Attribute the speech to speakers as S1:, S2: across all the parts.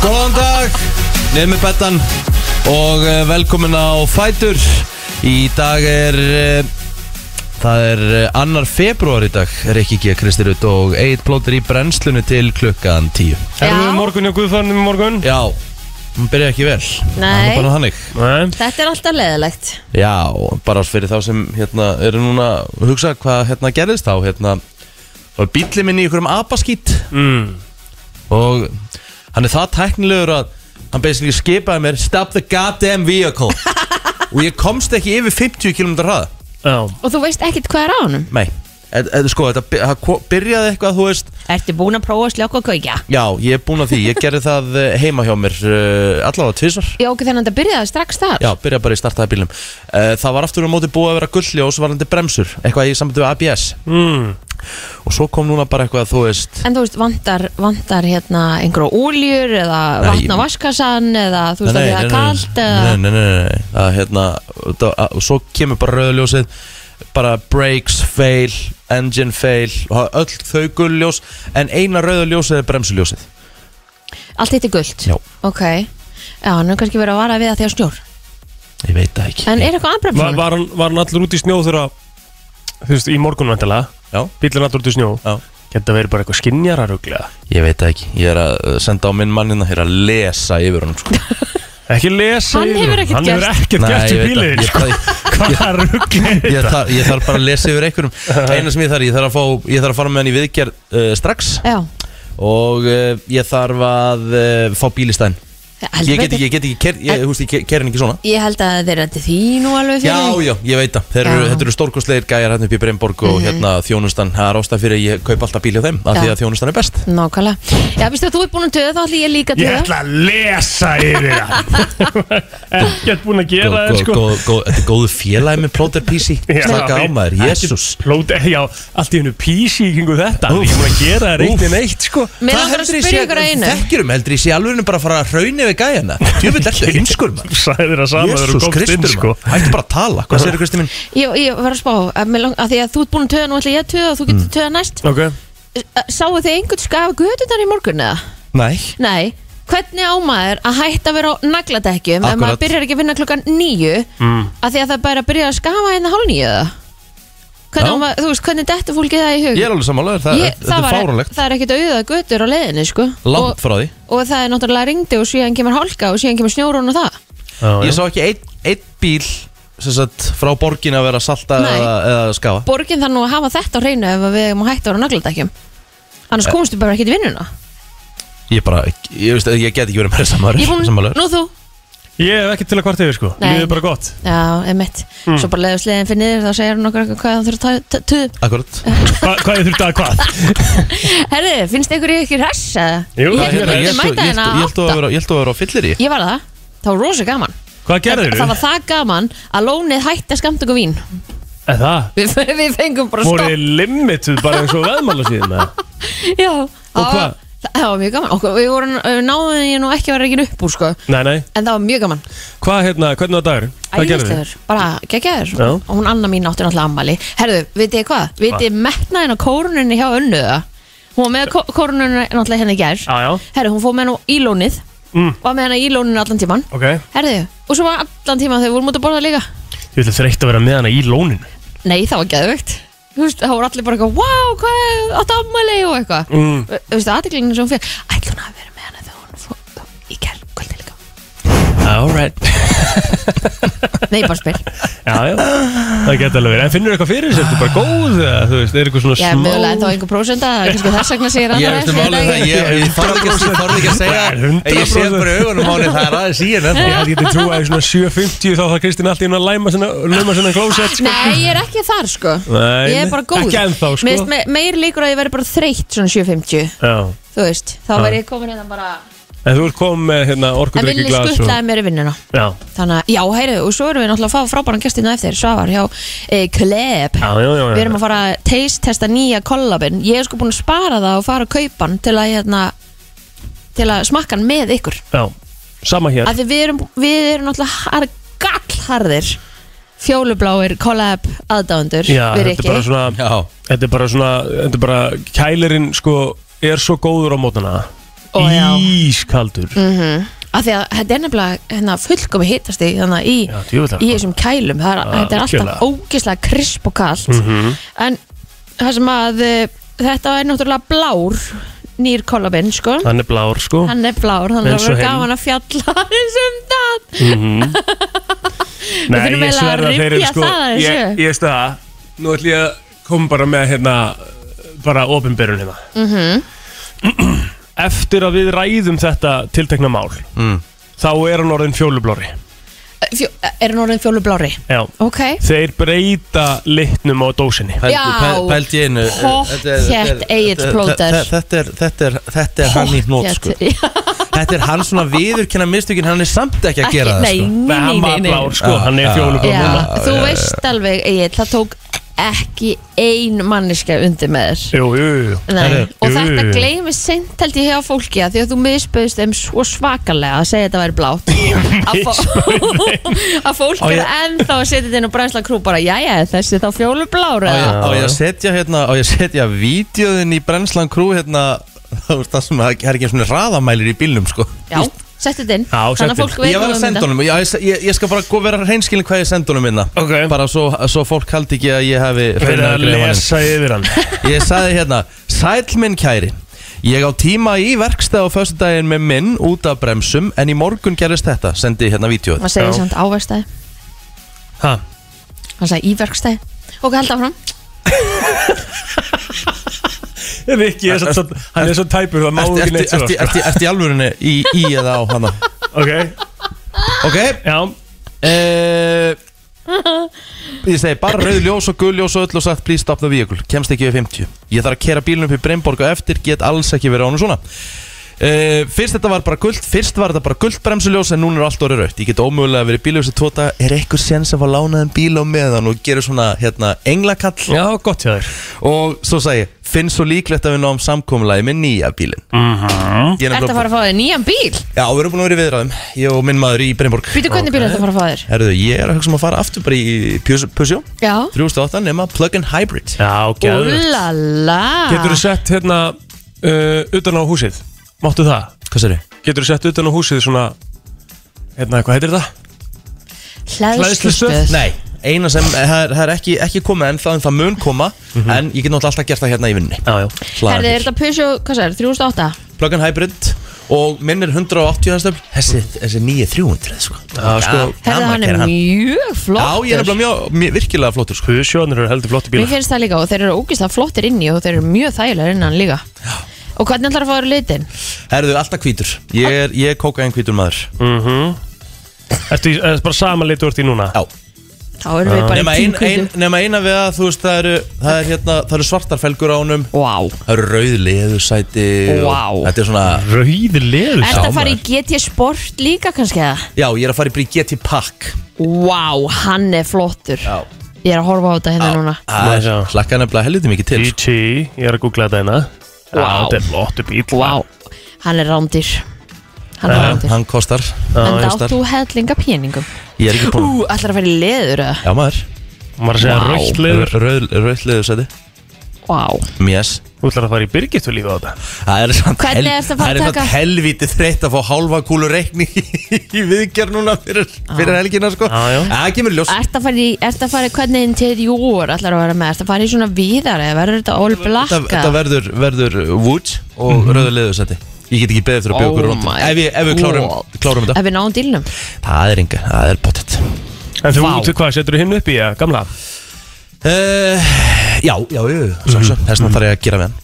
S1: Góðan dag, nefnir Bettan og eh, velkomin á Fætur Í dag er, eh, það er eh, annar februar í dag Rikki G. Kristirut og Egil Plóter í brennslunni til klukkan 10
S2: Erum við
S3: Já.
S2: morgun hjá Guðfarnum í morgun?
S1: Já, hún byrja ekki vel Það
S3: Nei.
S1: er bara þannig
S2: Nei
S3: Þetta er alltaf leðilegt
S1: Já, bara fyrir þá sem hérna, eru núna að hugsa hvað hérna, gerðist þá hérna, þá er bíllinn minn í ykkur um apaskýtt
S2: mm.
S1: og hann er það tæknilegur að hann basically skipaði mér stop the goddamn vehicle og ég komst ekki yfir 50 km hraða
S2: Já
S3: Og þú veist ekkert hvað er á honum
S1: nei, e e sko þetta by- það ko- byrjaði eitthvað þú veist
S3: Ertu búin að prófa að sljóka og kveikja?
S1: já, ég er búin að því, ég gerði það eh, heima hjá mér uh, allavega tvisar
S3: Já, ok, þannig að þetta byrjaði strax þar
S1: já, byrjaði bara í startaði bílum uh, það var aftur á móti búið að vera gullljós varandi bremsur, eitthvað í sambandi við ABS
S3: Hmm.
S2: mm.
S1: og svo kom núna bara eitthvað þú veist
S3: En þú veist, vantar, vantar hérna einhverja óljur eða
S1: Nei,
S3: vatn á
S1: ég-
S3: vaskassann eða þú veist að það er kalt eða...
S1: nei, nei, nei, nei, nei. Að, hérna, það, að, og svo kemur bara rauðljósið bara brakes fail, engine fail og það er öll þau gullljós en eina rauðljósið er bremsuljósið
S3: Allt eitt er gult
S1: Já.
S3: Ok Já, hann er kannski verið að vara við það því að snjór
S1: ég veit það ekki
S3: En er eitthvað aðbremsa?
S2: var, var, hann, var hann allur út í snjó þegar að Þú veist, í morgun vantilega
S1: Já,
S2: Bíllinn allur út í snjó
S1: já.
S2: Geta verið bara eitthvað skinjararuglega
S1: ég veit það ekki, ég er að uh, senda á minn mannina hér að lesa yfir hann sko.
S2: Ekki lesa
S3: Hann
S2: yfir
S3: hefur ekkert
S2: Hann hefur
S3: gert.
S2: ekkert gert í
S1: ég veit
S2: bílinn sko.
S1: það ég,
S2: Hvaða rugli er
S1: ég,
S2: þetta?
S1: þar, ég þarf bara að lesa yfir einhverjum eina sem ég þarf, ég þarf að, fá, ég þarf að fara með hann í viðgerð uh, strax
S3: Já
S1: og uh, ég þarf að uh, fá bílistæðin
S3: heldur
S1: ég get
S3: betur.
S1: ekki, ég get ekki, ker, ég,
S3: En-
S1: húst, ég ker hann ekki svona
S3: Ég held að þeir eru til því nú alveg
S1: Já,
S3: fyrir
S1: já, ég veit það Þeir eru,
S3: Já. Mhm.
S1: Þetta eru stórkostleir gæjar hérna upp í Breimborg og hérna þjónustan Það er ástæð fyrir að ég kaup alltaf bíl hjá þeim af
S3: Já.
S1: Því að þjónustan er best
S3: Nákvæmlega Já, veistu að þú ert búin að töða þá ætlum ég líka að
S2: Ég
S3: töða
S2: ætla að lesa yfir hann Ekkert búin að
S1: Góð-
S2: gera
S1: góð-
S2: það sko
S1: góð- góð- Þetta er góðu félagi með plóter písi
S2: Já.
S1: Slaka á maður, jésús
S2: Plóti, já, allt í hennu písi í kringu þetta
S1: Úff.
S2: Ég mun að gera það
S1: Úff.
S2: reyndir neitt sko
S3: Mér langar að spyrja ykkur að einu
S1: Þekkirum um, heldur ég sé alveg bara að fara að rauna við gæjana Djöfull ertu heimskur maður
S2: Sæðir að sama þegar þú
S1: Jésús
S2: komst inn
S1: Kristur
S2: sko
S1: maður Hættu bara að tala, hvað segir Kristi minn?
S3: Ég, ég var að spá, að, mig lang, að því að þú ert búin að töða nú ætla ég að töða og þú getur mm. töða næst
S2: Ok
S3: Eh, Sáu þið einhvern skaf gödunar í morgun eða?
S1: Nei
S3: Nei, hvernig á maður að hætta að vera á nagladekkjum ef
S1: Akkurat.
S3: maður byrjar ekki að vinna klukkan níu mm. að því að það bara byrjar að skafa hérna hálf níu eða?
S1: Já.
S3: Hvernig, á maður, þú veist, hvernig dettu fólki það í hug?
S1: Ég er alveg sammálaður, það,
S3: Ég-
S1: þetta
S3: það,
S1: er
S3: var,
S1: fáránlegt
S3: það er ekkert auðað götur á leiðinni sko.
S1: Langt
S3: og,
S1: frá því
S3: og það er náttúrulega ringdi og síðan kemur hálka og síðan kemur snjórun og það
S1: Ég sá ekki einn ein bíl sem sagt, frá borgin að vera salta
S3: Nei.
S1: eða, eða skafa
S3: Borgin þarf nú að hafa þetta á hreinu ef við erum að hætta að vera á nagladekkjum
S1: Eh.
S3: annars komumstu bara ekkert í vinnuna
S1: Ég bara, ég, veist, ég get ekki verið meira samar
S3: Ég er búin,
S1: Samanlegur
S3: nú þú
S2: Ég hef ekki til að kvart yfir sko
S3: Nei.
S2: Lífið er bara gott Hmm.
S3: Já, emitt, svo bara leiðast leiðin fyrir niður þá segir hann okkur eitthvað hvað hann þurfa að ta- ta- tuð
S1: Akkurat
S2: Hva, Hvað ég þurfti að hvað?
S3: Herði, finnst ykkur ég ekki hress? eða?
S2: Jú,
S3: Ég-
S2: það er
S3: ég-
S1: held-
S2: hress.
S1: ég held
S3: mæta hérna
S1: að vera- ég held að vera á fyllir í
S3: Ég var það, það var rosa gaman
S2: Hvað gerðir þú?
S3: Það var það gaman að lónið hætti að skamta ykkur vín
S2: En það
S3: Við, við fengum bara
S2: voru
S3: stopp
S2: limituð bara eins og veðmála síðan
S3: Já, það
S2: hvað?
S3: var- Það það var mjög gaman okkur, Við vorum, við náðum ég nú ekki að vera ekki upp úr sko
S2: Nei, nei,
S3: En það var mjög gaman
S2: hvað hérna, hvernig var dagur? Hvað gerðir
S3: Æðislegur, bara geggjaður
S2: Já.
S3: Og hún Anna mín átti náttúrulega ammali Herðu, vitið þið hvað? Vitið þið metnaðin á kórununni hjá önnuða? Hún var með kó- kórununni náttúrulega henni gær
S2: Já, já,
S3: Herðu, hún fór með henni í lónið
S2: Mm.
S3: Var með henni í lóninu allan tíman
S2: ok Ég
S3: Herðu, og svo var allan tíman þegar við vorum út að borða líka
S2: ætla þreytt að vera með hana í lóninu
S3: Nei, það var geðvögt Þú veist, þá voru allir bara eitthvað Wow, hvað er átt ammali og eitthvað
S2: mm.
S3: Þú veist, aðteklingin sem hún fyrir Ætlum hún að vera með henni þegar hún fór í gær kvöldi líka
S2: Alright
S3: Nei, bara spil
S2: Já, já, það getur alveg verið En finnur eitthvað fyrir sér, þetta er bara góð eða, Þú veist, er eitthvað svona
S3: Ég er mögulega ennþá einhver prósenda það er kannski þess vegna segir
S1: Ég
S3: annar
S1: veist um málið það, ég, ég þorði ekki, ég þorði ekki að segja en Ég sé bara í augunum á henni, það er aðeins í henni
S2: Ég
S1: ennþá.
S2: held ég til trú að í svona 7.50 þá það Kristín allt í hún að læma sinna, lauma sinna klósett sko.
S3: Nei, ég er ekki þar sko
S2: Nei,
S3: Ég er bara góð
S2: Ekki ennþá sko
S3: Mér finnst me meir líkur að ég verði bara þreytt svona 7.50
S2: Já.
S3: Þú veist, þá
S2: Já.
S3: verði ég komin hérna bara
S2: En þú ert komið með hérna,
S3: En villi
S2: orkudrykki glas
S3: skuttlaði mér í vinnuna
S2: Já,
S3: Þannig að, já, heyrðu, og svo erum við náttúrulega að fá frábæran gestina eftir Svavar hjá e, Kleb
S2: já, já, já, já.
S3: Við erum að fara að taste testa nýja kollabin Ég er sko búin að spara það og fara að kaupa hann til að, hérna, til að smakka hann með ykkur
S2: Já, sama hér
S3: að því við erum, við erum náttúrulega gallharðir fjólubláir collab aðdáendur
S2: Já,
S3: við
S2: þetta er
S3: Rikki
S2: bara svona
S1: Já,
S2: Þetta er bara svona Þetta er bara Kælirinn sko Er svo góður á mótana
S3: Ó, já.
S2: Ískaldur
S3: mm af því að þetta er nefnilega hérna, fullkomi hittast í, þannig, í,
S2: Já, djöfull er það
S3: í þessum kælum það er,
S2: Já,
S3: þetta er alltaf
S2: algjörlega.
S3: ógeðslega krisp og kalt
S2: Mhm.
S3: en það sem að eh, þetta er náttúrulega blár nýr kollabinn sko
S2: Hann er blár sko
S3: hann er blár, þannig að
S2: Eins og
S3: það verður
S2: hinn.
S3: gaman að fjalla aðeins um það
S2: Mhm. Nei,
S3: þurfum
S2: ég
S3: eiginlega að
S2: sverða þeir eru
S3: rifja
S2: sko
S3: það aðeins
S2: Ég,
S3: upp.
S2: ég veist það, nú ætlum ég að koma bara með hérna bara ofinberun hérna Eftir að við ræðum þetta tiltekna mál
S1: Mm.
S2: þá er hann orðin fjólublári
S3: Fjó, er hann orðin fjólublári
S2: Já
S3: ok,
S2: Þeir breyta litnum á dósinni
S1: Pældi-
S3: Já.
S1: pæl- Pældi í einu
S3: Hott
S1: Þetta er-
S3: þétt
S1: þetta er-
S3: Egill
S1: þetta er-
S3: plóter.
S1: þe- Þetta er, þetta er, þetta er hann í hnót sko Þetta er hann svona viðurkenna mistökin Hann er samt ekki að gera það
S3: nei,
S1: sko
S2: Nei,
S3: nei,
S2: hann
S3: nei,
S2: var
S3: nei,
S2: blár sko,
S1: Já,
S2: hann er
S1: já.
S2: fjólublár
S3: Já,
S2: núna
S3: þú veist alveg Egil, það tók ekki ein manniska undir með þér
S2: Jú, jú, jú
S3: Nei,
S1: Herru.
S3: og
S2: Jú,
S3: þetta
S2: jú, jú.
S3: gleymi seint held ég hjá fólki að því að þú misbauðst þeim svo svakalega að segja þetta væri blátt Að fó- að fólk
S1: Á,
S3: er
S1: ég-
S3: ennþá að setja þetta inn á brænsla krú bara jæja þessi þá fjólu blára
S1: Á ég, á ég að setja hérna Á ég að setja vídeoðin í Brennslan Crew hérna Það er það sem að- það er ekki svona raðamælir í bílnum sko
S3: já, settu þetta inn
S2: Já,
S3: þannig
S2: settu
S3: að fólk
S1: Ég
S3: veit
S1: var að
S3: um
S1: senda
S3: þetta.
S1: honum, já, ég, ég, ég skal bara gå- vera reynskilin hvað ég senda honum minna
S2: Ok.
S1: Bara svo, svo fólk haldi ekki að ég hafi
S2: Þeir
S1: hreinlega
S2: að
S1: greið á honum.
S2: lesa yfir hann
S1: Ég sagði hérna Sæll minn kæri Ég á tíma í verkstæð á föstudaginn með minn út af bremsum En í morgun gerist þetta, sendi hérna vítjóð
S3: hann segir
S2: Já.
S3: samt áverstæði,
S2: Ha,
S3: hann sagði íverkstæði ok, held áfram
S2: Rikki er svo, hann er svo tæpur það má
S1: Ertu
S2: ekki neitt sko.
S1: ertu-
S2: svo
S1: ertu- ertu- ertu í alvörunni í, í eða á hana
S2: Ok,
S1: Ok
S2: já,
S1: uh, Ég segi bara rauð ljós og gul ljós og öll og sagt Please stop the vehicle, kemst ekki við 50 Ég þarf að kera bílunum upp í Breimborg og eftir Get alls ekki verið á hún svona Uh, fyrst þetta var bara guld Fyrst var þetta bara guld bremsuljós En núna er allt orðið raut Ég get ómögulega verið bíljós í tvo daga Er eitthvað séns að fá lánaðan bíl á meðan Og gera svona hérna, englakall
S2: já, gott hjá þér
S1: Og svo sagði ég Finn svo líklegt að við náum samkomulagi með nýja bílin
S2: Mhm.
S1: Ég er
S3: Ertu að
S1: nefnilega-
S3: fara að fá þér nýjan bíl?
S1: Já, við erum búin að vera í viðræðum Ég og minn maður í Brennborg
S3: Býtu hvernig bíl ertu að fara að fá þér?
S1: Herðu, ég er að hugsa um að fara aftur bara í Peugeot
S3: Já
S1: 308 nema plug-in hybrid
S2: Já, gæður
S3: Úlala
S2: Getur þú sett hérna uh, utan á húsið? Máttu það?
S1: Hvað sér þið?
S2: Getur þú sett utan á húsið svona Hérna, hvað heitir það?
S3: Hlæðslustöð
S2: Hleðslustöð?
S1: Nei, eina sem, eh, það er, það er ekki, ekki komið en það, en það mun koma En ég get náttúrulega alltaf gert það hérna í vinninni
S2: Mhm. Já, já
S1: Hlaðan bíl.
S3: Herði, er þetta Peugeot, hvað sér, 3008?
S1: Plug-in hybrid og minn er 180 hestöfl Þessi, þessi 9300 sko
S2: Já, sko,
S3: Herði,
S1: gaman að
S3: hann
S1: gera
S3: er
S1: Já, ég
S3: mjög
S1: er
S3: flottur
S1: nefnilega mjög, mjög, virkilega flottur sko
S2: Húsjónir eru heldur flotti
S3: Mér
S2: bíla
S3: finnst það líka og þeir eru ógeðslega flottir inni og þeir eru mjög þægilega innan líka Og hvernig ætlar að fá þér litin?
S1: Herðu, alltaf hvítur Ég er, ég er kókain hvítur maður
S2: mm Ertu í, er bara sama litur úr því núna?
S1: Já
S3: Þá erum við bara
S1: Nema,
S3: í
S1: ein, ein,
S3: tímkvítu
S1: nema eina við að þú veist það eru, það er, hérna, það eru svartar felgur á honum
S3: Vá
S1: Það eru rauð leðursæti
S3: Vá.
S1: Þetta er svona
S2: Rauði leður
S3: Ertu að fara í
S1: maður.
S3: GT Sport líka kannski eða?
S1: Já, ég er að fara í Brigetti Pakk
S3: Vá, hann er flottur
S1: Já
S3: Ég er að horfa á þetta hérna núna
S1: Það
S2: Já.
S1: slakka nefnilega helviti mikið til sko.
S2: GT, ég er að googla þetta hérna Já,
S3: Vá.
S2: þetta er flottu bíl
S3: Vá, hann er rándýr Hann er rándir
S1: Hann kostar
S3: En
S1: ég
S3: dátt
S1: star.
S3: þú hellinga peningum
S1: Ég er ekki búinn
S3: Ú, ætlar að vera í leður eða?
S1: Já maður
S2: Maður að segja
S3: Vá.
S2: rautt leður
S1: Rauð, rauð leðursæti
S3: Vá
S1: Mjess
S2: Þú ætlar að fara í Birgittu líka á þetta
S1: Það er samt
S3: Hvernig ertu að fara
S1: Það er
S3: að
S1: samt
S3: taka?
S1: helviti þreytt að fá hálfa kúlu reikni í viðgerð núna fyrir, fyrir helgina sko
S2: Já, já.
S1: En Það kemur í ljós
S3: Ertu að fara í, ertu að fara í hvernig interior ætlar að vera með? Ertu að fara í svona víðar eða verður þetta all blacka?
S1: Þetta þetta verður, verður wood og mm -hmm. rauðu leðursæti Ég get ekki beðið fyrir að bjóða okkur
S3: Mhm. Oh
S1: rótt
S3: my
S1: Ef, við- ef við klárum,
S3: God.
S1: klárum þetta
S3: Ef við náum dílnum
S1: Það er enga, það er pottet
S2: En þú,
S3: Vá.
S2: þú hvað, setur þú hinn upp í ja, gamla?
S1: uh, Já, já, já, sjálfsög mm. Þessna þarf ég að gera við hann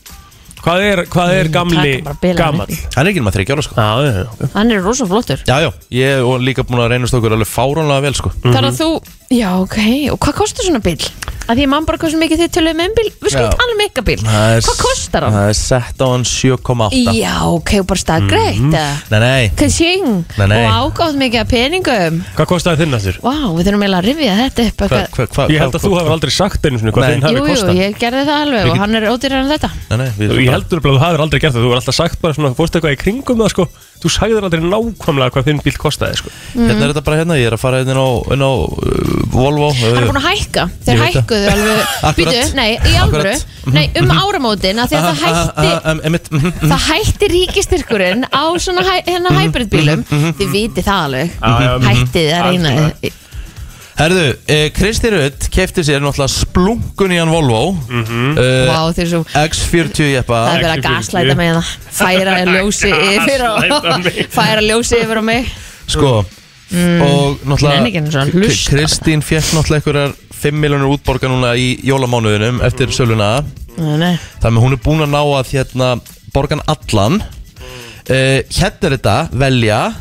S2: Hvað er, hvað Mhm. er gamli
S3: taka bara bilann
S2: gamall?
S3: upp í.
S2: Já,
S1: Hann er ekki nema þryggja ára sko
S2: já, já, ok.
S3: Hann er rosa flottur
S1: Já, já, ég hef líka búin að reynast okkur alveg fáránlega vel sko
S3: Þar
S2: Mhm.
S3: að þú, já ok, og hvað kostar svona bíl? Að því mann bara hversu mikið þið töluðu með einn bíl Við
S1: Já.
S3: skulum tala um eitthvað bíl
S1: Það er-
S3: Hvað kostar hann?
S1: Það er sett á hann 7,8
S3: Já ok, og bara stað greitt eða?
S1: Nei, nei,
S3: Kaching,
S1: Mhm. Nei, nei.
S3: og ágátt mikið af peningum
S2: Hvað kostaði þinn aftur?
S3: Vá, við þurfum eiginlega að rifja þetta upp
S1: hvað,
S3: eitthvað
S1: hvað, hvað
S2: Ég held að þú hefur aldrei sagt einu sinni hvað
S1: Nei.
S2: þinn hafi
S3: Jú, jú,
S2: kostað
S3: ég gerði það alveg og hann er ódýrar en þetta
S1: Nei, nei, við
S2: Ég heldur bara að þú hefur aldrei gert það, þú hefur alltaf sagt bara svona, fórst eitthvað í kringum það sko þú sagðir aldrei nákvæmlega hvað þinn bíl kostaði sko.
S1: Hérna er þetta bara hérna, ég er að fara hérna inn á, inn á uh, Volvo
S3: Hann er búin að hækka,
S1: Ég
S3: þeir
S1: veit það.
S3: hækkuðu alveg
S1: Akkurat.
S3: Býtu, nei, í alvöru
S1: Akkurat. Mhm.
S3: Nei, um áramótin,
S1: Ah,
S3: af því að það hætti
S1: Emitt, mhm,
S3: Það hætti ríkistyrkurinn á svona hæ, hérna
S1: Mhm.
S3: hybridbílum Þið viti það alveg
S2: Já, já, mhm.
S3: Hættið að reyna
S1: Herðu, eh, Kristi Rutt kefti sér náttúrulega splungun í hann Volvo eh,
S3: Vá, þeir svo
S1: X40 jeppa
S3: Það er verið að
S2: Ekki
S3: gaslæta
S2: fyrir-
S3: mig hérna Færa ljósi yfir á
S2: Gaslæta mig.
S3: Færa ljósi yfir á mig
S1: Sko Og
S3: Mm. nenni ekki einu
S1: náttúrulega
S3: svona
S1: K-
S3: hlusta.
S1: Kristín fekk náttúrulega einhverjar 5 miljonur útborga núna í jólamánuðinum Eftir söluna
S3: Mm. Nei, nei.
S1: Þannig að hún er búin að ná að hérna Borgan allan
S3: Mm.
S1: uh, Hérna er þetta, velja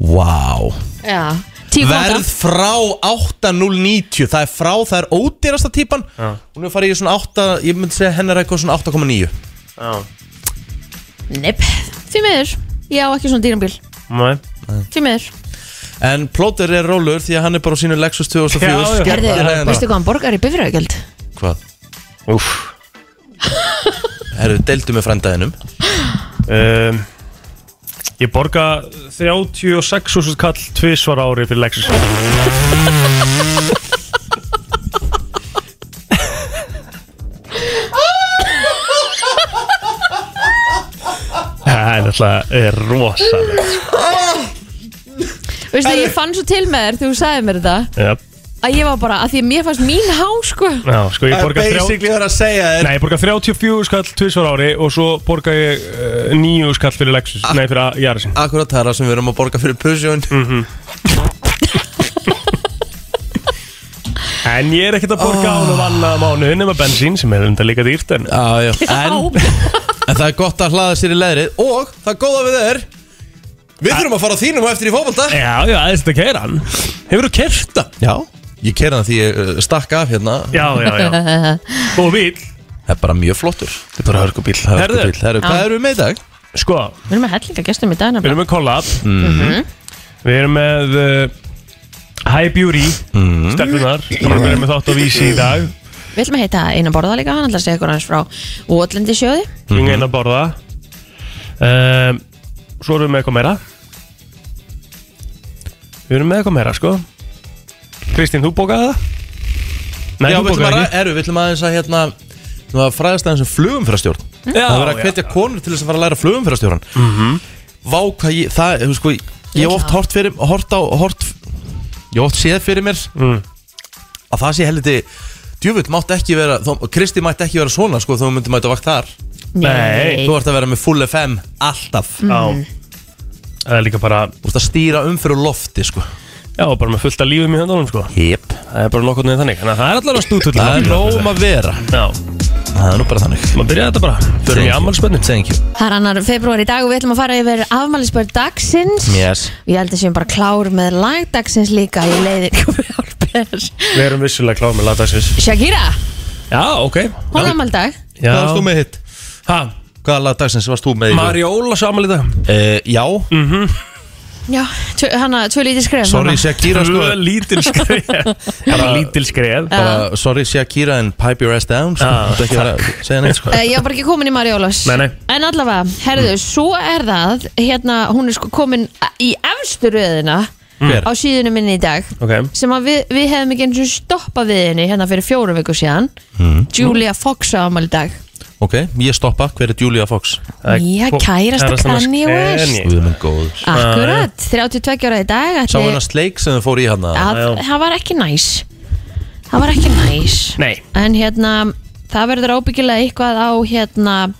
S1: Vá
S3: Já, tíu
S1: Verð
S3: kvota
S1: frá 8090 Það er frá, það er ódýrasta típan
S2: Já.
S1: Hún er farið í svona 8 Ég myndi segja hennar eitthvað svona 8,9
S2: Já,
S3: Nepp, því miður Ég á ekki svona dýrambíl,
S2: Nei.
S3: því miður
S1: En plóter er rólur því að hann er bara á sínu Lexus 2004
S2: Já, já.
S1: skellir
S3: Herðu,
S1: hérna.
S3: veistu hvað hann borgar í bifræðugjöld?
S1: Hvað?
S2: Úff.
S1: Herru, deildu með frændaðinum
S2: Um, ég borga 36.000 kall tvisvar á ári fyrir Lexus Það er náttúrulega rosalega
S3: Veistu, ég fann svo til með þér þegar þú sagði mér þetta
S2: Já,
S3: að ég var bara, að því að mér fannst mín há sko
S2: já, sko ég borga þrjá
S1: það að segja
S2: Nei, ég borga 34 skall tvisvar á ári og svo borga ég uh, 9 skall fyrir Lexus Nei, fyrir Mhm. Jarisin
S1: Ah. Akkurat það er það sem við erum að borga fyrir pusjón
S2: En ég er ekkert að borga
S1: Ah.
S2: oh. ánum annað mánuð nema bensín sem er enda líka dýrt en
S1: Já, já En, en það er gott að hlaða sér í leðrið Og það góða við er Við þurfum að fara á þínum og eftir í fótbolta
S2: Já, já, aðeins þetta keira hann Hefur þú kert það?
S1: Já Ég kera hann því ég uh, stakk af hérna
S2: Já, já, já Og bíl
S1: Það er bara mjög flottur Það er bara hörkubíl
S2: Herðu.
S1: Hörkubíl Herru, hvað
S3: Já.
S1: eru við með í dag?
S2: Sko,
S3: Við erum með hellinga gestum í dag
S2: við
S3: nefnilega.
S2: erum með collab Við erum með uh, High Beauty mm -hmm. Stelpunar Við erum með þátt og vísi í dag
S3: Við ætlum að heita Einar Borða líka, hann ætlar að segja ykkur aðeins frá Votlendi sjóði
S1: Mhm.
S2: King einn hérna að borða um, Svo erum við með eitthvað meira Við erum með eitthvað meira, sko Kristín, þú bókaði það? Nei,
S1: Já,
S2: þú
S1: við ætlum að
S2: bókaði
S1: ræ-
S2: ekki
S1: Herru, við ætlum aðeins að hérna Nú að fræðast aðeins um flugumfærastjórn
S2: Já,
S1: Það er verið að
S2: Mm. já.
S1: hvetja konur til þess að fara að læra flugumfærastjóran mm
S2: Mhm.
S1: -hmm. Vá, hvað ég Það, þú sko Ég hef oft hort fyrir Hort á Hort Ég hef oft séð fyrir mér
S2: Mm.
S1: Að það sé helviti Djöfull mátt ekki vera þó, Kristi mætti ekki vera svona sko Þó þú myndi mæta á vakt þar
S2: Nei.
S1: Þú ert að vera með full FM Alltaf
S2: Já Það er líka bara,
S1: Þú ert að stýra umfyrir lofti sko
S2: já, bara með fullt af lífum í höndunum, sko
S1: Jep
S2: Það er bara nokkur neðið þannig, þannig að það er allavega stútull
S1: Það er nóg um að vera
S2: Já,
S1: Það er nú bara þannig
S2: maður byrjaði þetta bara Förum í
S1: Thank you.
S2: ammalspennin
S1: Thank you
S3: Það er annar februar í dag og við ætlum að fara yfir afmælisbörn dagsins
S1: Yes
S3: Ég held að séum bara klár með lagdagsins líka í leiði Hjálper.
S2: Við erum vissulega kláð með latagsins
S3: Shakira,
S2: Já, ok
S3: hún er afmældag
S2: Já.
S1: Hvað varst þú með hitt?
S2: Ha,
S1: Hvaða lag dagsins varst þú með í
S2: Mari Ólas afmæli í dag
S1: Eh, Já
S2: Mhm.
S3: Já, tvö- hana, tvö lítið skref
S1: Sorry
S3: hana.
S1: Shakira sko
S2: Tvö Lítil skreð Bara lítil skreð
S1: bara, Sorry Shakira en pipe your ass down sko. Þú
S2: Ah,
S1: ert ekki að vera að segja neitt sko
S3: Eh, Ég var bara ekki komin í Mari Ólafs
S2: Nei, nei.
S3: En allavega,
S1: Mm.
S3: herðu, svo er það Hérna, hún er sko komin í efstu röðina
S1: Hver?
S3: Á síðunum minni í dag
S2: Ok
S3: sem að við, við hefum ekki eins og stoppa við henni hérna fyrir fjórum viku síðan
S1: Mm.
S3: Julia Fox á afmæli í dag
S1: Mhm. Ok, ég stoppa, hver er Julia Fox?
S3: Já, kærasta Kanye West. Ah,
S1: Við minn góður
S2: Ah,
S3: Akkurat, 32 ára í dag
S1: Sá
S3: ætli,
S1: hennar sleik sem þau fór í hana
S3: að,
S2: Já.
S3: það var ekki næs það var ekki næs
S2: Nei
S3: en hérna, það verður ábyggilega eitthvað á hérna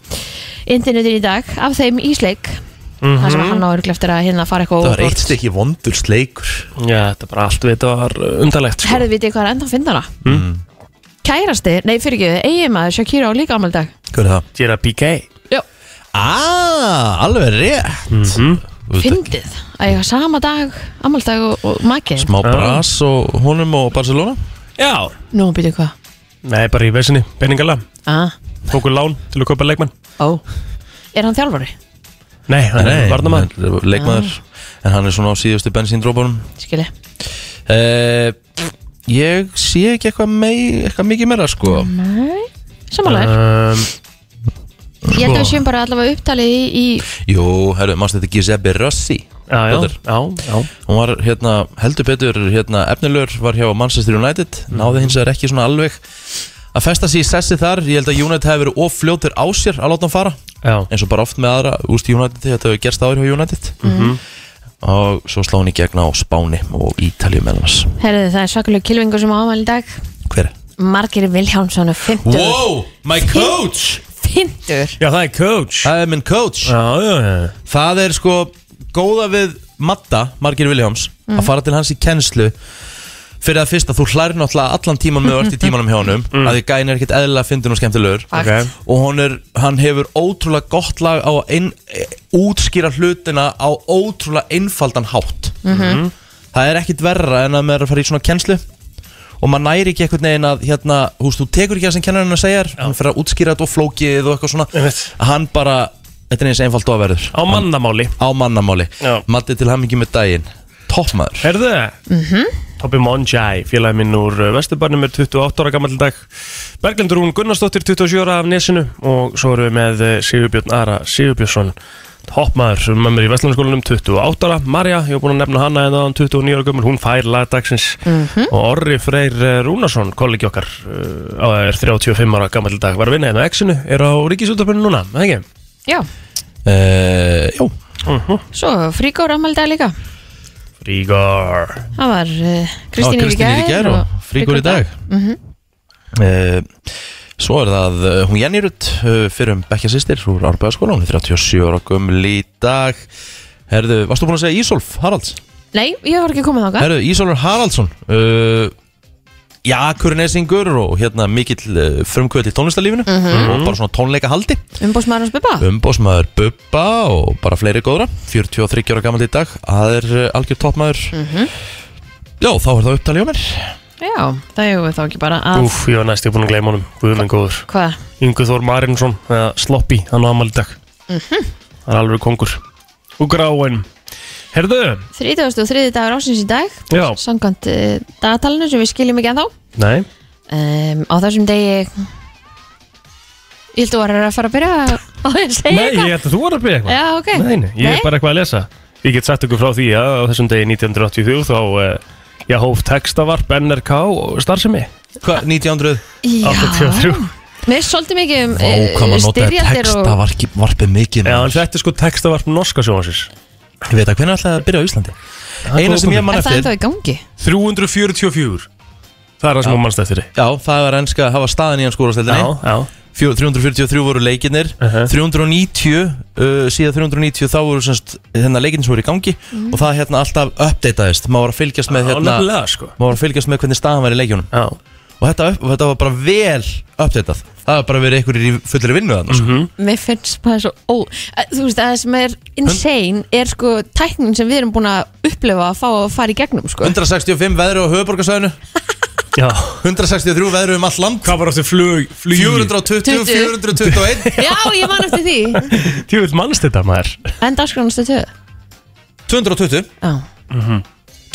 S3: internetin í dag af þeim ísleik mm það
S2: Mhm.
S3: sem hann á örglega eftir að hérna fara eitthvað
S1: Mhm. Það var
S3: óvart.
S1: eitt stykki vondur sleikur
S2: Já, þetta er bara allt við þetta var uh, undarlegt sko.
S3: herðu vitið hvað er enda að finna hana
S1: Mm.
S3: kærasti, nei fyrir ekki, eigin maður Shakira á líka afmæli í dag
S1: Hver er það?
S2: Gera PK
S3: Já.
S1: Ah, alveg rétt mm
S2: Mhm.
S1: -hmm.
S3: fyndið að eiga sama dag, afmældag og, og makið
S1: Má bras og honum og Barcelona
S2: Já
S3: Nú, býtu hvað?
S2: Nei, bara í vesinni Peningala
S3: Ah,
S2: Tóku lán til að kaupa leikmann
S3: ó Er hann þjálfari?
S2: Nei, hann er varnamann
S1: hann er leikmaður En hann er svona á síðustu bensíndrópunum
S3: Skilji
S1: uh, Ég sé ekki eitthvað, mei, eitthvað mikið meira sko
S2: Ehm,
S3: Nei Samanlega
S2: um,
S3: Ég held að við séum bara allavega upptalið í, í
S1: Jú, herru, mannst þetta Giuseppe Rossi
S2: Já, já,
S1: Dóttir.
S2: já, já.
S1: Hún var hérna, heldur betur hérna, efnilegur, var hjá Manchester United
S2: Mhm.
S1: náði hins vegar ekki svona alveg að festa sig í sessi þar, ég held að United hefur verið ofljótur á sér að láta hann fara
S2: Já,
S1: eins og bara oft með aðra, úst United þetta hefur gerst áður hjá United
S2: Mhm.
S1: og svo slá hann í gegna á Spáni og Ítalíu meðan hans
S3: Herðu, það er svakalega kilvingur sem ámæli í dag
S1: Hver?
S3: Margir Vilhjálmsson er 50
S1: Wow, my coach!
S3: 50
S2: já það er coach
S1: Það er minn coach
S2: Já, já, já
S1: Það er sko góða við Matta, Margir Viljáms að fara til hans í kennslu fyrir að fyrst að þú hlæri náttúrulega allan tíman með öll í tímanum hjá honum að því gæin er ekkert eðlilega fyndin og skemmtilegur
S2: Mm. Ok.
S1: og hann, er, hann hefur ótrúlega gott lag á að ein, e, útskýra hlutina á ótrúlega einfaldan hátt Mhm. það er ekkert verra en að maður er að fara í svona kennslu og maður næri ekki einhvern veginn að hérna, húst, þú tekur ekki það sem kennarinn að segja hann fyrir að útskýra þetta og flókið og eitthvað svona
S2: Einmitt.
S1: hann bara, þetta er eins einfalt og að verður
S2: Á mannamáli
S1: á mannamáli
S2: Já.
S1: Matti til hamingi með daginn Toppmaður
S2: Herðu það? Mm
S1: Hm?
S2: -hmm. Toppi Monjai, félagi minn úr Vesturbarnum er 28 ára gammal dag Berglindur Rún Gunnarsdóttir, 27 ára af Nesinu og svo erum við með eh, Sigurbjörn Ara Sigurbjörnsson Toppmaður sem er með mér í Vestlunarskólanum 28 ára Marja, ég hef búin að nefna hana hérna en aðan 29 ára gömul, hún fær lagdagsins
S1: Mhm.
S2: og Orri Freyr eh, Rúnarsson, kollegi okkar eh, á er 35 ára gammal dag var að vinna hérna á Exinu, er á Ríkisúttarpunni núna, eða ekki? Mhm.
S3: Já,
S1: uh, Jó
S3: svo Fríkór ámæli í dag líka
S2: Frígar
S3: Það var uh, Kristín
S1: Kristín í gær og Fríkur í dag
S3: Mhm.
S1: Eh, Svo er það eh, hún Jenny Rutt uh, fyrir um bekkja sýstir úr Árbæðaskóla, hún er 37 ára gömul í dag Herðu, varstu búin að segja Ísolf Haralds?
S3: Nei, ég var ekki komið þangað
S1: Herðu, Ísolfur Haraldsson uh, Já, kurnesingur og hérna mikill uh, frumkvöld í tónlistarlífinu og bara svona tónleika haldi
S3: Umbósmaður hans Bubba
S1: umbósmaður Bubba og bara fleiri góðra 43 ára gammal í dag það er uh, algjör toppmaður já þá er það upptalið á mér
S3: Já, það hefur við þá ekki bara að
S2: Úf, ég var næst ég búin að gleyma honum, guðminn góður
S3: Hvað?
S2: Ingu Þór Marinsson eða Sloppy, hann á amal í dag
S3: Mhm.
S2: Það er alveg kongur og gráin Herðu,
S3: 33. dagur ásins í dag
S2: já,
S3: Samkvæmt uh, dagatalinu sem við skiljum ekki ennþá
S2: nei
S3: um, Á þessum degi Ég held að þú var að fara að byrja á því að segja
S2: Nei, ég
S3: eitthvað
S2: ætla að þú var að byrja eitthvað
S3: Já, ok
S2: Nei, nei, ég er bara eitthvað að lesa Ég get sagt ykkur frá því að á þessum degi 1983 þá uh, ég hóf textavarp NRK og starfsemi
S1: hvað, 1900?
S3: Já
S2: 83
S3: Mér er svolítið mikið um
S1: Ó, hvað maður notaði
S3: styrjaldir
S1: texta
S3: og
S1: varki- varpið mikið
S2: Já, en þetta er sko textavarp norska sjónasins
S1: ég veit að hvernig ætlaði að byrja á Íslandi eina sem ég mann
S3: Er það ennþá
S1: eftir
S3: í gangi?
S2: 344 Það er það sem hún mannst eftir því
S1: já, það var enska að hafa staðin í hann skórasteldinni
S2: já
S1: 343 voru leikinnir
S2: Uh-huh.
S1: 390 uh, síðan 390 þá voru semst hérna leikinnir sem voru í gangi og það hérna alltaf uppdateaðist maður var að fylgjast með
S2: Já,
S1: hérna
S2: nefnilega sko
S1: maður var að fylgjast með hvernig staðan var í leikjunum
S2: Já,
S1: og þetta, upp, þetta var bara vel uppdatað það var bara verið einhverjir í fullri vinnu þannig mm
S2: Mhm.
S3: Mér finnst bara svo ó, að, Þú veist, að það sem er insane er sko tæknin sem við erum búin að upplifa að fá að fara í gegnum sko
S1: 165 veðri á höfuborgarsæðinu
S2: já
S1: 163 veðri um all land
S2: Hvað var aftur flug, flugi?
S1: 420, 421
S3: Já, ég man eftir því
S2: Tjóðvill mannst þetta maður
S3: En dagskránastu töð
S1: 220
S3: Já,
S1: Mhm.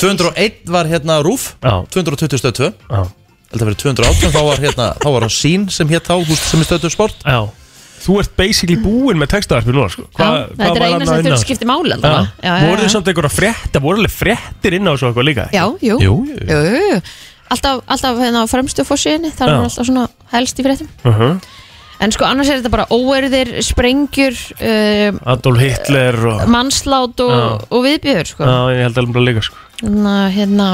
S1: 201 var hérna rúf
S2: Já,
S1: 220 stöð 2
S2: já,
S1: held að verið 218 þá var hérna þá var á sín sem hétt þá húst sem er stöð 2 sport
S2: já Þú ert basically búinn með textaðarpi núna sko.
S3: já þetta er eina sem þurft skipti
S2: Já,
S3: máli allavega Já, já,
S2: voru þið
S3: já.
S2: samt einhverja frétta, voru alveg fréttir inn á svo eitthvað líka
S3: já, jú, jú,
S1: jú jú.
S3: jú, jú. Alltaf, alltaf hérna á fremstu fórsíðinni Það
S2: Já.
S3: er alltaf svona helst í fréttum
S2: uh -huh.
S3: En sko annars er þetta bara óerðir, sprengjur um,
S2: Adolf Hitler og
S3: mannslát og, og viðbjöður sko.
S2: Já, ég held alveg líka sko
S3: Ná, hérna,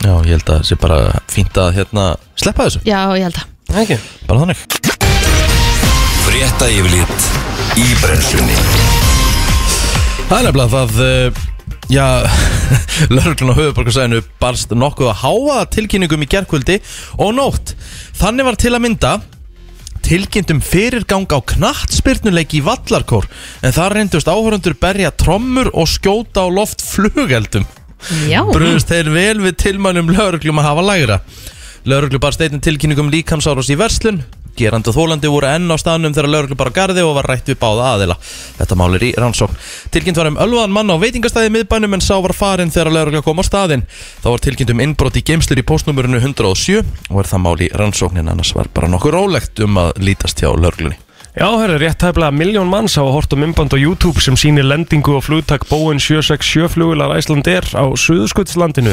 S1: já ég held að það sé bara fínt að hérna sleppa þessu
S3: já, ég held að
S2: Ekki
S1: bara þannig
S4: Frétta yfirlit í brennslunni
S1: Það er nefnilega það, uh, já, lauruglun á höfuborgarsæðinu barst nokkuð að háa tilkynningum í gerkvöldi og nótt. Þannig var til að mynda tilkynntum fyrirgang á knattspyrnuleik í vallarkór en þar reyndust áhörundur berja trommur og skjóta á loft flugeldum.
S3: Já,
S1: Bröðust þeir vel við tilmælum lauruglum að hafa lægra. Lauruglu barst einnig tilkynningum líkamsáros í verslun. Gerandi og þólandi voru enn á staðnum þegar lauruglu bara garði og var rætt við báða aðila. Þetta mál er í rannsókn. Tilkynnt var um ölvaðan mann á veitingastæði í miðbænum en sá var farinn þegar laurugla kom á staðinn. Þá var tilkynnt um innbrot í geimslur í postnúmurinu 107 og er það mál í rannsóknin annars var bara nokkuð rólegt um að lítast hjá lauruglunni.
S2: Já, herru, rétt tæplega miljón manns hafa hort á mymband á YouTube sem sýnir lendingu og flugtak Boeing 767 flugular Æslandir á Suðurskuttslandinu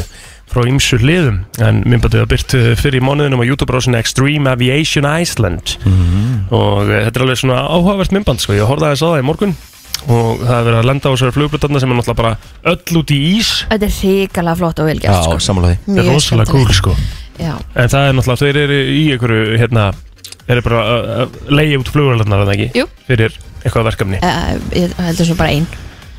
S2: frá ymsu hliðum en mymbandið var byrt eh, fyrir í mánuðinum á YouTube-brósinu Extreme Aviation Iceland og eh, þetta er alveg svona áhugavert mymband sko, ég horfði aðeins á það í morgun og það er verið að lenda á þessari flugbrötarna sem er náttúrulega bara öll út í ís
S3: Þetta er hrikalega flott og
S1: Já,
S3: velgjast sko.
S1: samanlega því
S2: Þetta er
S3: Mjög
S2: rosalega cool
S3: skemmtilegt.
S2: sko
S3: Já,
S2: en það er náttúrulega, þeir eru í einhverju hérna, eru bara að- að leigja út flugurlarnar en ekki,
S3: Jú.
S2: fyrir eitthvað verkefni
S3: uh, ég heldur svo bara ein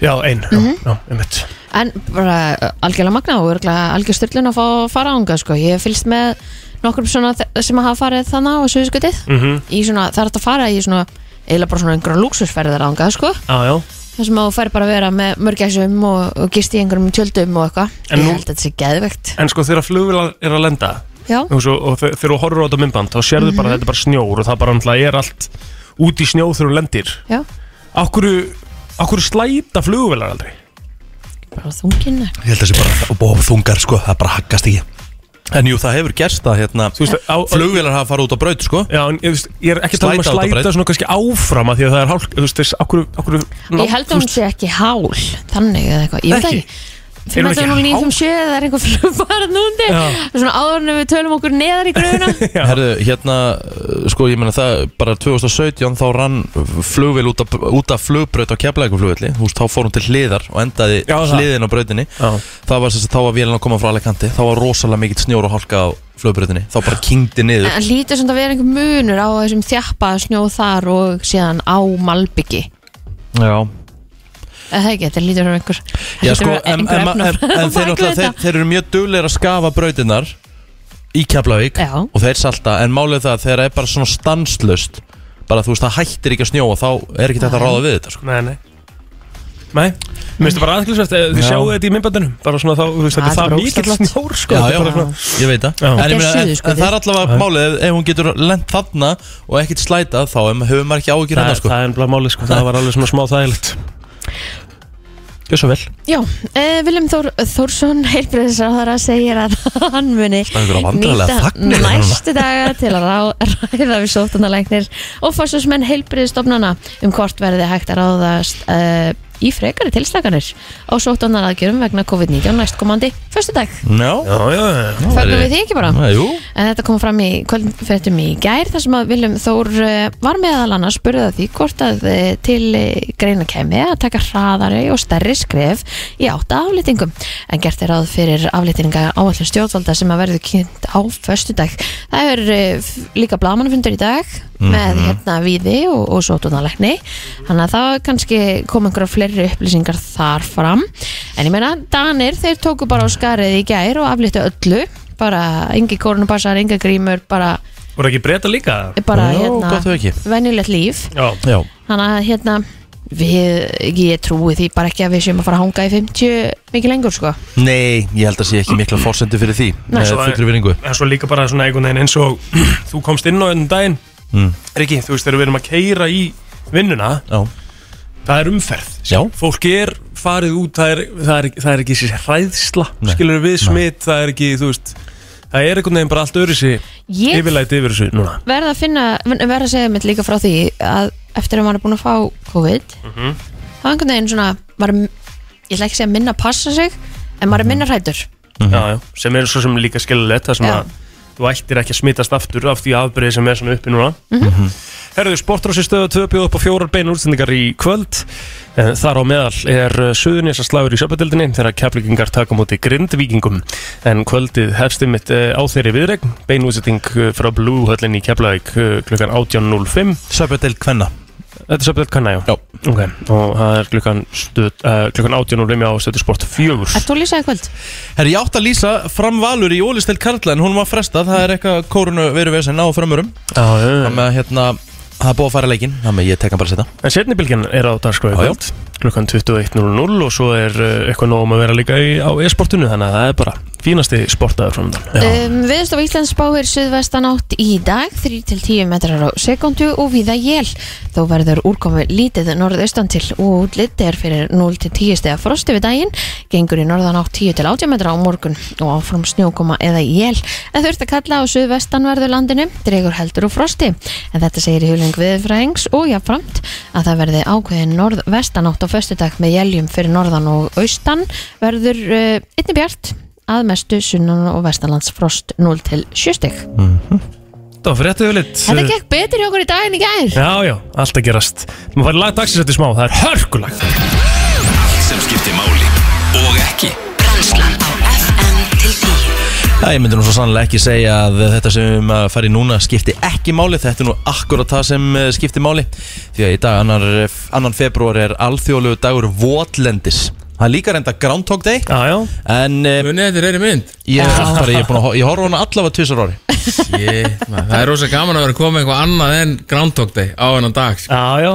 S2: já, ein, já, já, einmitt
S3: En bara eh, algjörlega magna og örgulega algjör styrlun að fá að fara ánga sko. Ég hef fylgst með nokkrum svona þe- sem hafa farið þannig á suðskutið
S2: mm -hmm.
S3: í svona, það er þetta að fara í svona eiginlega bara svona einhverjum lúksusferðar ánga sko.
S2: já, já,
S3: þar sem að þú fær bara að vera með mörgæsum og, og gist í einhverjum tjöldum og eitthvað
S2: En
S3: Ég
S2: nú-
S3: held að þetta sé geðvegt
S2: en sko þegar flugurlar er að lenda
S3: Já,
S2: og, svo, og þe- þegar þú horfur á þetta myndband þá sérðu
S3: Mhm.
S2: bara að þetta er bara snjór og það bara náttúrulega er allt út í snjó þegar þú lendir
S3: já,
S2: okkur, okkur slæta flugurlar aldrei
S3: bara þunginn
S1: Ég held að það sé bara bóð þungar sko, það bara haggast ekki En jú, það hefur gerst það hérna
S2: veist, á-
S1: Flugvélar hafa farið út á braut sko
S2: Já, en ég, veist, ég er ekki að tala um
S1: Slæta
S2: að
S1: á þetta
S2: slæta
S1: braut.
S2: svona kannski áfram að því að það er hálk, þú veist, þess, okkur, okkur
S3: Ég held að hún sé ekki hál þannig eða eitthvað, ég veit það
S2: Ekki?
S3: ekki
S2: Er
S3: Fyrir
S2: hún
S3: að það
S2: ekki
S3: er
S2: hál?
S3: nýjum sjö það er einhver flugfarað núndi
S2: Já.
S3: svona áður en við tölum okkur neðar í gröfuna
S2: Já.
S1: Herðu, hérna, uh, sko, ég meina það bara 2017 þá rann flugvél út af, út af flugbraut á keflækuflugvelli Þú veist, þá fór hún til hliðar og endaði
S2: Já, það.
S1: hliðin á brautinni
S2: Já.
S1: Það var þess að þá var vélina að koma frá Alicante Þá var rosalega mikill snjór og hálka á flugbrautinni Þá bara kingdi niður
S3: En lítur sem það vera einhver munur á þessum þjappa snjóð þar og síðan á Malbyggi
S1: Já,
S3: Það er ekki, þetta lítur sem einhver
S1: Já,
S3: hlýtur
S1: sko,
S3: að vera
S1: en, en,
S3: einhver
S1: en, en,
S3: efnafræði á
S1: þeir,
S3: bak við
S1: náttúrulega- þeir,
S3: þetta.
S1: þeir eru mjög duglegir að skafa brautinnar í Keflavík
S3: Já.
S1: og þeir salta en málið er það að þegar það er bara svona stanslust bara þú veist það hættir ekki að snjóa þá er ekki þetta að ráða við þetta sko.
S2: Nei, nei Nei, mér finnst það bara aðklisvert Þið
S1: Já.
S2: sjáu þetta í myndbandunum Bara svona þá, þú veist, þetta
S3: Já,
S2: er það
S3: þetta er
S2: mikill
S3: ógeðslega
S2: snjór sko.
S1: Já,
S2: Þetta
S1: já,
S2: er bara svona-
S1: ég veit það
S2: Já.
S1: en, ég
S3: Þetta
S1: meina,
S3: er
S1: en,
S3: suður, sko,
S1: en það er allavega málið ef, ef hún getur lent þarna og ekkert slætað þá em- hefur maður ekki áhyggjur
S2: Það
S1: hérna
S2: er-
S1: sko.
S2: það er ennblá máli, sko Það var alveg svona smá þægilegt Gjör svo vel
S3: Já, uh, Viljum Þór, Þórsson heilbreyðisráðara segir að hann muni
S1: Það er einhverja vandræðalega þagnir hérna núna.
S3: næstu daga til að rá, ræða við sóttanalæknir og fórsvarsmenn heilbreyðistofnana um hvort verði hægt að ráðast uh, í frekari tilstakanir á sóttanaraðgjörum vegna COVID-19 næstkomandi föstudag.
S1: Já,
S2: Já, já, já
S3: Fögnum við því ekki bara?
S1: Nei, Jú,
S3: En þetta kom fram í kvöldfréttum í gær þar sem að Viljum Þór eh, var meðal annars spurðið að því hvort að eh, til eh, greina kemi að taka hraðari og stærri skref í átta aflýtingum. En gert er ráð fyrir aflýtinga áallin stjórnvalda sem að verður kynnt á föstudag. Það er eh, f- líka blamanfundur í dag
S1: Mhm.
S3: með hérna viði og, og sótunalekni. Þannig að það kannski kom einhverja fleiri upplýsingar þar fram. En ég meina, Danir, þeir tóku bara á skarið í gær og aflýttu öllu bara engi koronapassar, engi grímur bara,
S2: Voru ekki breyta líka?
S3: bara
S1: Já, gott þau
S3: hérna,
S1: ekki.
S3: venjulegt líf
S2: Já,
S1: já
S3: þannig að hérna við, ég trúi því bara ekki að við séum að fara að hanga í 50 mikið lengur sko
S1: Nei, ég held að sé ekki mikla fórsendu fyrir því
S3: Nei.
S1: með fullri vinningu
S2: En svo líka bara svona einhvern veginn eins og Þú komst inn á enn daginn
S1: mm.
S2: Riki, þú veist, þegar við erum að keira í vinnuna
S1: Já,
S2: það er umferð
S1: Já.
S2: fólk er farið út það er, það er, það er ekki þessi hræðsla
S1: Nei.
S2: skilur við smitt, það er ekki þú veist, það er einhvern veginn bara allt öðru sig
S3: ég
S2: yfirlæti yfir þessu núna
S3: verð að finna, verð að segja mitt líka frá því að eftir að maður er búin að fá COVID
S1: Mhm.
S3: þá einhvern veginn svona maður, er- ég ætla ekki að segja minna að passa sig en maður er minna hrættur
S1: Mhm.
S2: já, já, sem er svo sem líka skilulegt það sem
S3: Já.
S2: að þú ættir ekki að smittast aftur af því afbreið sem er svona uppi núna
S3: Mhm.
S2: mm -hmm. Herðu, sportrási stöðu tvö bjóð upp á fjórar bein útsendingar í kvöld Eh, Þar á meðal er Suðunesa slagur í sjöpildinni þegar keflingar taka á móti grindvíkingum en kvöldið hefst um mitt á þeirri viðregn bein útsending eh, frá Blue höllin í Keflavík eh, klukkan 18.05
S1: Söpjadeild kvenna
S2: Þetta er sjöpild kanna, já
S1: Já.
S2: Ok, og það er klukkan, stöð, uh, klukkan 18.05 á stöðu sport 4
S3: Ert þú að lýsa í kvöld?
S1: Herri, ég átti að lýsa fram valur í Ólistel Karla en hún var frestað, það er eitthvað koronaviru vesen á framurum
S2: ah,
S1: þannig að hérna, það er búið að fara leikinn þannig að ég tek hann bara að setja
S2: En setni bylgjan er á dagskráði
S1: Já, já.
S2: eh, kvöld klukkan 21.00 og svo er uh, eitthvað nóg um að vera líka í, á e-sportinu þannig að það er bara fínasti sportaður frá myndan
S3: Um, Viðstof Íslands spáir suðvestan átt í dag 3-10 metrar á sekundu og viða jél. Þó verður úrkomi lítið norðaustan til og útlit er fyrir 0-10 stega frosti við daginn gengur í norðan átt 10-80 metra á morgun og áfram snjókoma eða jél en þurft að kalla á suðvestanverðu landinu dregur heldur og frosti en þetta segir í hulung viðfræðings og jafnframt að það verði ákveðin norðvestan átt á föstudag með jéljum fyrir norðan og austan verður uh, einnig bjart að mestu sunnan og vestanlands frost 0 til 7 stygg.
S2: Þetta var frétt yfirleitt
S3: Þetta gekk betur hjá okkur í dag en í gær.
S2: Já, já, allt að gerast Maður farið lag dagsins eftir smá, það er hörkulag
S4: Allt sem skiptir máli og ekki
S5: Brennslan á FM til 10
S1: Já, ég myndi nú svo sannlega ekki segja að þetta sem að fara í núna skipti ekki máli Þetta er nú akkurat það sem eh, skipti máli Því að í dag, annar, annan februar er alþjóðlegu dagur Votlendis Það er líka reynda Groundhog Day
S2: Já, já,
S1: En eh,
S6: Munið þetta er reyni mynd
S1: ég, bara, ég, er búinn að ho- ég horf á hana allavega tvisar ári
S6: Shit, man, Það er rosa gaman að vera að koma eitthvað annað en Groundhog Day á hennan dag sko.
S2: já, já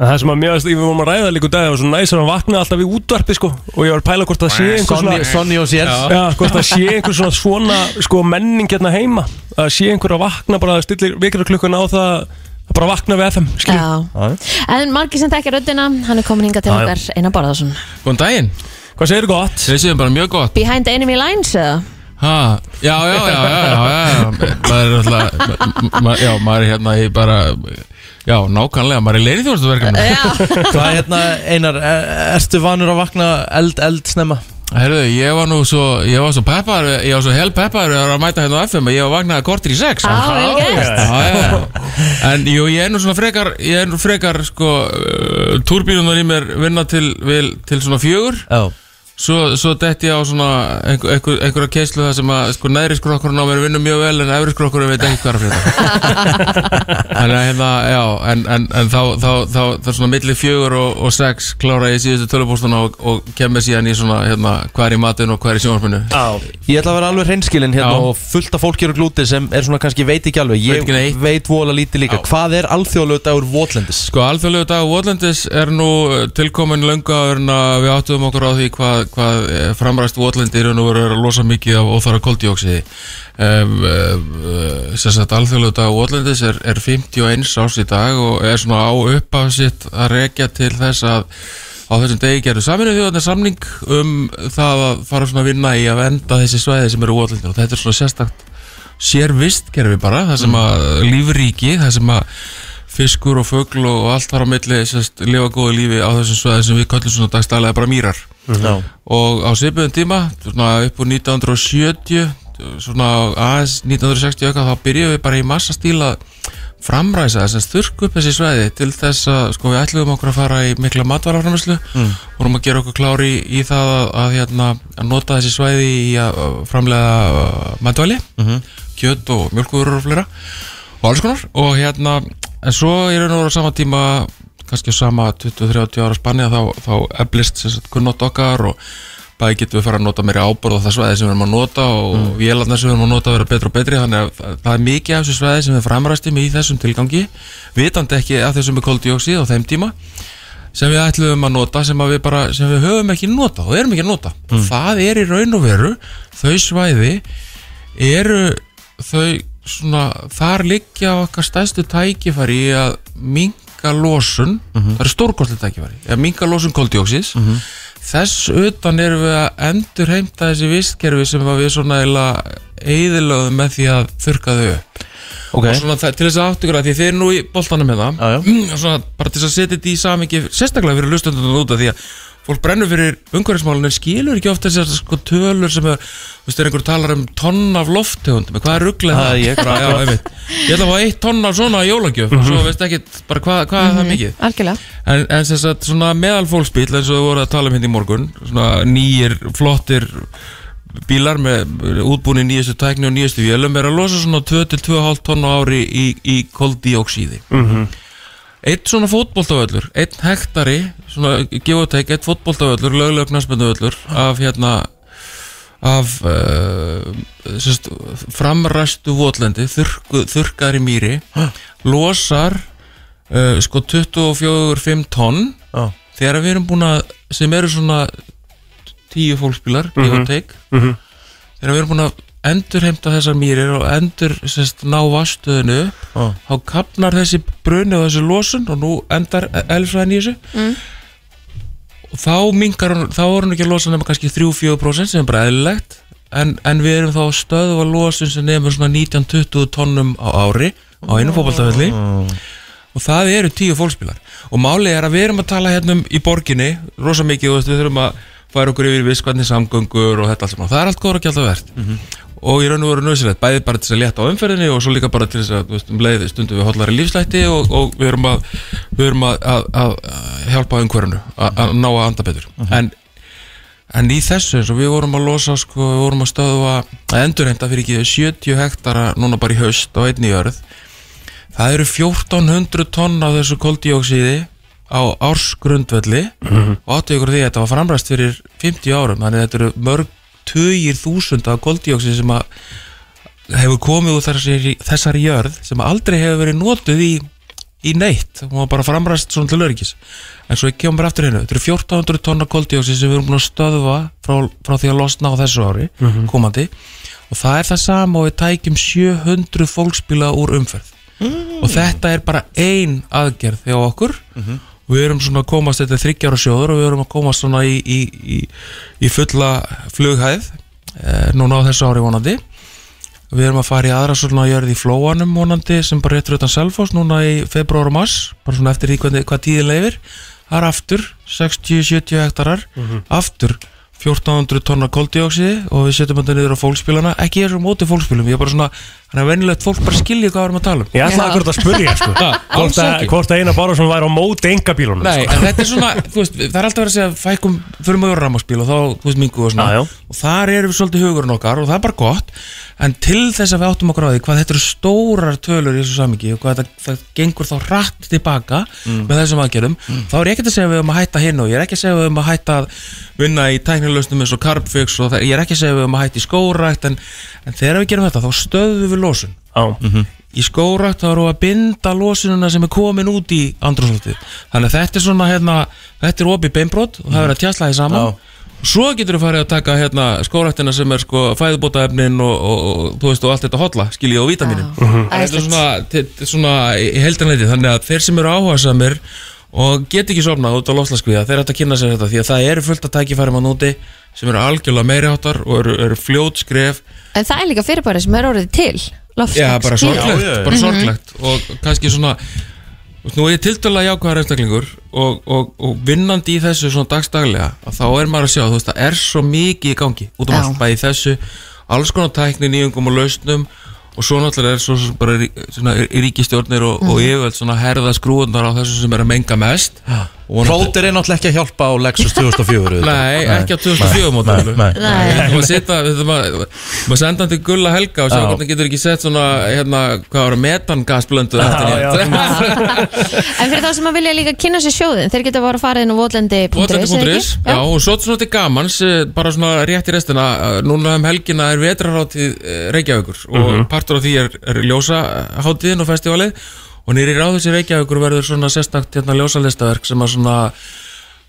S2: Það sem að mjög aðst yfir vorum að ræða líku dag Það var svo næs að hann vaknaði alltaf í útvarpi sko Og ég var að pæla hvort það sé einhver
S1: Sonny,
S2: svona
S1: Sonny og sér
S6: Já.
S2: Já, hvort það sé einhver svona svona sko menning hérna heima Að sé einhver að vakna bara að stilla vekjarklukkun á það Að bara vakna við FM, skil
S3: Já. En margir sem tekja röddina, hann er komin hinga til
S2: Já, já.
S3: okkar Einar Barðarsson.
S6: Góðan daginn
S2: Hvað segir gott?
S6: Við séum bara mjög gott
S3: Behind enemy lines eða?
S6: ha, Já, já, já, já, já, já, já. Maður er alltaf ma, ma, Já, maður er hérna í bara Já, nákvæmlega, maður er í leiriþjóðastu verkefni
S3: Já.
S1: Hvað hérna, Einar, er, ertu vanur að vakna eld, eld snemma?
S6: Herðu, ég var nú svo Ég var svo peppar, ég var svo hel peppar að mæta hérna á FM að ég var vaknaði kortir í sex
S3: Á, vel gert.
S6: Já, já, já. En jú, ég er nú svona frekar Ég er nú frekar, sko uh, Túrbílunar í mér vinna til, vil, til svona fjögur
S1: Já
S6: Svo, svo detti ég á svona einhver, einhver, einhverja keislu það sem að sko neðri skrokkurinn á mér vinnur mjög vel en efri skrokkurinn veit ekki hvað er að frétta Þannig að hérna, já, en, en, en þá, þá, þá, þá, svona milli fjögur og, og sex klára ég síðustu tölupóstuna og, og kemur síðan í svona hérna, hvað er í matinn og hvað er í sjónvarpinu
S2: Já,
S1: Ég ætla að vera alveg hreinskilinn hérna
S6: Já.
S1: og fullt af fólki eru glúti sem er svona kannski veit ekki alveg
S6: Veit
S1: Ég
S6: ekki neitt.
S1: veit vola lítið líka Hvað er alþjóðlegu dagur Votlendis?
S6: Sko, alþjóðlegu dag Votlendis er nú tilkomin löngu áður en að við áttum okkur á því hvað, hvað eh, framræst Votlendi eru nú verið að losa mikið af óþara koldjóksiði. Um, um, sem sagt, alþjóðlegu dag Votlendis er, er 51 árs í dag og er svona á uppaf sitt að rekja til þess að á þessum degi gerðu saminu þjóðarnir samning um það að fara svona að vinna í að venda þessi svæði sem eru Votlendi og þetta er svona sérstakt sér vistkerfi bara, það sem að lífríki, það sem að fiskur og fögl og allt þar á milli sérst, lifa góðu lífi á þessum sveði sem við kallum svona dagstælega bara mýrar
S1: Já
S6: og á svipuðum tíma, svona upp úr 1970 svona aðeins 1960 og eitthvað, þá byrjuðum við bara í massastíla að framræsa þess að þurrku upp þessi sveði til þess að sko við ætluðum okkur að fara í mikla matvaraframislu mm. vorum að gera okkur klári í, í það að, að, hérna, að nota þessi sveði í að að framlega uh, matvali kjöt og mjölkúður og fleira og alls konar og hérna en svo í raun og veru á sama tíma kannski á sama 20-30 ára spanni að þá, þá eflist sem sagt kunnótt okkar og bæði getum við fara að nota meiri ábúrð og það svæði sem við erum að nota og mm. vélarnar sem við erum að nota vera betra og betri þannig að það- það er mikið af þessu svæði sem við framræstum í þessum tilgangi vitandi ekki af þessum með koldioxið á þeim tíma sem við ætluðum að nota sem, að við, bara, sem við höfum ekki nota og erum ekki að nota það er í raun og veru þau svæði eru þau svona, þar liggja okkar stærstu tækifæri í að minka losun, það eru stórkostli tækifæri í að minka losun koldioxís þess utan erum við að endur heimta þessi vistkerfi sem að við svona eiginlega eðilöðum með því að þurka þau upp
S1: Ok
S6: og svona það- til þess að áttu ykkur að því þið er nú í boltanum með það
S1: Já, já.
S6: Mm, og svona bara til þess að setja þetta í samingi sérstaklega fyrir lustundan út af því að fólk brennur fyrir umhverfismálun en skilur ekki ofta þessar sko tölur sem er, þú veist, er einhver talar um tonn af lofttegundum hvað er rugglega
S1: Það
S6: það?
S1: er ég.
S6: bara, já, einmitt. ég ætla að fá eitt tonn af svona jólagjöf og svo veist ekki bara hvað, hvað er það
S1: Mhm.
S6: mikið
S3: Algjörlega.
S6: En, en sem sagt, svona meðalfólksbíl eins og við vorum að tala um hérna í morgun svona nýjir, flottir bílar með útbúni nýjastu tækni og nýjastu vélum er að losa svona 2-2,5 tonn á ári í, í koldíóksíði mm Eitt svona fótboltavöllur, einn hektari svona geotek, eitt fótboltavöllur löglega knarsmyndavöllur af hérna af uh, sérst, framræstu votlendi þurrku, þurrkaðri mýri losar uh, sko 24-5 tonn
S1: Já.
S6: þegar við erum búin að sem eru svona tíu fólksbílar mm -hmm. þegar við erum búin að endurheimta þessar mýrir og endur sest, ná vastöðinu
S2: Ah.
S6: þá kapnar þessi bruni og þessi losun og nú endar elsfræðin í þessu
S3: Mm.
S6: og þá mingar hún þá er hún ekki að losa nema kannski 3-4% sem er bara eðlilegt en, en við erum þá að stöðva losun sem nefnir svona 19-20 tonnum á ári á einu fótballtaföldi og það eru tíu fólksbílar og málið er að við erum að tala hérna um í borginni rosa mikið og við þurfum að færa okkur yfir viskvarnir samgöngur og þetta allt saman það er allt góður að gjalda verð og í raun og veru nöðsynlegt, bæði bara til þess að létta á umferðinni og svo líka bara til þess að þú veist, um leið stundum við hollari lífslætti og, og við erum að, við erum að, að, að hjálpa umhverfinu að, að ná að anda betur en, en í þessu eins og við vorum að losa sko, við vorum að stöðva að endurheimta fyrir ekki 70 hektara núna bara í haust á einni jörð Það eru 1400 tonn af þessu koldíóksiði á ársgrundvelli og áttu ykkur á því að þetta var framræst fyrir 50 árum þannig að þetta eru mörg tugir þúsunda af koldíóksið sem að hefur komið úr þessari, þessari jörð sem aldrei hefur verið notuð í, í neitt og bara framræst svona til örgis en svo ég kemur aftur hérna, þetta eru 1400 tonna koldíóksið sem við erum búin að stöðva frá, frá því að losna á þessu ári komandi og það er það sama og við tækjum 700 fólksbíla úr umferð og þetta er bara ein aðgerð hjá okkur og við erum svona að komast þetta er þryggjára sjóður og við erum að komast svona í, í, í, í fulla flughæð eh, núna á þessu ári vonandi við erum að fara í aðra svona jörð í flóanum vonandi sem bara réttur utan Selfoss núna í februar og mars bara svona eftir því hvernig, hvað tíðin leifir það er aftur 60-70 hektarar aftur 1400 tonna koldioksiði og við setjum þetta niður á fólkspílana ekki ég er svo mótið fólkspílum, ég er bara svona þannig að venjulegt fólk bara skilja hvað við erum að tala um
S2: Ég ætlaði akkur að spyrja sko
S6: Ha, alls
S2: Hvort að-
S6: ekki.
S2: Hvort að Einar Bárharsson væri á móti engabílunum
S6: Nei,
S2: sko.
S6: en þetta er svona, þú veist, það er alltaf verið að segja fækum, förum að vera rammarspíl og þá, þú veist, mingu og svona
S2: Já, já.
S6: og þar erum við svolítið hugurinn okkar og það er bara gott en til þess að við áttum okkur á því hvað þetta eru stórar tölur í þessu samingi og hvað þetta það gengur þá rætt tilbaka
S2: Mm.
S6: með þessum aðgerðum, þá er ég ekkert að segja að við um að hætta hinn og ég er ekki að segja að við um að hætta að vinna í tæknilausnum eins og carbfix og það, ég er ekki að segja að við um að hætta í skórækt en, en þegar við gerum þetta þá stöðum við losun
S2: Já,
S6: í skórakt þá eru að binda losununa sem er komin út í andrúrslótið þannig að þetta er svona hérna, þetta er opið beinbrot og það verður að tjastla því saman og svo getur við farið að taka hérna skóraktina sem er sko fæðubótaefnin og, og, og þú veist og allt þetta hotla skiljið og vitaminin þetta er svona, þetta er svona í heldanleiti þannig að þeir sem eru áhuga samir og get ekki sofnað út á lofslaskviða þeir ættu að kynna sér þetta því að það eru fullt að tækifærum að núti sem eru algjörlega meiri áttar og eru, eru fljót skref
S3: En það er líka fyrirbæri sem er orðið til
S6: Já, bara sorglegt,
S1: Já, já, já.
S3: Mhm.
S6: bara sorglegt og kannski svona þú veist, Nú er ég tiltölulega jákvæðar einstaklingur og, og, og vinnandi í þessu svona dagstaglega að þá er maður að sjá, þú veist, það er svo mikið í gangi út um
S3: Já.
S6: allt, bæði í þessu alls konar tækni, nýjungum og lausnum og svo náttúrulega er svo sem bara rí- svona ríkistjórnir og, og yfirveld svona herða skrúðunar á þessu sem er að menga mest og vonandi-
S1: Próter er náttúrulega ekki að hjálpa á Lexus 2004
S6: Nei, ekki á 2004 mótinu
S1: nei, nei.
S3: Nei.
S6: Við ætlum að setja, við ætlum að maður senda hann til Gulla Helga og sjá
S1: Já.
S6: hvernig hann getur ekki sett svona, hérna, hvað var það, metangasblöndu
S2: já, já.
S3: En fyrir þá sem að vilja líka kynna sér sjóðin Þeir geta bara að fara inn á votlendi.is
S6: Votlendi.is, já, og svo svona til gamans, eh, bara svona rétt í restina, eh, núna um helgina er vetrarháttið eh, Reykjavíkur og
S1: Mhm.
S6: partur af því er, er ljósaháttiðin og festivalið og nýri ráðis í Reykjavíkur verður svona sérstakt hérna ljósalistaverk sem að svona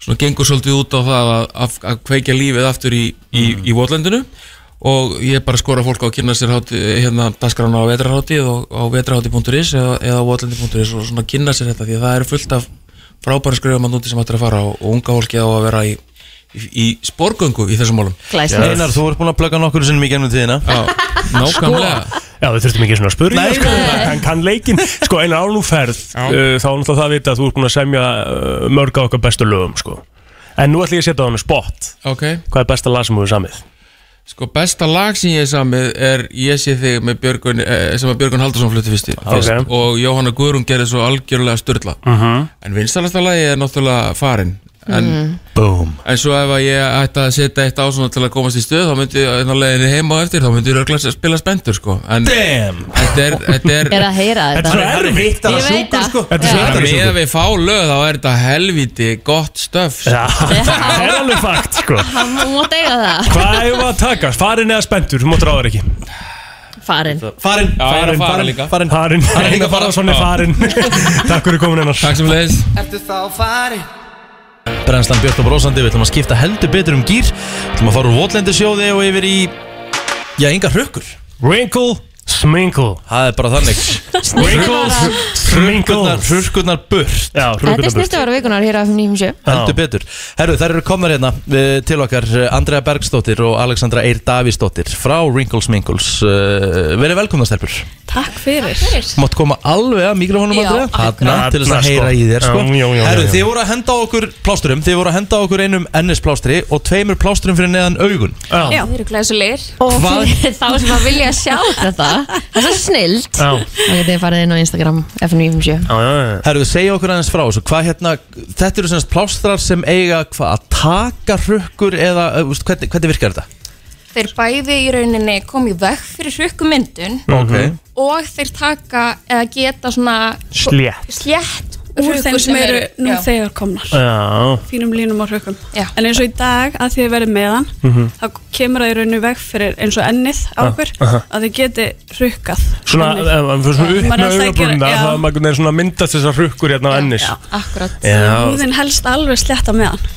S6: svona gengur svolítið út á það að, að, að kveikja lífið aftur í, í, í votlendinu og ég bara skora fólk á að kynna sér háti, hérna dagskrána á vetrarháttið og á vetrarháttið.is eða, eða votlendi.is og svona kynna sér þetta því að það eru fullt af frábæra skrifum að núti sem ættir að fara og, og unga fólki á að vera í, í, í sporgöngu í þessum málum
S3: Glæsnir
S1: Einar, þú ert búin að plugga nokkur sinnum í gennum tíðina
S6: Já, nákvæmlega
S3: Sko.
S2: Já, við þurftum ekki svona að spurja
S1: Nei,
S2: sko, hann kann leikinn, sko einar álúferð
S6: Já.
S2: uh, þá er náttúrulega það að vita að þú ert búin að semja uh, mörg á okkar bestu lögum sko. en nú ætlum ég að setja á hann spott
S6: Ok,
S2: hvað er besta lag sem þú er samið
S6: sko besta lag sem ég er samið er Ég sé þig með Björgun eh, sem að Björgun Haldarsson flutti fyrst, fyrst og Jóhanna Guðrún gerði svo algjörlega styrla
S1: Mhm.
S6: -huh. en vinstalasta lagi er náttúrulega farin en,
S2: Mm.
S1: Boom
S6: en svo ef að ég ætti að setja eitt á svona til að komast í stöð þá myndi ég að leiðinni heima á eftir þá myndi ég röglega að spila spendur sko en
S1: Damn
S6: þetta er, þetta er
S3: Er að heyra þetta
S1: Það er hitt að
S3: Ég veit
S1: sjúkur
S3: það.
S1: sko
S2: Þetta er svo
S6: En
S2: eftir
S6: með að við fá lög þá er þetta helviti gott stöf
S2: Já, það er alveg fakt sko
S3: Hann mót eiga það
S2: Hvað hefur að taka? Farin eða spendur, þú máttur á það ekki
S3: Farin
S1: Farin,
S6: Já, ég er
S1: farin,
S6: að fara
S1: farin,
S6: líka.
S1: farin
S2: Farin,
S6: líka
S2: Einar
S6: bara-
S2: Bárðarsson er farin Takk fyrir komin hennar
S6: Takk sem leiðis
S7: Ertu þá farin?
S1: Brennslan Björn og Brósandi, við ætlum að skipta heldur betur um gýr Við ætlum að fara úr votlendisjóði og yfir í Já, enga hrökkur
S2: Wrinkle, sminkle
S1: Það er bara þannig
S2: Wrinkles, sminkle
S1: Hrökkurnar, hrökkurnar burt
S2: Já,
S3: Þetta er
S2: hrúkunarburt
S3: snýstu ára vikunar hér á F957
S1: Heldur betur Herru, þær eru komnar hérna uh, til okkar uh, Andrea Bergsdóttir og Alexandra Eir Davísdóttir frá Wrinkles Minkles uh, Verið velkomna stelpur
S7: Takk fyrir
S1: Mátt koma alveg að mikrofónum
S7: Já,
S1: Andrea Hanna
S2: akkurat.
S1: til þess að
S2: Þarna,
S1: heyra
S2: sko.
S1: í þér sko.
S2: Já, já, já,
S1: Herru,
S2: já, já.
S1: þið voru að henda á okkur plásturum Þið voru að henda á okkur einum ennisplástur og tveimur plásturum fyrir neðan augun
S2: Já,
S7: Já, þeir eru glæsulegir
S3: Og
S1: Hvað?
S3: fyrir þá sem að vilja sjá þetta Það er svo snilt
S2: já,
S3: Það getið þið farið inn á Instagram F957
S2: já, já, já.
S1: Herru, segja okkur aðeins frá þessu Hvað hérna, þetta eru semst plástrar sem eiga hvað að taka hrökkur eða, uh, veist, hvernig, hvernig virkar þetta?
S7: Þeir bæði í rauninni komið vekk fyrir hrukkumyndun
S1: Okay.
S7: og þeir taka eða geta svona
S2: Slétt.
S7: slétt
S8: úr
S7: hrukkur
S8: þeim sem eru nú
S7: já.
S8: þegar komnar
S2: Já,
S8: fínum línum á hrökkum
S7: Já.
S8: en eins og í dag að þið verið meðan
S2: Mhm.
S8: þá kemur það í rauninu veg fyrir eins og ennið á okkur að þið geti hrukkað
S2: Ah, svona,
S8: ennið.
S2: ef maður fyrir svona upp
S8: Maður er
S2: með
S8: alltaf að gera-
S2: augabrúnina
S8: já.
S2: þá maður er svona að myndast þessar hrukkur hérna á ennis
S8: Já.
S7: Akkurat
S2: Já,
S8: húðin helst alveg sletta meðan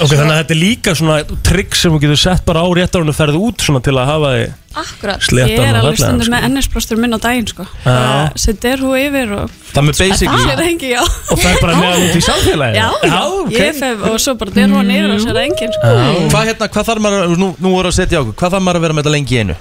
S2: ok, þannig að þetta er líka svona trikk sem þú getur sett bara á réttarunum ferði út svona til að hafa þið
S7: Akkurat
S8: ég
S2: sléttan
S8: er
S2: og
S8: alveg
S2: fallegan,
S8: stundum
S2: sko.
S8: með ennisbrostur minn á daginn sko
S2: Já.
S8: setir hú yfir og
S1: Það með basically
S8: sér engi já
S2: Og það er bara neðan út í samfélagi
S8: Já, já, ég fef og svo bara der hún niður og sér engin sko.
S1: Hvað hérna, hvað þarf maður, að- nú, nú voru að setja á okkur Hvað þarf maður að vera með þetta lengi í einu?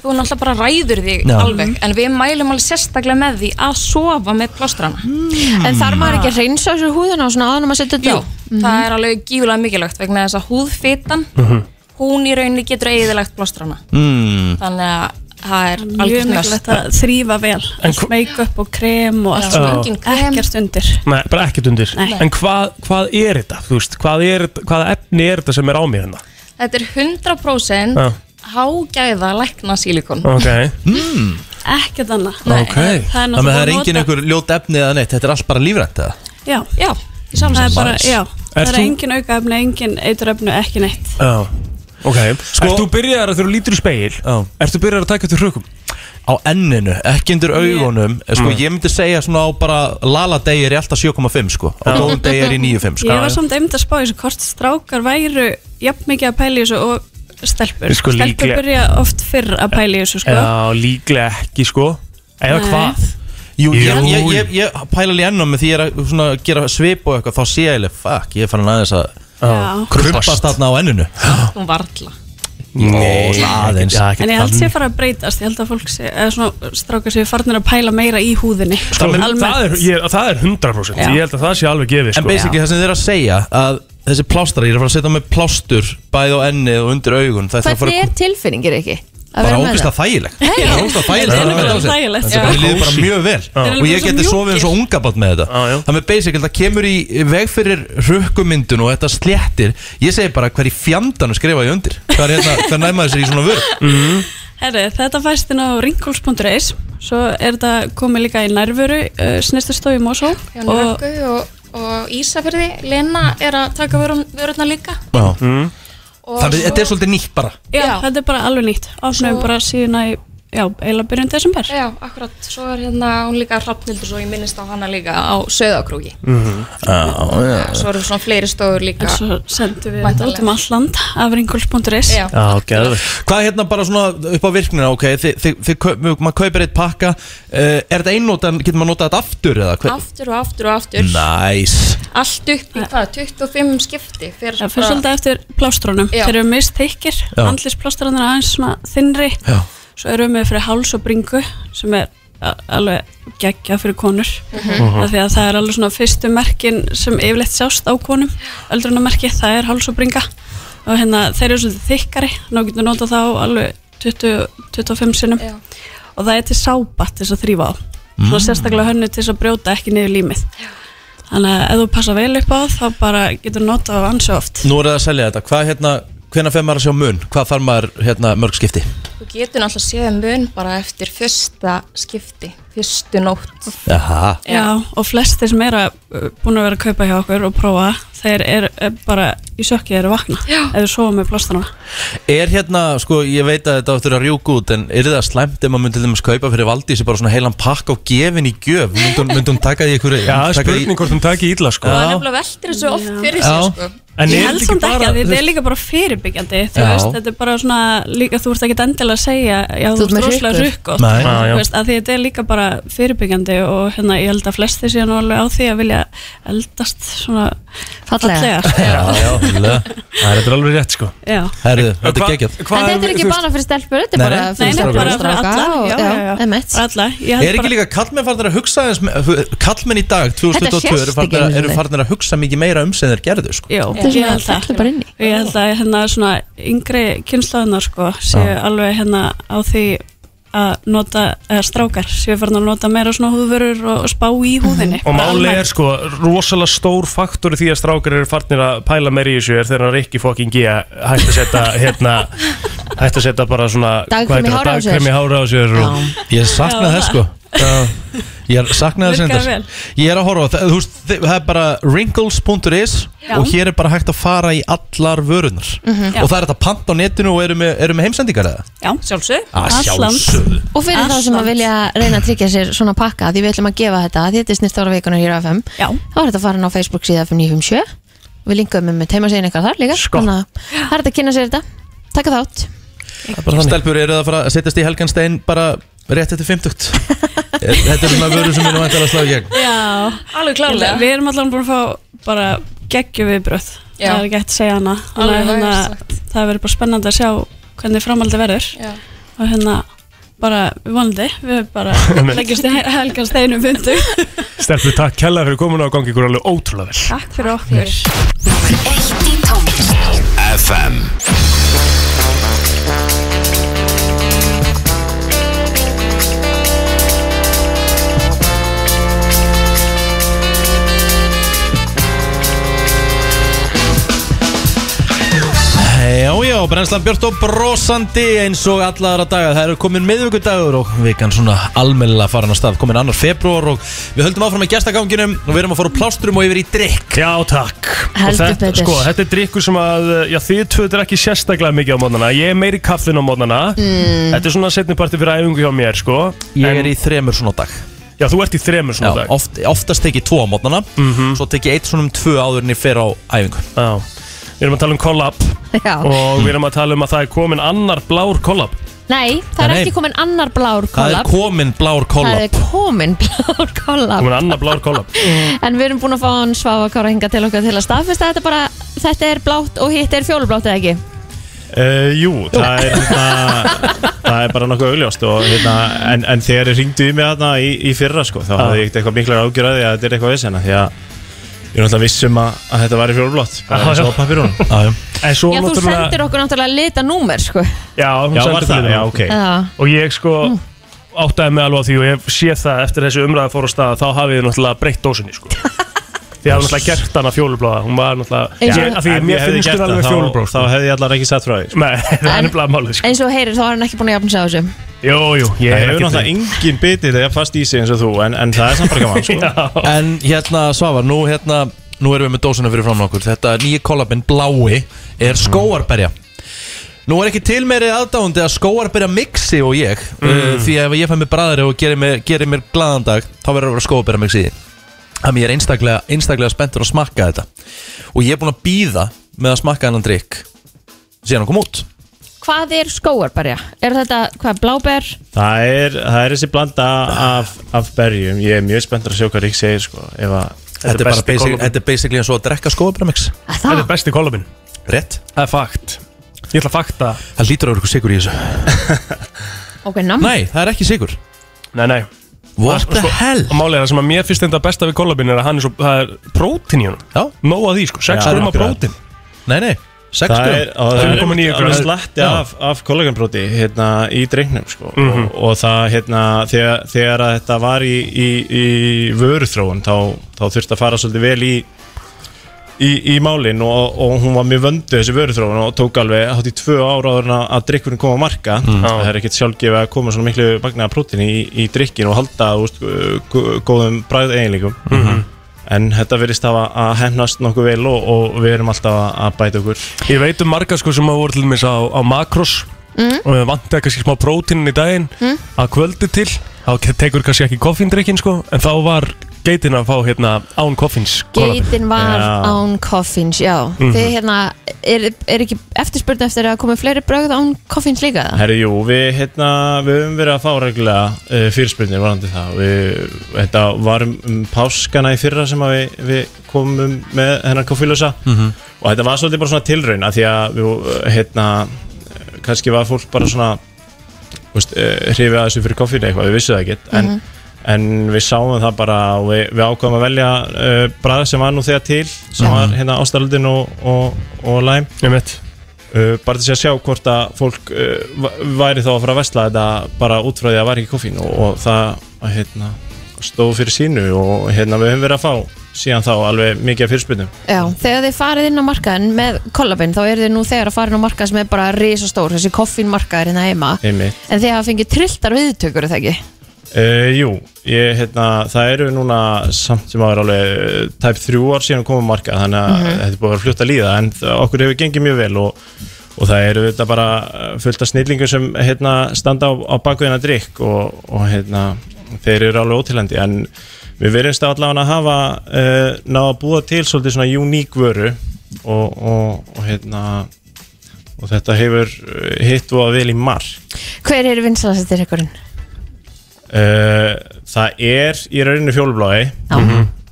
S7: Þú náttúrulega bara ræður þig
S1: Já.
S7: alveg En við mælum alveg sérstaklega með því að sofa með plástrana
S3: En þarf maður ekki að reynsa þessu húðuna og svona áður en maður setja
S7: Jú,
S3: þetta á?
S7: það er alveg gífulega mikilvægt vegna þess að húðfitan
S2: Mhm.
S7: hún í rauninni getur eigðilegt plástrana
S1: Mm.
S7: Þannig að það er
S8: mjög
S7: algjörn
S8: mikilvægt að þrýfa vel
S2: hv-
S8: make-up og krem og allt
S7: Já.
S8: svona.
S7: Engin krem.
S8: ekkert undir
S2: Nei, bara ekkert undir En hvað, hvað er þetta, þú veist, hvað er, hvaða efni er þetta sem er á mér hérna
S7: Þetta er 100%
S2: Já.
S7: hágæða lækna sílikon
S2: Ok,
S8: ekkert annað
S1: Ok
S8: það er
S1: Þannig að það
S8: náttúrulega
S1: er Hmm. engin
S8: nota-
S1: einhver ljót efni eða neitt Þetta er allt bara lífrænt eða?
S8: Já,
S7: Já, í
S8: það er
S7: samsins
S8: bara, já Það er
S2: þú-
S8: engin aukaefni, engin eituröfni, ekki neitt
S2: já Ok, sko, ert þú byrjar að þegar þú lítur í speil
S1: Já.
S2: Ert þú byrjar að taka til hrukkum
S1: Á enninu, ekki undir augunum
S2: Mm.
S1: Sko, ég myndi segja svona á bara Lala degi er í alltaf 7,5 sko Og Dól degi er í
S8: Ég
S1: 9,5 sko
S8: var samt einmitt að spá í þessu hvort strákar væru jafn mikið að pæla í þessu og stelpur
S2: Sko,
S8: Stelpur
S2: líklega-
S8: byrja oft fyrr að pæla í þessu sko
S2: Já, líklega ekki, sko Eða
S8: Nei.
S2: hvað
S1: Jú, ég,
S2: Jú.
S1: ég, ég, ég pæla alveg ennum Því ég er að svona, gera svip og eitthvað Þá sé ég alveg, fuck, ég er farin aðeins að
S8: Já.
S1: Krumpast þarna á enninu
S7: Hún varla
S1: Ó, svona aðeins.
S2: Já, ekki
S8: En ég held
S2: þannig.
S8: sé fara að breytast, ég held að fólk sé, eða svona strákar séu farnir að pæla meira í húðinni
S2: Sko, það, er,
S8: Almennt.
S2: ég, það er 100%
S8: Já.
S2: Ég held að það sé alveg gefið
S1: En
S2: sko.
S1: basically það sem þið er að segja að þessi plástra, ég er að fara að setja með plástur bæði á ennið og undir augun það að
S3: Hvernig
S1: fara
S3: er tilfinningir ekki? Að
S1: bara
S3: vera með
S1: ógust að
S3: það?
S1: þægileg bara ógust að þægileg
S8: Þetta er
S1: að
S8: bara
S1: á sig.
S8: þægilegt,
S1: Þetta er
S8: já.
S1: bara- mér líður bara mjög vel
S8: eru
S1: og ég
S8: bara svo
S1: geti sofið eins og
S8: mjúkir.
S1: ungabat með þetta
S2: Já, já.
S1: þannig að basically það kemur í veg fyrir rökkumyndun og þetta sléttir ég segi bara hver í fjandanum skrifa ég undir hvað er hérna, hvað næma þessir í svona vörð
S2: Mhm.
S8: Herri, þetta fæst inn á wrinkles.is Svo er þetta komið líka í nærvöru, uh, snirtustofi Mosó
S7: Hjá
S8: og
S7: Nörgu og, og Ísafjörði Lena er að taka vörun- vörurnar líka
S1: mm.
S2: Mhm.
S7: og
S1: þannig að þetta er
S7: svo-
S1: svolítið nýtt bara
S8: Já,
S7: Já.
S8: þetta er bara alveg nýtt. Opnaðum
S7: Svo-
S8: bara síðuna í, já, eiginlega byrjun desember.
S7: Já, akkurat, svo er hérna hún líka Hrafnildur svo ég minnist á hana líka á Söðakrúgi
S2: Mhm.
S7: Svo eru svona fleiri stofur líka
S8: En svo sendum við þetta
S7: Væntanlega.
S8: út um allt land af ringuls.is.
S7: Já,
S2: Já, geðvegt
S1: Hvað er hérna bara svona upp á virknina, ok, þið, þið, þið, kaup- maður kaupir eitt pakka, uh, er þetta einnótan, getur maður notað þetta aftur eða? Hver?
S7: aftur og aftur og aftur
S1: Næs
S7: Allt upp í hvað, 25 skipti fyrir
S8: Það fyrir svolítið eftir plástrónum.
S7: Já.
S8: Þeir eru mist þykir,
S1: Já.
S8: andlisplástrónum er aðeins svona þinnri.
S1: Já.
S8: Svo erum við fyrir háls og bringu sem er a- alveg geggja fyrir konur. Mm
S7: Mhm.
S1: Mhm.
S8: Því að það er alveg svona fyrstu merkin sem yfirleitt sjást á konum. Öldrunarmerki, það er háls og bringa. Og hérna, þeir eru svolítið þykkari. Ná getur notað þá alveg 20, 25 sinnum.
S7: Já.
S8: og það er til sápa til þess að þrýfa á svona sérstaklega hönnu til þess að brjóta ekki niður límið þannig að ef þú passa vel upp á þá bara getur notað á ansi oft
S1: Nú er það að selja þetta, hvað hérna, hvenær fer maður að sjá mun? Hvað fær maður hérna mörg skipti?
S7: Þú getur náttúrulega séð mun bara eftir fyrsta skipti fyrstu nótt
S1: Jaha,
S8: Já, og flestir sem eru búin að vera að kaupa hjá okkur og prófa, þeir eru eh, bara í sökki eru að vakna Já. ef þú sofa með plastana.
S1: er hérna, sko, ég veit að þetta áttur að rjúka út En er það slæmt ef maður myndi til þeim að kaupa fyrir Valdísi Bara svona heilan pakk á gefin í gjöf Myndi hún, myndi hún taka því ykkur
S2: Já, það er spurning hvort hún taki ítla sko
S7: Það er nefnilega veltir þessu oft fyrir
S1: Já.
S7: sig sko.
S2: En
S8: Ég
S2: er
S8: held
S2: þetta
S8: samt ekki
S2: ekki bara
S8: að
S2: þú
S8: þetta er
S2: veist,
S8: líka bara fyrirbyggjandi þú
S1: Já.
S8: veist, þetta er bara svona líka, þú ert ekki endilega að segja já,
S3: Þú
S8: þú ert
S3: ert með
S8: rosalega
S3: hrukkur.
S8: rukkot
S1: Nei.
S2: Já, já.
S8: þú veist, að því þetta er líka bara fyrirbyggjandi og hérna, ég held að flestir séu nú alveg á því að vilja eldast svona
S3: Fallega.
S1: Já, já, hlulega
S2: Nei, Þetta er alveg rétt sko
S8: já,
S1: Herðu, þetta
S2: Hva-
S1: er geggjað
S2: hvað
S3: En þetta er
S2: þú
S3: ekki
S2: veist-
S3: bara fyrir stelpur, þetta er
S1: Nei,
S3: bara
S1: nei.
S8: nei,
S3: fyrir
S8: nei,
S1: stráka.
S8: bara fyrir alla
S3: og-
S8: já, já, já,
S3: einmitt.
S8: bara alla Ég held
S1: Er ekki
S8: bara-
S1: líka kallmenn farnir að hugsa aðeins Kallmenn í dag, 2022 eru
S3: sést ekki
S1: farnir, að-
S3: einu
S1: eru
S3: sinni.
S1: farnir að hugsa mikið meira um sem þeir gerðu sko.
S8: Jó,
S3: Þetta
S8: ég
S3: er svona
S8: held það
S3: fellur bara inn í.
S8: Og ég held að hérna svona yngri kynslaðunar sko séu alveg hérna á því að nota, eða strákar séu farin að nota meira svona húðvörur og spá í húðinni
S2: Og máli er sko rosalega stór faktor í því að strákar eru farnir að pæla meir í þessu er þegar hann er ekki fokking í að hægt að setja hérna, hægt að setja bara svona
S3: Dagkrem
S2: hvað heitir það,
S3: í hárið á sér.
S2: dagkrem í hára á sér og,
S1: Ég saknaði þess sko Já. Ég saknaði þess
S8: Virkaði
S1: endar Ég er að horfa á það, þú veist, þi- það er bara wrinkles.is og hér er bara hægt að fara í allar vörunar
S3: Mhm.
S1: og það er þetta pant á netinu og eru með, eru með heimsendingar eða?
S8: Já, sjálfsög
S1: Að sjálfsögðu.
S3: Og fyrir þá sem að
S8: Asland.
S3: vilja reyna að tryggja sér svona pakka því við ætlum að gefa þetta, því þetta er snýrt ára vikunar hér á FM
S8: Já.
S3: þá er þetta að fara inn á Facebook síða 5957 við linkum um teimasegin eitthvað þar líka
S2: Sko.
S3: þannig að það er þetta að kynna sér þetta taka þátt,
S1: Stelpur eru það að fara að setjast í Helganstein bara rétt eftir 50 Er- Þetta er svona vörur sem er náttúrulega að slá í gegn
S8: Já,
S7: Alveg
S8: Ég-
S7: klárlega
S8: við erum allan búin að fá bara geggju viðbröð
S7: Já.
S8: það er ekki hægt að segja hana Þannig
S7: Alveg
S8: að hérna,
S7: vægast
S8: það verður bara spennandi að sjá hvernig framhaldi verður
S7: Já.
S8: og hérna bara vonandi, við bara leggjast í helgar steinum fundu
S2: Stelpur, takk kella fyrir komuna og gangi ykkur alveg ótrúlega vel
S8: Takk fyrir okkur
S5: Númer eitt í tónlist
S4: FM
S1: Já, já, brennslan Björn og brosandi eins og alla aðra daga Það eru komin miðvikudagur og vikan svona almennilega farin að stað Komin annar februar og við höldum áfram með gestaganginum Og við erum að fara úr plástrum og yfir í drikk
S2: Já, takk Og
S3: Heldur
S2: þetta,
S3: betur.
S2: sko, þetta er drikkur sem að já, þið tvöður ekki sérstaklega mikið á mótnana Ég er meiri í kaffin á mótnana
S3: Mm.
S2: Þetta er svona setniparti fyrir æfingu hjá mér sko.
S1: Ég
S2: En-
S1: er í þremur svona á dag
S2: Já, þú ert í þremur
S1: Já,
S2: svona dag Mhm.
S1: oft, Oftast tek ég tvo á mótnana Svo tek ég eitt svona um tvö áður en ég fer á æfingu
S2: Já. Við erum að tala um collab
S3: já
S2: og við erum að tala um að það er komin annar blár collab
S3: nei, það er
S1: Nei.
S3: ekki komin annar
S1: Það
S3: blár
S1: er
S3: kollab
S1: komin blár
S3: það
S1: kollab
S3: er komin blár kollab
S2: komin annar blár kollab
S3: en við erum búin að fá hann svafa kára hinga til okkar til að staðfesta þetta bara þetta er blátt og hitt er fjólublátt eða ekki
S9: Uh, jú, það er, hérna, það er bara nokkuð augljóst og, hérna, en, en þegar ég ringdu í mig þarna í, í fyrra sko, þá
S2: Ah.
S9: hafði ég ekkert eitthvað miklar ágjörði að þetta er eitthvað vissina því að ég er náttúrulega viss um að, að þetta væri fjólblótt
S2: Ah, Já,
S9: bara eins og
S2: já.
S9: pappirún
S1: Já, já.
S2: En svo
S3: já, þú
S2: náttúrulega-
S3: sendir okkur náttúrulega lita númer sko.
S2: Já, hún
S9: Já,
S2: sendir
S9: var það,
S2: fyrir
S9: já,
S2: mig.
S9: ok
S3: já, Mm.
S2: Og ég sko áttaði mig alveg á því og ég sé það eftir þessi umræða fór á stað að þá hafið þið náttúrulega breytt dósinni sko Því að náttúrulega gert hana fjólubláða Hún var náttúrulega
S3: Eins og-
S2: ég, af Því
S9: Ef
S2: mér
S9: hefði
S2: finnst
S9: gert
S2: hún alveg
S9: það,
S2: fjólubláð
S9: þá,
S2: sko.
S9: þá hefði ég allar ekki sagt frá því sko.
S2: Nei, það er nefnilega málið sko
S3: eins og heyrir þá er hann ekki búin að jafna sig á þessu
S2: Jú, jú, ég
S9: Það
S2: er
S9: hefur
S2: ekki
S9: náttúrulega engin bitið þegar fast í sig eins og þú en, en það er samt bara gaman sko.
S2: Já,
S1: En hérna Svavar, nú hérna Nú erum við með dósuna fyrir fram okkur Þetta nýja kollabinn blái er
S9: Mhm.
S1: skóarberja Nú er ekki til meiri aðdáandi að skóarberja mixi og ég
S9: Mhm.
S1: uh, Því að ef ég fæ mér bræðri og gerir mér, gerir mér glaðan dag Þá verður að vera skóarberja mixi í því. Þannig ég er einstaklega, einstaklega spenntur að smakka þetta Og ég er búinn að býða með að smakka hennan drikk Síðan hann kom út
S3: Hvað er skóarberja? Er þetta, hvað, bláber?
S9: það, er, það er þessi blanda af, af berjum ég er mjög spenntur að sjá hvað Rík segir sko, ef að
S1: Þetta er, bara
S2: besti
S1: basic,
S2: kollabinn.
S1: þetta er basically eins og að drekka skóarberja mix
S3: Að
S2: þetta er
S3: það?
S2: besti kollabinn
S1: Rétt
S2: Það er fakt Ég ætla að fakta
S1: Það lítur að vera ykkur sigur í þessu
S3: Ok, nam
S1: Nei, það er ekki sigur
S2: Nei, nei
S1: What
S2: Og
S1: the
S2: sko-
S1: hell?
S2: Og málið er það sem að mér finnst þetta besta við kollabinn er að hann er svo, það er prótín í honum
S1: Já,
S2: Nóa því sko, 6
S9: Já,
S2: grumma
S9: akkurat.
S2: prótín
S1: nei, nei, 6
S9: Það er,
S1: grömm
S9: á, það er,
S2: 5,9
S9: alveg
S2: grömm.
S9: slatti
S1: Já. Mhm.
S9: af, af kollagenbróti hérna, í drengnum sko. og, og það hérna, þegar, þegar að þetta var í, í, í vöruþróun þá, þá þurfti að fara svolítið vel í í, í málin og, og hún var mjög vöndu þessi vöruþróun og tók alveg hátt í tvö ára áður en að- að drikkurinn kom á marka
S1: Mhm.
S9: það er ekkert sjálfgefið að koma svona miklu magnaða prótín í, í drikkin og halda úst, góðum bræð eiginleikum
S1: Mhm.
S9: en þetta verðist hafa að hefnast nokkuð vel og, og við erum alltaf að- að bæta okkur
S2: Ég veit um marga sko sem hafa voru til dæmis á, á makros mm. og vantaði kannski smá prótínin í daginn
S3: Mm.
S2: að kvöldi til þá ke- tekur kannski ekki koffindrykkin sko en þá var geitin að fá hérna án koffins
S3: Geitin var
S9: Já.
S3: án koffins, já Þið hérna, er, er ekki eftirspurn eftir að koma fleiri brögð án koffins líka það?
S9: Herri, jú, við, hérna, við höfum verið að fá reglulega uh, fyrirspurnir varandi það við, Þetta var um, um páskana í fyrra sem að við, við komum með hennar koffílusa og þetta var svolítið bara svona tilraun af því að við, eh, hérna, eh, kannski var fólk bara svona þú veist, uh, hrifið að þessu fyrir koffínu eitthvað, við vissum það ekkert
S3: Mhm.
S9: en, en við sáum það bara og við, við ákvæðum að velja uh, bræð sem var nú þegar til sem var hérna ástældin og, og, og læm
S2: Ég veit
S9: uh, bara til að sjá hvort að fólk uh, va- væri þá að fara að vesla þetta bara út frá því að var ekki koffín og, og það að, hérna, stóð fyrir sínu og hérna við höfum verið að fá síðan þá alveg mikið af fyrirspurnum
S3: Já, þegar þið farið inn á markaðin með kollabinn þá eru þið nú þegar að fara inn á markaðin sem er bara risastór, þessi koffinmarkaðir hérna heima
S9: einmitt.
S3: En þið hafa fengið trilltar viðtökur, er það ekki?
S9: Uh, jú, ég, hérna, það eru núna samt sem áður alveg eh, tæp þrjú ár síðan koma marka þannig að þetta er búið að vera fljótt að líða en það- okkur hefur gengið mjög vel og, og það eru þetta bara eh, fullt af snillingum sem hérna, standa á, á bakveðina drikk og, og hérna, þeir eru alveg ótilandi en við verðumst allavega að hafa uh, ná að búa til svolítið svona uník vöru og, og, og, hérna, og þetta hefur eh, hitt og að vel í mark
S3: Hver er vinsalastir ykkurinn?
S9: Uh, það er í rauninu fjólublái
S3: Já,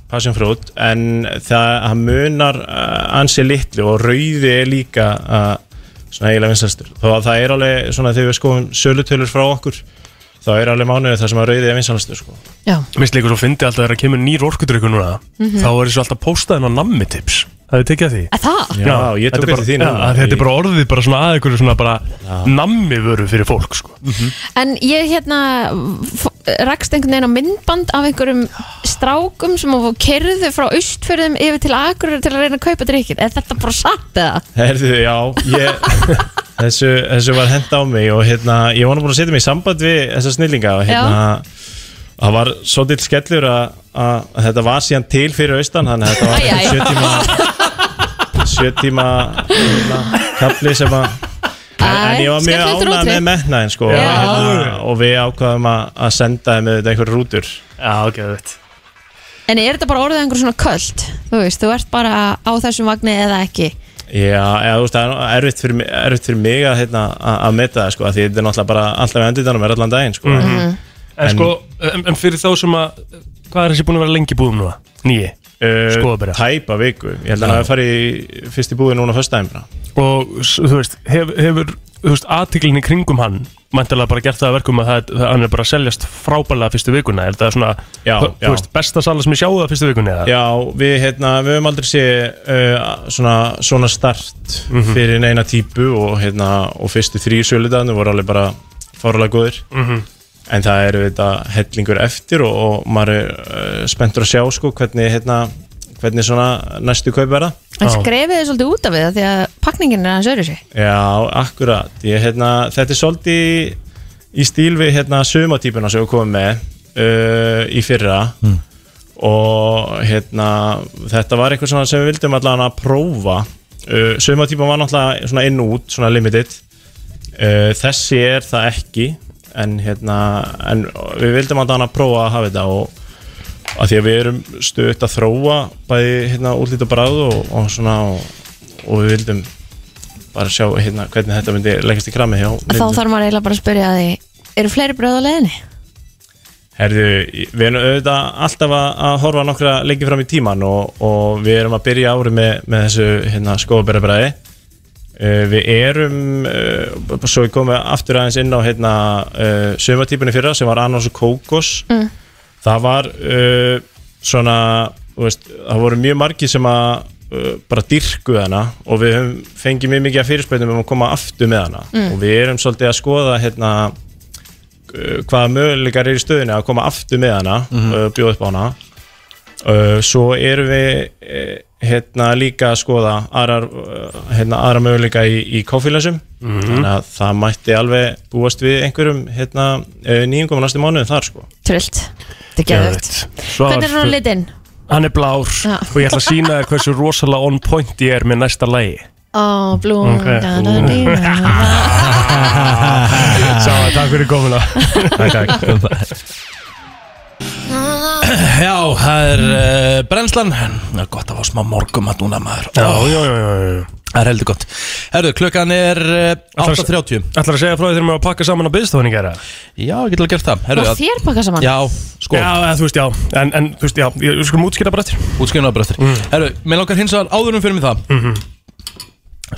S9: passion fruit en það það munar uh, ansi litlu og rauði er líka uh, svona eiginlega vinsælstur þó að það er alveg svona þegar við skoðum sölutölur frá okkur þá er alveg mánuðið það sem að rauði er vinsælstur sko.
S3: já,
S2: Mér líka svo fyndi alltaf þegar að kemur nýr orkudrykkur núna þá er þessu alltaf postaðin á nammi tips Það er tekið að því
S3: að það?
S9: já, ég
S2: þetta er
S9: tók
S2: bara,
S9: eftir því
S2: já,
S9: núna.
S2: Þetta er bara orðið bara svona að ykkur svona bara nammi vöru fyrir fólk sko
S3: En ég hérna f- rakst einhvern veginn á myndband af einhverjum strákum sem hafa kerðu frá austfjörðum yfir til akurur til að reyna að kaupa drikkin Er þetta bara satt eða?
S9: Herðu, já, ég, þessu, þessu var hent á mig og hérna, ég var nú búin að setja mig í samband við þessa snillinga og hérna, það var svolítill skellur að, að þetta var síðan til fyrir austan, þannig að þetta var
S3: Æ, æ.
S9: sjö tíma, sjö tíma hérna, kafli sem að En,
S3: Æ,
S9: en ég var mjög
S3: skemmtilegt
S9: ánað
S3: rútvi.
S9: með metnaðin sko,
S3: Já.
S9: hérna, og við ákvaðum að, að senda þeim auðvitað einhverjum rútur
S2: Já, ok, þetta
S3: En er þetta bara orðið einhver svona köld? Þú veist, þú ert bara á þessum vagni eða ekki
S9: Já, eða, þú veist, það er nú erfitt fyrir, mig- erfitt fyrir mig að, hérna, að, að meta það sko, af því þetta er náttúrulega bara alltaf í enditanum er allan daginn sko.
S2: En,
S9: En-
S2: sko, en, en fyrir þá sem að Hvað er þessi búin að vera lengi í búðum núna? Nýi Skoðabera.
S9: uh, tæpa viku ég held að það fari í fyrst í búið núna fyrst dæmi
S2: Og s- þú veist, hef, hefur Þú veist, aðtiklinni kringum hann Mæntalega bara gert það að verkum að, það, að hann er bara að seljast frábælega fyrstu vikuna Er það svona,
S9: Já,
S2: þú-
S9: já.
S2: þú veist, besta sala sem ég sjáu það fyrstu vikuna eða?
S9: já, við, hérna, við höfum aldrei sé uh, svona, svona start
S2: Mhm.
S9: fyrir neina típu og, hérna, og fyrstu þrý sjöludagarnir voru alveg bara fárlega góðir
S2: Mhm.
S9: en það eru þetta hellingur eftir og, og maður er uh, spenntur að sjá sko, hvernig, hérna, hvernig svona næstu kaup verða
S3: En
S2: Já.
S3: skrefið þið svolítið út af við það því að pakningin er hans öðru sig
S9: Já, akkurat ég, hérna, Þetta er svolítið í stíl við hérna, sumatýpuna sem við komum með uh, í fyrra og hérna, þetta var eitthvað svona sem við vildum allan að prófa uh, Sumatýpan var náttúrulega svona inn og út, svona limited uh, Þessi er það ekki en, hérna, en við vildum allan að prófa að hafa þetta og að því að við erum stöðt að þróa bæði hérna, útlít og bráð og, og svona og, og við vildum bara sjá hérna hvernig þetta myndi leggast í kramið hjá
S3: Þá
S9: neytendum.
S3: þarf maður eiginlega bara að spyrja að því Eru fleiri bröð á leiðinni?
S9: Herðu, við erum auðvitað alltaf að, að horfa nokkra lengi fram í tíman og, og við erum að byrja árið með, með þessu hérna, skóðberðabræði uh, Við erum, uh, svo við komum aftur aðeins inn á hérna, uh, sömatípunni fyrra sem var annars og kókos mm. Það var uh, svona, þú veist, það voru mjög margi sem að uh, bara dyrkuð hana og við höfum fengið mjög mikið af fyrirspöndum um að koma aftur með hana og við erum svolítið að skoða hérna, uh, hvaða möguleikar er í stöðinu eh, að koma aftur með hana mm -hmm. bjóða upp á hana uh, svo erum Eh, við uh, hérna líka að skoða aðrar, uh, hérna, aðra möguleika í, í koffílasum þannig að það mætti alveg búast við einhverjum hérna, nýjungum á næstu mánuðum þar sko
S3: Trillt, þetta er geðvögt Hvernig er hún á litinn?
S2: Hann er blár
S3: Já.
S2: og ég ætla að sína þér hversu rosalega on point ég er með næsta lægi
S3: Ó, blúm
S2: Ok.
S3: da, da, da, da.
S2: Sá, takk fyrir komuna
S1: Já, það er uh, brennslan Það er gott að fá smá morgum að núna maður
S2: Já, já, já, já, já.
S1: Það er heldur gott Herðu, klukkan er uh,
S2: Ætlar-
S1: 8.30
S2: Ætlar að segja frá því þegar maður að pakka saman á byggstofunni gera?
S1: Já, ég getur að gera það
S3: Og
S1: Herðu, að-
S3: þér pakka saman
S1: Já, sko,
S2: Já, eða, þú veist, já, en, en þú veist, já, ég skulum útskýra bara eftir Mm.
S1: útskjöfna bröttir Herðu, mér langar hins vegar áðurum fyrir mig það
S2: Mhm.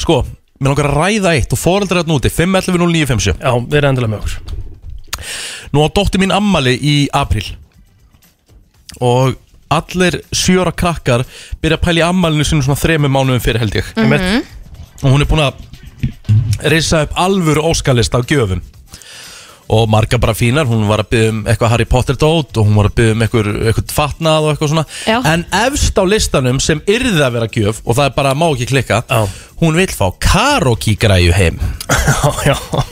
S1: Sko, mér langar að ræða eitt og foreldrar þarna úti 5.11.09.50
S2: Já, við erum endilega með okkur
S1: Nú á dótti mín ammali í april Og allir sjöra krakkar Byrja að pæla í ammalinu sinni svona þremur mánuðum fyrir held ég
S7: Mhm.
S2: Einmitt.
S1: Og hún er búin að Rissa upp alvöru óskalist af gjöfum Og marga bara fínar Hún var að byggja um eitthvað Harry Potter dót Og hún var að byggja um eitthvað, eitthvað fatnað og eitthvað svona
S3: Já.
S1: En efst á listanum sem yrði að vera gjöf Og það er bara má ekki klikka
S2: Já.
S1: Hún vill fá karaoke græju heim
S2: Já, já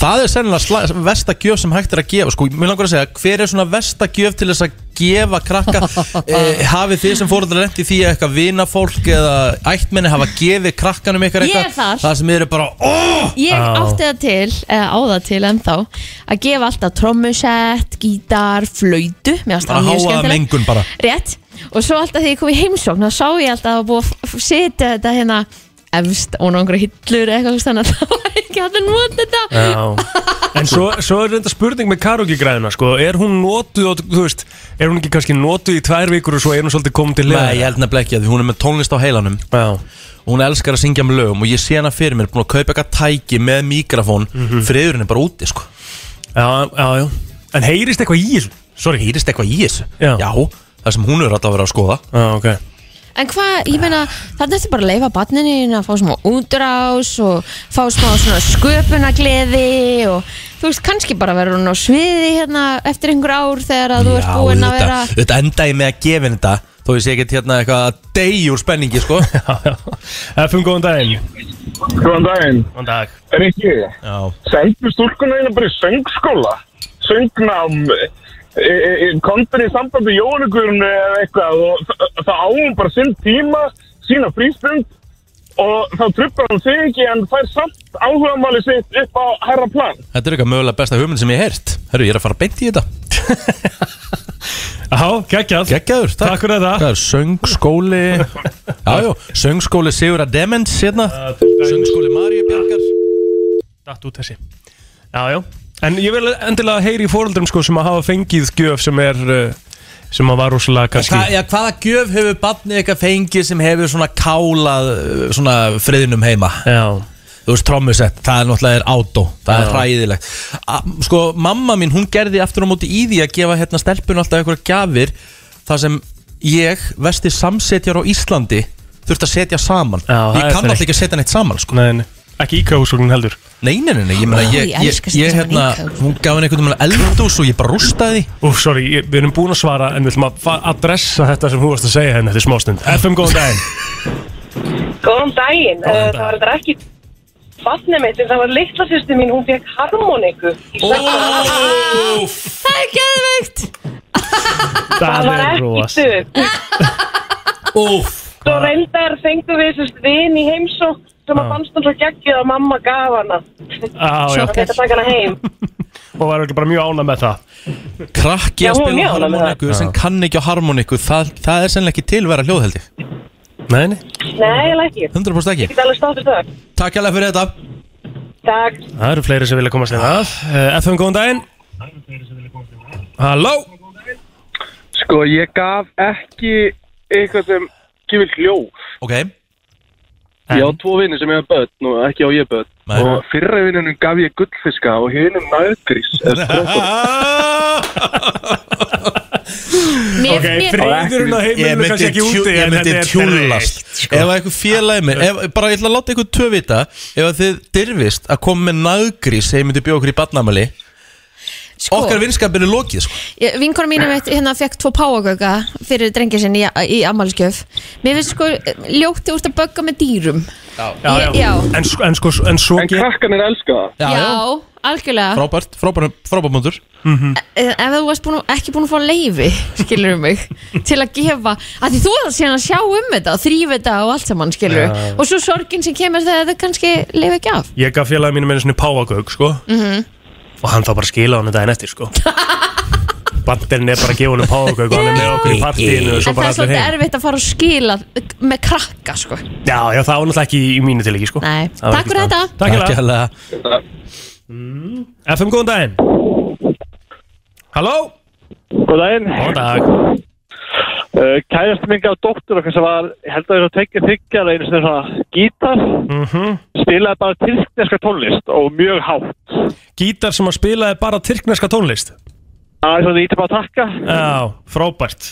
S1: Það er sennilega sla- versta gjöf sem hægt er að gefa Sko, mér langar að segja, hver er svona versta gjöf til þess að gefa krakka e, Hafið þið sem fóruður rent í því að eitthvað vinafólk eða ættmenni hafa gefið krakkanum ykkar
S3: Ég er
S1: eitthvað
S3: þar.
S1: Það sem eru bara, óh
S3: Ég átti það til, eða á það til ennþá að gefa alltaf trommusett, gítar, flöytu mér
S1: Bara
S3: fannst það mjög
S1: háaða
S3: skemmtilegt.
S1: mengun bara.
S3: Rétt, og svo alltaf þegar ég kom í heimsókn þá sá ég alltaf að það var búið að f- f- setja þetta hérna efst og einhverja hillur eða eitthvað þannig að það var ekki alltaf nota þetta
S2: Já En svo, svo er reynda spurning með karaoke græðuna sko. Er hún notuð, og- þú veist Er hún ekki kannski notuð í tvær vikur og svo er hún svolítið komin til
S1: Nei, ég held nefnilega ekki að því hún er með tónlist á heilanum
S2: Já,
S1: og hún elskar að syngja með lögum og ég sé hana fyrir mér búin að kaupa eitthvað tæki með mikrofón friðurinn er bara úti, sko
S2: já, Mhm. já, já En heyrist eitthvað í þessu?
S1: Sorry, hýrist eitthvað í þessu?
S2: Já.
S1: það sem hún er alltaf að vera að skoða
S2: Já, ok
S3: En hvað, ég meina, þarna ertu bara að leifa barnininu að fá smá útrás og fá smá svona sköpunagleði og þú veist, kannski bara verður hún á sviði hérna eftir einhver ár þegar að þú ert búin að vera
S1: þetta, þetta enda ég með að gefa henni þetta Þó ég sé ekkert hérna eitthvað að deyja úr spenningi sko
S2: Já, já Efum, góðan daginn
S10: Góðan daginn,
S2: Góðan dag
S10: er ekki ég?
S1: Já,
S10: Sendu stúlkuna einu bara í söngskóla, söngnám, e, e, e, kontur í sambandi jónugurinn eða eitthvað og þa- það áum bara sinn tíma, sína frístund og þá truppar hann sig ekki en fær samt áhugamáli sitt upp á herra plan.
S1: þetta er eitthvað mögulega besta hugmynd sem ég heirt Herru, ég er að fara beint í þetta
S2: Já, geggjað
S1: Gekkjaður, takk
S2: Takk fyrir þetta
S1: Það er söngskóli Jájú, söngskóli Sigurða Demens hérna Söngskóli Maríu Bjarkar
S2: Datt út þessi Já, já En ég vil endilega heyri í fóröldrum sko sem að hafa fengið gjöf sem er uh, sem að var rosalega kannski
S1: Hva, ja, Hvaða gjöf hefur barnið eitthvað fengið sem hefur svona kálað uh, svona friðinum heima?
S2: Já,
S1: Þú veist, trommusett, það er náttúrulega er átó Það er
S2: Já.
S1: hræðilegt A, Sko, mamma mín, hún gerði aftur á móti í því að gefa hérna stelpun alltaf einhverja gjafir þar sem ég, vesti samsetjar á Íslandi þurfti að setja saman
S2: Já,
S1: Ég
S2: það er
S1: kann alltaf
S2: frekkt.
S1: ekki að setja neitt saman, sko
S2: nei, nei Ekki íkjáhúsvögnum heldur
S1: Nei, nei, nei, nei, ég meina,
S3: Ó,
S1: ég,
S3: ég
S1: ég,
S3: elska að
S1: ég,
S3: setja
S1: hérna
S3: saman líka.
S1: Hún gaf henni einhvern veginn eldús og ég bara rústaði því.
S2: Úf, sorry, ég, við erum búin að svara en við ætlum að fa- adressa þetta sem þú varst að segja henni eftir smástund FM, góðan daginn
S11: Góðan daginn,
S2: Góðan
S11: Eh,
S2: daginn.
S11: það var þetta ekki fatnið mitt, en það var litla sýstu mín, hún fekk harmoniku.
S3: Það er geðveikt!
S11: það var ekki
S2: ros.
S11: stuð.
S1: Úff,
S11: Svo reyndar fengum við sérst vin í heimsók sem að fannst hún svo geggið og mamma gaf hana.
S2: Á, já,
S11: Það fekk að taka hana heim.
S2: og var ekki bara mjög ánað með það
S1: krakki
S11: Já,
S1: að
S11: hún
S1: spila á
S11: mjög ánægð með það.
S1: harmoniku sem kann ekki á harmoniku það, það er sennilega ekki til að vera hljóðheldi
S2: Nei, nei
S11: Nei, ég læk ég.
S1: 100% ekki
S11: Ég er alveg státtur það.
S1: Takk hérlega fyrir þetta
S11: Takk.
S2: Það eru fleiri sem vilja komast inn að Eh, FM, góðan daginn Halló
S10: Sko, ég gaf ekki eitthvað sem gefur hljóð.
S1: Ok,
S10: Ég á tvo vinni sem ég hafa börn og ekki á ég börn.
S1: Nei.
S10: Og fyrra vinnunum gaf ég gullfiska og hinum nöðgrís.
S3: Mér,
S2: Ok,
S3: mér,
S2: friðurinn á
S1: Ég
S2: heimilinu
S1: myndi,
S2: kannski ekki
S1: tjú,
S2: úti
S1: ég
S2: en
S1: myndi
S2: þetta er
S1: tjúllast
S2: dreift.
S1: Ef að eitthvað félagi mér ef, Bara ég ætla að láta eitthvað tvö vita Ef að þið dyrfist að koma með naggrís Þegar ég myndi bjóða okkur í badnamali
S3: Sko.
S1: Okkar vinskapin er lokið sko.
S3: Ég- Vinkona mín mitt hérna fekk tvo páagauka fyrir drengi sinn í, í ammálskjöf Mér finnst sko ljótti úr að bögga með dýrum
S1: Já,
S3: já. Já.
S2: En, sko- en, sko, en svo En
S10: krakkanir elska
S1: Já,
S3: Já,
S1: já.
S3: algjörlega
S1: Frábært, frábært, frábært mútur
S2: Mhm.
S3: En Eh, Ef þú varst búin, ekki búin að fá leifi skilur mig, til að gefa að því þú er síðan að sjá um þetta og þrýfa þetta og allt saman skilur
S2: Já.
S3: og svo sorgin sem kemur þegar þetta kannski leifi ekki af
S2: Ég gaf félagið mínum einu sinni páagauk sko
S3: mm
S11: Mhm.
S2: Og hann þá bara skilaði hann daginn eftir sko Bandirinn er bara að gefa hann páagauk Og hann er með okkur í partíinu Og
S3: En
S2: svo
S3: það
S2: bara
S3: er
S2: allir
S3: svolítið
S2: heim
S3: erfitt að fara að skila með krakka sko
S2: Já, já, það var náttúrulega ekki í mínu tilíki sko
S3: Nei,
S2: Það var
S3: takk
S2: ekki
S3: fyrir
S2: staðan.
S3: þetta
S2: Takk hérlega.
S10: það
S2: FM, góðan daginn Halló
S12: Góðan daginn
S2: Góðan dag
S12: uh,
S10: Eh,
S12: Kærast mingi á dóttur okkar sem var, ég held að við erum að tekja þykjar einu sem svona gítar spilaði bara tilkneska tónlist og mjög hátt
S2: Gítar sem að spilaði bara tyrkneska tónlist
S12: Það er svona ítum að takka
S2: Já, frábært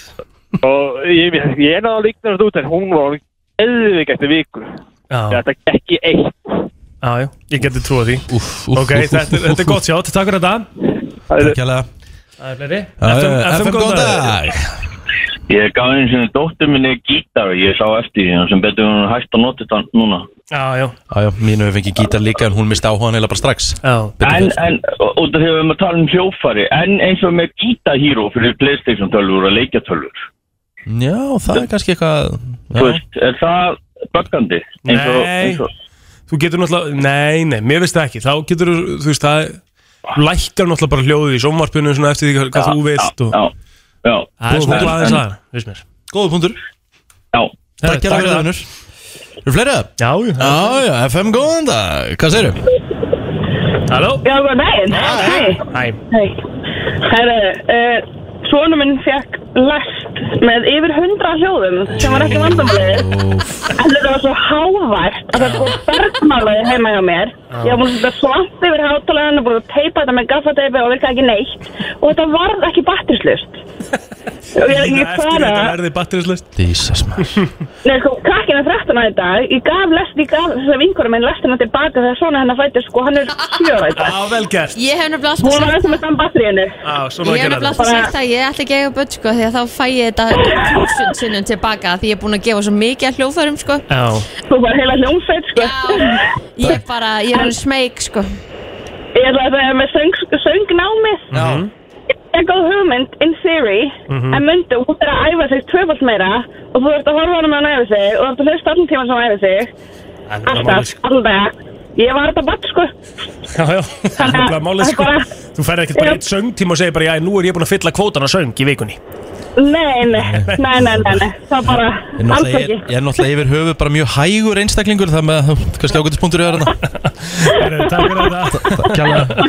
S12: og ég, ég er náða líknar þetta út en hún var hún eðvig eftir viku
S2: Já.
S12: þetta gekk í eitt
S2: Já, já, ég geti trúið því
S1: Úf,
S2: Ok, þetta, er- þetta er gott sjátt, takk fyrir þetta
S1: Takk hérlega
S2: Það er fleiri
S13: FM,
S2: FM, góðan dag
S13: Ég gaf einu sinni dóttur minni gítar og ég sá eftir því en sem betur hún er hægt að nota þetta núna
S2: Já, já
S1: Já, já, mínu hefur fengið gítar líka en hún misti áhugaðan heila bara strax
S2: Já
S13: En, en, út af því að við erum að tala um hljófari en eins og með gítahíró fyrir Playstation tölvur og leikjatölvur
S1: Já, það er kannski eitthvað
S13: Þú veist, er það böggandi? Eins og-
S2: Nei.
S13: eins og-
S2: Þú getur náttúrulega, nei, nei, mér veist það ekki Þá getur þú, þú veist, það lækkar náttúrulega bara hljóðið í sjónvarpinu svona eftir því hvað, hvað
S13: Já,
S2: þú vilt og...
S13: Já, já, já
S2: Það er svona
S13: En-
S2: aðeins
S13: en-
S2: aðra, veist mér
S1: Góða punktur
S13: Já
S1: Takk
S2: Takk
S1: hérlega fyrir
S2: fyrir
S1: það vinnur Eru fleira?
S2: Já, já
S1: Já, já, FM, góðan dag Hvað segirðu?
S2: Halló?
S11: Já, góðan daginn. Hæ.
S2: Hæ
S11: Hæ. Herru, uh, svona minn fekk lest með yfir hundra hljóðum sem var ekki vandamálið. En þetta var svo hávært að það búið bergmálaði heima hjá mér. Ég var búin að setja svamp yfir hátalarinn og búin að teipa þetta með gaffateipi og virka ekki neitt. Og þetta varð ekki batterislust. Og ég, ég
S2: Eftir
S11: svara...
S2: þetta verði batterislust
S1: Jesus maður
S11: Nei, sko, krakkinu 13 í dag, ég gaf lest, ég gaf þess að vinkurum minn lestina tilbaka þegar svona hennar fætti, sko, hann er sjöra í dag.
S2: Já, vel gert.
S3: Ég hef nefnilega alltaf
S11: Hún var
S3: sagt
S11: ennþá með þann batteríinu.
S2: Já,
S3: Ég
S2: svona
S3: hef nefnilega alltaf sagt það, ég ætla ekki að eiga börn sko því að þá fæ ég þetta túsund sinnum tilbaka því ég er búin að gefa svo mikið að hljóðfærum sko
S2: Já
S11: Þú var heila hljómsveit, sko. Já.
S3: Ég er bara, ég er alveg smeg sko
S11: Ég ætla að það er með söng, söngnámið.
S2: Já.
S11: Ég er góð hugmynd, in theory,
S2: Mhm.
S11: en myndu, hún er að æfa sig tvöfald meira og þú ert að horfa á hana með hann æfa sig og þú ert að hlusta allan tíman sem hann æfa sig.
S2: Það er sko.
S11: Alltaf, allan dag. Ég var þetta batt, sko.
S2: Já, já, það er nefnilega málið sko Þú ferð ekkert bara eitt söngtíma og segir bara Já, nú er ég búin að fylla kvótana söng í vikunni
S11: Nei, nei, nei, nei, nei, nei. það bara,
S1: Ég er
S11: alls
S1: náttúrulega-
S11: ekki.
S1: Ég er náttúrulega yfir höfu bara mjög hægur einstaklingur Það með kannski ágætispunktur í öðruna
S2: Takk fyrir þetta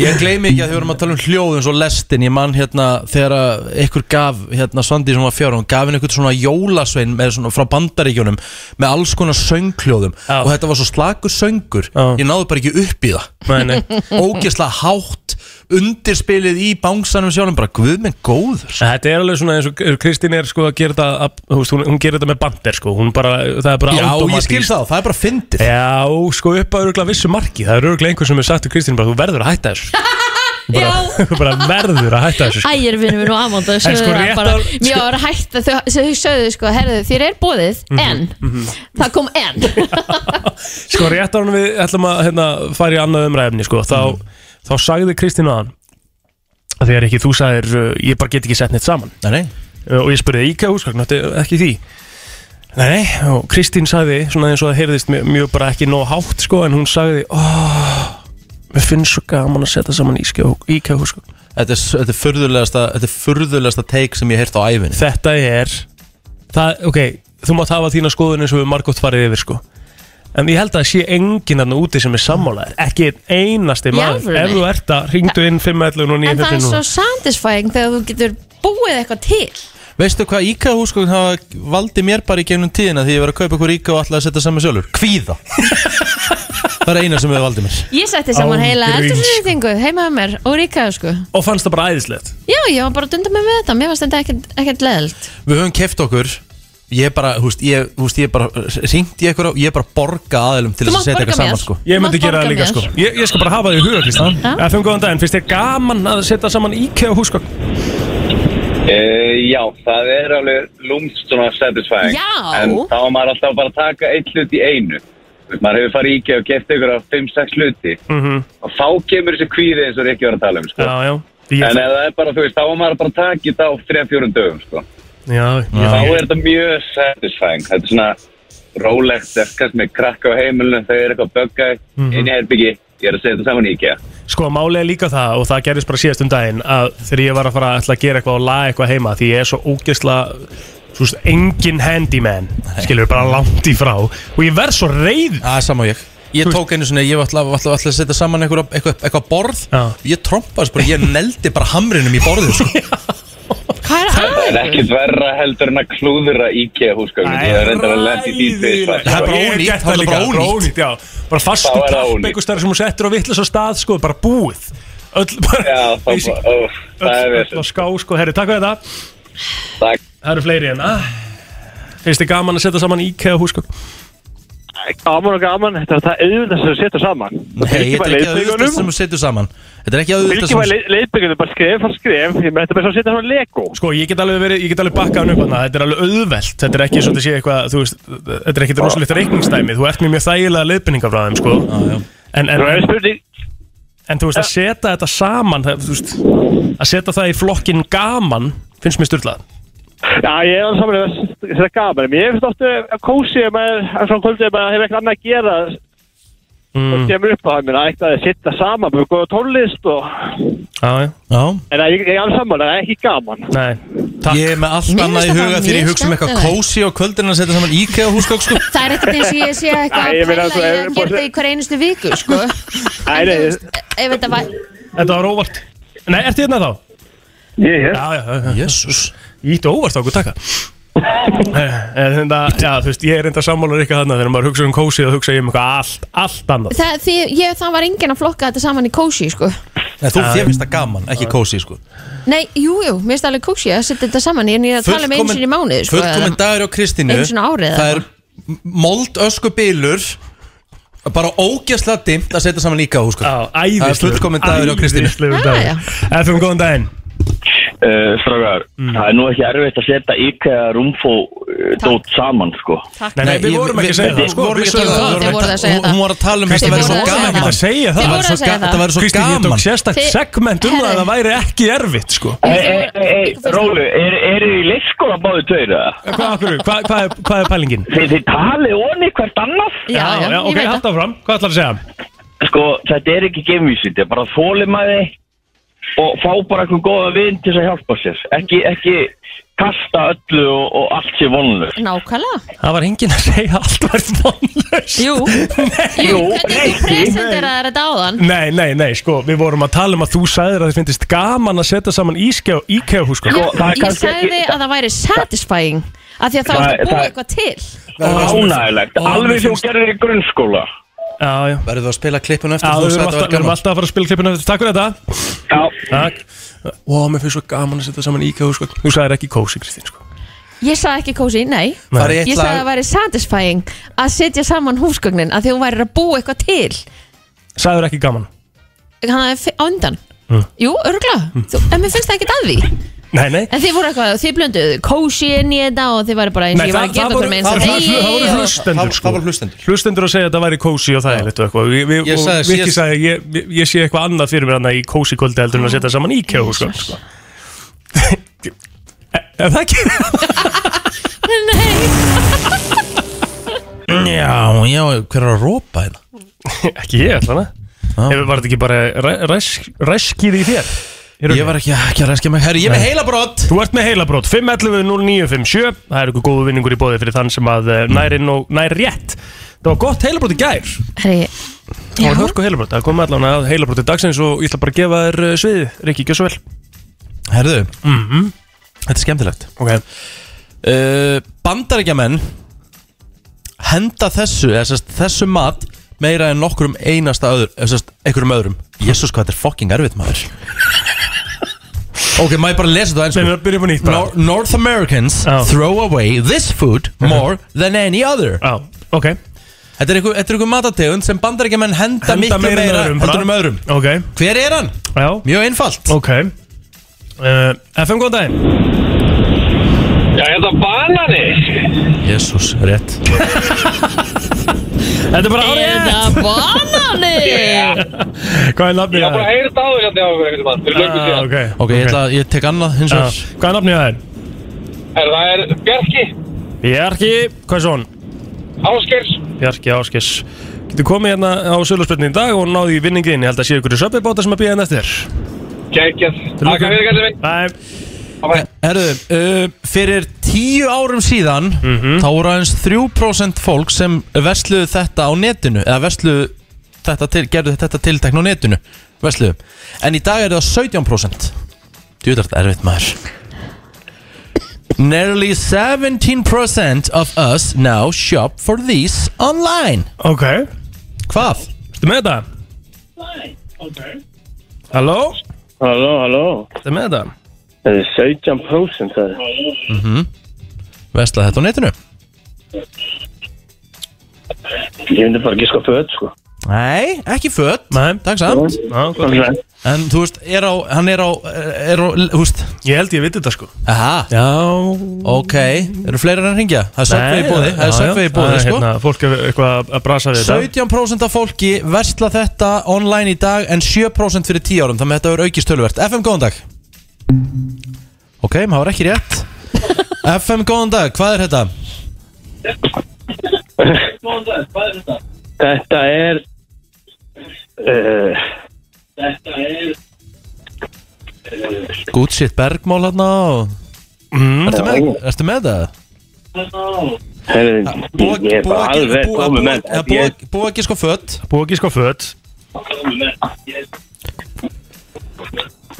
S1: Ég gleymi ekki að þið vorum að tala um hljóð eins og lestin Ég man hérna þegar að ykkur gaf hérna Svandi sem var fjára Hún gaf henni ykkur svona jólasvein með svona frá bandaríkjunum Með alls konar söngljóðum Og þetta var svo slakur söngur Ég náði bara ekki upp í það
S2: Nei, nei.
S1: Ógislega hátt Undirspilið í bánsanum sjálfum Bara guð minn góður
S2: Þetta er alveg svona eins og Kristín er sko að gera þetta að- þú veist, hún, hún gerir þetta með bandir sko hún bara, það er bara
S1: Já, ég
S2: automatískt.
S1: skil það, það er bara fyndið
S2: Já, sko upp að örugla vissu marki Það er örugla einhver sem er sagt til Kristín bara þú verður að hætta þessu bara, Þú bara verður að hætta þessu sko.
S3: Ægir vinnum minn og Amanda
S2: En
S3: sögðu
S2: sko,
S3: það
S2: rétt
S3: bara
S2: að-
S3: Mér var að hætta þau, þau sögðu sko, herðu þér er bóðið
S2: Mhm.
S3: en, það kom en
S2: Sko rétt ánum við ætlum að hérna, fara í annað umræðinni sko, þá,
S1: Mhm.
S2: þá sagði Kristín aðan þegar ekki þú sagðir uh, ég bara get ekki sett neitt saman Uh,
S1: nei, nei.
S2: og ég spurði Íka úrskakn ekki því nei, nei, og Kristín sagði svona eins og það heyrðist mjög, mjög bara ekki nóg hátt sko, en hún sagði oh, mér finnst svo gaman að setja saman Íka úrskakn
S1: Þetta er, þetta er furðulegasta Þetta er furðulegasta teik sem ég heirt á ævinni
S2: Þetta er það, Ok, þú mátt hafa þína skoðun eins og við margótt farið yfir sko En ég held að það sé enginn hann úti sem er sammálaðir Ekki einn einasti
S3: Í
S2: maður
S3: alvörunni?
S2: Ef þú ert að ringdu inn 511 og
S3: En það er
S2: 951
S3: svo
S2: núna.
S3: satisfying þegar þú getur búið eitthvað til
S1: Veistu hvað IKEA húsgögn hafa valdið mér bara í gegnum tíðina því ég var að kaupa ykkur IKEA og ætlaði að setja saman sjálfur? Kvíða! það er eina sem hefur valdið mér.
S3: Ég setti saman
S1: Án
S3: heila
S1: gríns.
S3: eftirlýtingu heima með mér og ríkaðu sko
S2: Og fannst það bara æðislegt
S3: Já, ég var bara að dunda mig með þetta, mér varst þetta ekkert, ekkert leðilt
S1: Við höfum keft okkur Ég bara, þú veist, ég, þú veist, ég bara Ringt ég eitthvað, ég bara borga aðeilum Til
S2: Þú
S1: þess að
S2: mátt
S1: setja
S2: borga
S1: eitthvað saman
S2: mér.
S1: sko
S2: Ég Þú mátt myndi gera það borga líka, mér. sko. Ég- ég skal bara hafa það í huga, Kristján FM, góðan daginn, finnst þér gaman að setja saman IKEA húsgögn?
S14: Uh, já, það er alveg lúmst svona satisfying
S3: Já.
S14: En þá var maður alltaf bara að taka einn hlut í einu Þú veist, Maður hefur farið í IKEA og gett ykkur á 5-6 hluti
S2: Mhm.
S14: Og þá kemur þessi kvíði eins og Rikki var að tala um sko.
S2: Já, já
S14: En ef það er bara, þú veist, þá var maður bara að taka þetta á 3-4 dögum sko.
S2: Já,
S14: Þá er þetta mjög satisfying Þetta er svona rólegt, þetta er kannski með krakka á heimilinu Þau eru eitthvað böggað
S2: Mhm.
S14: inn í herbyggi Ég er að setja þetta saman í IKEA
S2: Sko, málið er líka það og það gerðist bara síðast um daginn að þegar ég var að fara að ætla að gera eitthvað og laga eitthvað heima því ég er svo ógeðsla svo veist, engin handyman skilur bara langt í frá og ég verð svo reyð
S1: Það er sama og ég Ég tók einu svona, ég var alltaf, alltaf, alltaf að setja saman einhverja- eitthvað, eitthvað borð Já. Ég trompaðis bara, ég neldi bara hamrinum í borðið sko.
S14: Það er ekkert verra heldur en að klúðra IKEA húsgögnum Það er reyndar að lendi því tvisvar,
S2: Það
S14: sko.
S2: er bara ónýtt, það er bara ónýtt, já Bara
S14: Þá
S2: fastu
S14: er það
S2: klapp
S14: ónýtt.
S2: einhver stær sem hún settur á vittlis á stað, sko, bara búið Öll bara
S14: Já, þá bara, ó, það er
S2: öll,
S14: vesen.
S2: öll á ská, sko, herri, takk fyrir þetta
S14: Takk
S2: Það eru fleiri en að Finnst þið gaman að setja saman IKEA sko? húsgögn?
S12: Gaman og gaman, þetta er það auðvitað sem þú setur saman
S1: Nei, þetta er ekki að auðvitað sem þú setur saman Þetta er ekki að auðvitað
S12: Vilkið
S1: sem
S12: var leiðbyggjum, bara skref fyrir skref Ég með þetta bara svo að setja svona Lego
S2: Sko, ég get alveg verið, ég get alveg bakkað hann upp hann Þetta er alveg auðvelt, þetta er ekki svo að sé eitthvað Þú veist, þetta er ekki rosalegt reikningsdæmi Þú ert mér mjög þægilega leiðbendinga frá þeim, sko En, en,
S12: Það er
S2: en, en þú veist, að setja þetta saman það, Þú veist, að setja það í flokkin gaman Finnst mér styrlað
S12: Já, ég er alveg saman að þetta gaman En Mér finnst ofta að kósi ef maður, að svona kvöldið ef maður hefur ekkert annað að gera
S2: Mm.
S12: og kemur upp á það, minna, ætti að sitta saman með góða tónlist og
S2: Já, já
S12: En ég, ég er alveg saman, það er ekki gaman
S2: Nei,
S1: Ég er með allt
S12: Mér
S1: annað í
S12: finnst það
S1: huga
S12: bara
S1: þegar ég
S12: mjög
S1: hugsa um eitthvað
S12: skemmtilegt.
S1: kósi á kvöldin að setja saman IKEA húsgögn sko.
S3: Það er ekkert eins og ég sé eitthvað
S1: Nei, ég
S3: að
S1: meina,
S3: pæla
S1: þú
S3: í að
S1: hefur
S3: gera
S1: bara-
S3: þetta í hverja einustu viku sko.
S2: Æ, nei,
S3: Ef þetta var
S2: þetta var óvart Nei, ertu hérna þá?
S12: Ég er
S2: Já, já, já, já Jésús Ítti óvart á okkur takka En þetta, já, þú veist, ég er enda sammálar ykkar þarna Þegar maður hugsa um kósi og hugsa ég um eitthvað allt, allt annað
S3: Það, því, ég, það var enginn að flokka þetta saman í kósi sko.
S1: Nei, þú þér finnst það gaman, ekki kósi sko.
S3: Nei, jú, jú, mér finnst alveg kósi að setja þetta saman En ég er að tala um einu sinni í mánuð sko,
S1: Fullkomin
S3: eða-
S1: dagur á Kristínu
S3: Einu sinni á árið,
S1: Það
S3: eða?
S1: er mold ösku bylur Bara ógæslega dimmt að setja saman IKEA húsgögn Það er
S2: Æðislegur-
S1: fullkomin dagur á Kristínu
S2: æðislegur dagur. FM, góðan daginn
S13: Uh, Strágar,
S2: Mm.
S13: það er nú ekki erfitt að setja IKEA rúmfó uh, dót saman sko
S2: Nei, nei, við vorum ekki að segja það sko,
S1: vorum
S2: við
S1: ekki að
S2: sögðum
S1: segja það.
S2: það.
S1: Þið voruð að segja það.
S2: Hún var að tala um
S1: Þið
S2: þetta væri
S1: voruð
S2: svo
S1: að segja
S2: gaman
S1: það.
S2: að segja það
S1: Þið voruð að segja það.
S2: Þetta væri svo
S1: Kristín,
S2: gaman
S1: ég tók
S2: sérstakt segment um það að það væri ekki erfitt sko
S1: Eh.
S13: Ei, Rólu, er, eru þið í leikskóla báðu tveir eða?
S2: Eh, Hvað akkur, hvað, hvað, er, hvað er pælingin?
S13: Þið, þið talið onni hvert annað
S2: Já, já, já, ok, halda fram, hvað ætlar að segja?
S13: Sko, þetta er ekki geimvísi, þetta er bara þólimaði og fá bara eitthvað góða vinn til þess að hjálpa sér ekki, ekki kasta öllu og, og allt sé vonlust
S3: Nákvæmlega
S2: Það var enginn að segja allt vært vonlust
S3: Jú, Jú hvernig þú presenteraði þetta áðan
S2: Nei, nei, nei, sko, við vorum að tala um að þú sæðir að þið finnist gaman að setja saman ískjá, sko. íkjá húsgögn
S1: Sko,
S3: Ég sagði að það væri satisfying Af því að þá
S2: Það-
S3: ertu að búa
S2: það-
S3: eitthvað til
S13: Ánægilegt, alveg sem þú gerir í grunnskóla
S2: Já, já
S1: Verður þú að spila klippun eftir
S2: Já,
S1: Sko, þú
S2: við
S1: sagði
S2: erum
S1: þetta
S2: alltaf,
S1: var
S2: við erum
S1: gaman?
S2: alltaf að fara að spila klippinu eftir. Takk fyrir þetta
S13: Já
S2: Takk Ó, mér finnst svo gaman að setja saman íkjá húsgögn Þú sagðir ekki kósi, Kristín, sko
S3: Ég sagði ekki kósi, nei
S2: Nei. Farið í eitt
S3: Ég sagði
S2: lag.
S3: að það væri satisfying að setja saman húsgögnin að því hún væri að búa eitthvað til
S2: Sagður ekki gaman
S3: Hann er á undan
S2: Mm.
S3: Jú, örgla, en mér finnst það ekkert að því
S2: Nei, nei
S3: En þið voru eitthvað, þið blönduðu kósi inn í þetta og þið væri bara eins og
S2: Nei,
S3: ég var að gera okkur með eins og
S2: það voru hlustendur sko. Það voru
S1: hlustendur
S2: Hlustendur að segja að það væri kósi og þægilegt og eitthvað Við- við-
S1: Ég
S2: og
S1: sagði-
S2: Viki
S1: ég-
S2: sagði að ég, ég, ég sé eitthvað annað fyrir mér annað í kósi kvöldi heldur en að setja saman íkjá sko. sko. Ef það ekki
S1: Já, já, hver er að rópa hérna?
S2: Ekki ég allan að Ef var þetta ekki bara ræ- ræsk- ræskið í þér Ég
S1: var ekki, ekki að ræskja mig Herri, ég er með heila brott
S2: Þú ert með heilabrót 511-0957 Það er eitthvað góðu vinningur í bóði fyrir þann sem að eh, nær inn og nær rétt Það var gott heilabrót í gær
S3: Herri,
S2: Það var hörku heilabrót Það kom allan að heilabróti dagsins og ég ætla bara að gefa þér eh, sviðið Rikki, gjör svo vel
S1: Herðu,
S2: Mhm.
S1: þetta er skemmtilegt
S2: okay.
S1: uh, Bandarækjamenn henda þessu eða sest, þessu mat meira en nokkrum einasta öður, eða sest, einhverjum öðrum Jésús hvað þetta er fucking erfitt maður Ok, maður bara lesa þetta á ennsku Nei,
S2: við byrjum á nýtt bara.
S1: North Americans throw away this food more than any other
S2: Mhm. Já, ok
S1: Þetta er einhver, þetta er einhver matategund sem bandaríkjumenn henda,
S2: Henda
S1: miklu
S2: meira en
S1: meira
S2: öðrum bara.
S1: heldur um öðrum
S2: okay.
S1: Hver er hann?
S2: Já.
S1: Mjög einfalt
S2: Ok uh, FM, góðan daginn
S12: Já, ég ætla banani
S1: Jésús, rétt
S2: Þetta er bara árið
S3: Eða banani
S2: Hvað er nafnið
S12: Ég var bara að
S2: það?
S12: heyra þetta áður hérna hjá okkur einhvern veginn Fyrir löngu
S2: Ah,
S12: síðan
S2: ok,
S1: Ok, ég, ætla, ég tek annað hins
S2: Já.
S1: vegar
S2: Hvað er nafnið það er?
S12: Er það er Bjarki
S2: Bjarki, hvað er svo hann?
S12: Áskers
S2: Bjarki Áskis Getur komið hérna á söluspöldinu í dag og náði í vinningiðin Ég held að sé ykkur í söpibóta sem að býða henn eftir
S12: Kækjað Takk fyrir kallið minn
S2: Bæ
S1: Herðu, uh, fyrir tíu árum síðan
S2: Mhm.
S1: þá voru aðeins 3% fólk sem versluðu þetta á netinu eða versluðu þetta til, gerðu þetta tiltekna á netinu versluðu. En í dag er það 17% Djúðart erfitt maður Nearly 17% of us now shop for these online
S2: Ok
S1: Hvað?
S2: Ertu með þetta? Halló?
S15: Halló, halló
S2: Ertu með þetta?
S15: Það er 17% það
S1: Mm -hmm. Versla þetta á netinu?
S15: Ég myndi bara gíska föt sko
S1: Nei, ekki fött Nei, takk samt
S15: Nei.
S1: En þú veist, er á, hann er á, er á, þú veist
S2: Ég held ég viti þetta sko
S1: Aha
S2: Já
S1: Ok, eru fleiri en hringja? Það er sökveið í bóði, það er sökveið í bóði, sko
S2: hérna, Fólk er eitthvað að brasa við þetta
S1: 17% af fólki versla þetta online í dag en 7% fyrir 10 árum þannig að þetta er aukist tölvert FM, góðan dag Ok, maður var ekki rétt FM, góðan dag, hvað er þetta?
S15: Þetta er uh, Þetta er
S1: Good shit bergmál hérna og...
S2: Mhm.
S1: mm. ertu, með, ertu með það?
S15: Herri, ég er bara alveg komið með
S1: Eða
S15: Ég er
S1: búa- Búa ekki sko fött
S2: Búið ekki sko fött
S15: komið með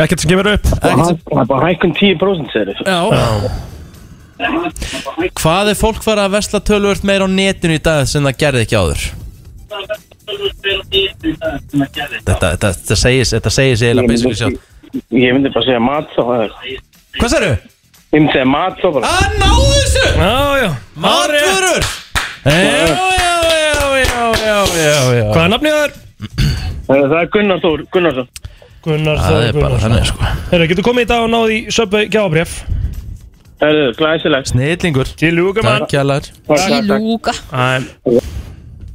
S2: Ekkert sem gefur upp
S15: Það er bara hækkun 10% segir
S1: Já Hvað er fólk var að vesla tölvöld meira á netinu í dag sem það gerði ekki áður? Þetta, þetta, þetta segis, þetta segis
S15: Ég
S1: eiginlega basically sjálf
S15: myndi- ég myndi bara segja mat þá
S1: Hvað sérðu?
S15: Ég myndi segja mat þá bara
S1: Að náðu þessu!
S2: Já, já
S1: Matvörur! Já, já, já, já, já, já, já
S2: Hvað er nafnið það er?
S15: Það er Gunnar Þór Gunnarsson
S2: Gunnar
S1: Það er bara þannig sko
S2: Herra, getur komið í dag og náði í söpbi gjábref
S15: Það er glæsilegt
S1: Snillingur
S2: Til lúka mann
S1: Takk jælar
S3: Í lúka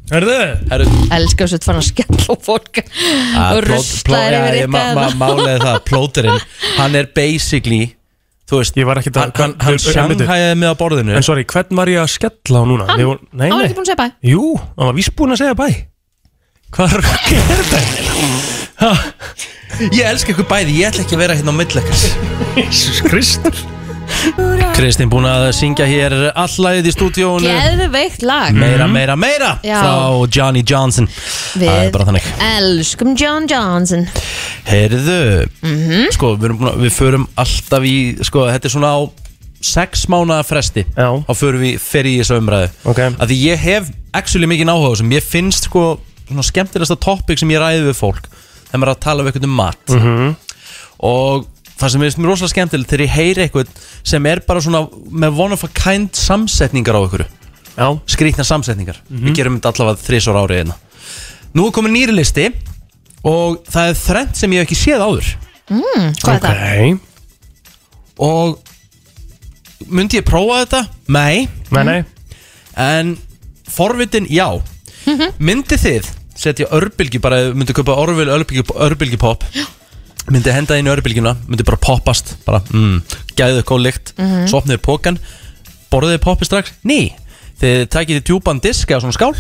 S2: Herðu
S1: Herðu
S3: Elskar þessu fann að skella á fólk
S1: að
S3: og
S1: plót-
S3: rusla
S1: plót- Ah,
S3: þér
S1: já,
S3: yfir hérna.
S1: ég ma-
S3: eitthvað
S1: ma-
S3: eða-
S1: Málið er það, plóterinn Hann er basically Þú veist,
S2: Ég var ekki
S1: hann, hann, hann sjanghæði mig á borðinu
S2: En sorry, hvern var ég að skella á núna?
S3: Hann,
S2: Ég var- Nei,
S3: hann var
S2: nei
S3: ekki búin að segja bæ
S2: Jú, hann var vísbúin að segja bæ Hvað er þetta? Ha,
S1: Ég elska ykkur bæði, ég ætla ekki að vera hérna á millekars
S2: Jesus Kristur
S1: Kristín búin að syngja hér allæðið í stúdíónu
S3: Geðveikt lag
S2: Mhm.
S1: Meira, meira, meira
S3: Já.
S1: Frá Johnny Johnson Það er bara þannig
S3: elskum John Johnson
S1: Heyrðu,
S3: Mhm.
S1: sko, við, erum, búin að- við förum alltaf í Sko, þetta er svona á sex mánaða fresti Já Þá förum við, fer ég í þessu umræðu
S2: Ok.
S1: Af því ég hef actually mikið náhuga sem ég finnst sko Svona skemmtilegasta topic sem ég ræði við fólk Þegar maður er að tala við eitthvað um mat
S2: Mhm.
S1: og það sem er rosalega skemmtilegt þegar ég heyri eitthvað sem er bara svona með one of a kind samsetningar á ykkur
S2: Já. Mhm.
S1: skrýtna samsetningar við gerum þetta allavega þrísor árið einna hérna. nú er komin nýri listi og það er þrennt sem ég hef ekki séð áður
S3: mm, Hvað er það?
S2: Nei
S1: og myndi ég prófa þetta? Nei Mhm.
S2: Nei, nei
S1: en forvitin já
S2: Mhm.
S1: myndi þið setja örbylgi bara, myndi köpa orðvil örbylgi, örbylgipopp myndi henda inn í örbylgina, myndi bara poppast bara, mm, gæðu góð lykt
S2: Mhm.
S1: svo opniði pókan, borðiði poppi strax ný, þið takið þið djúpan disk eða svona skál,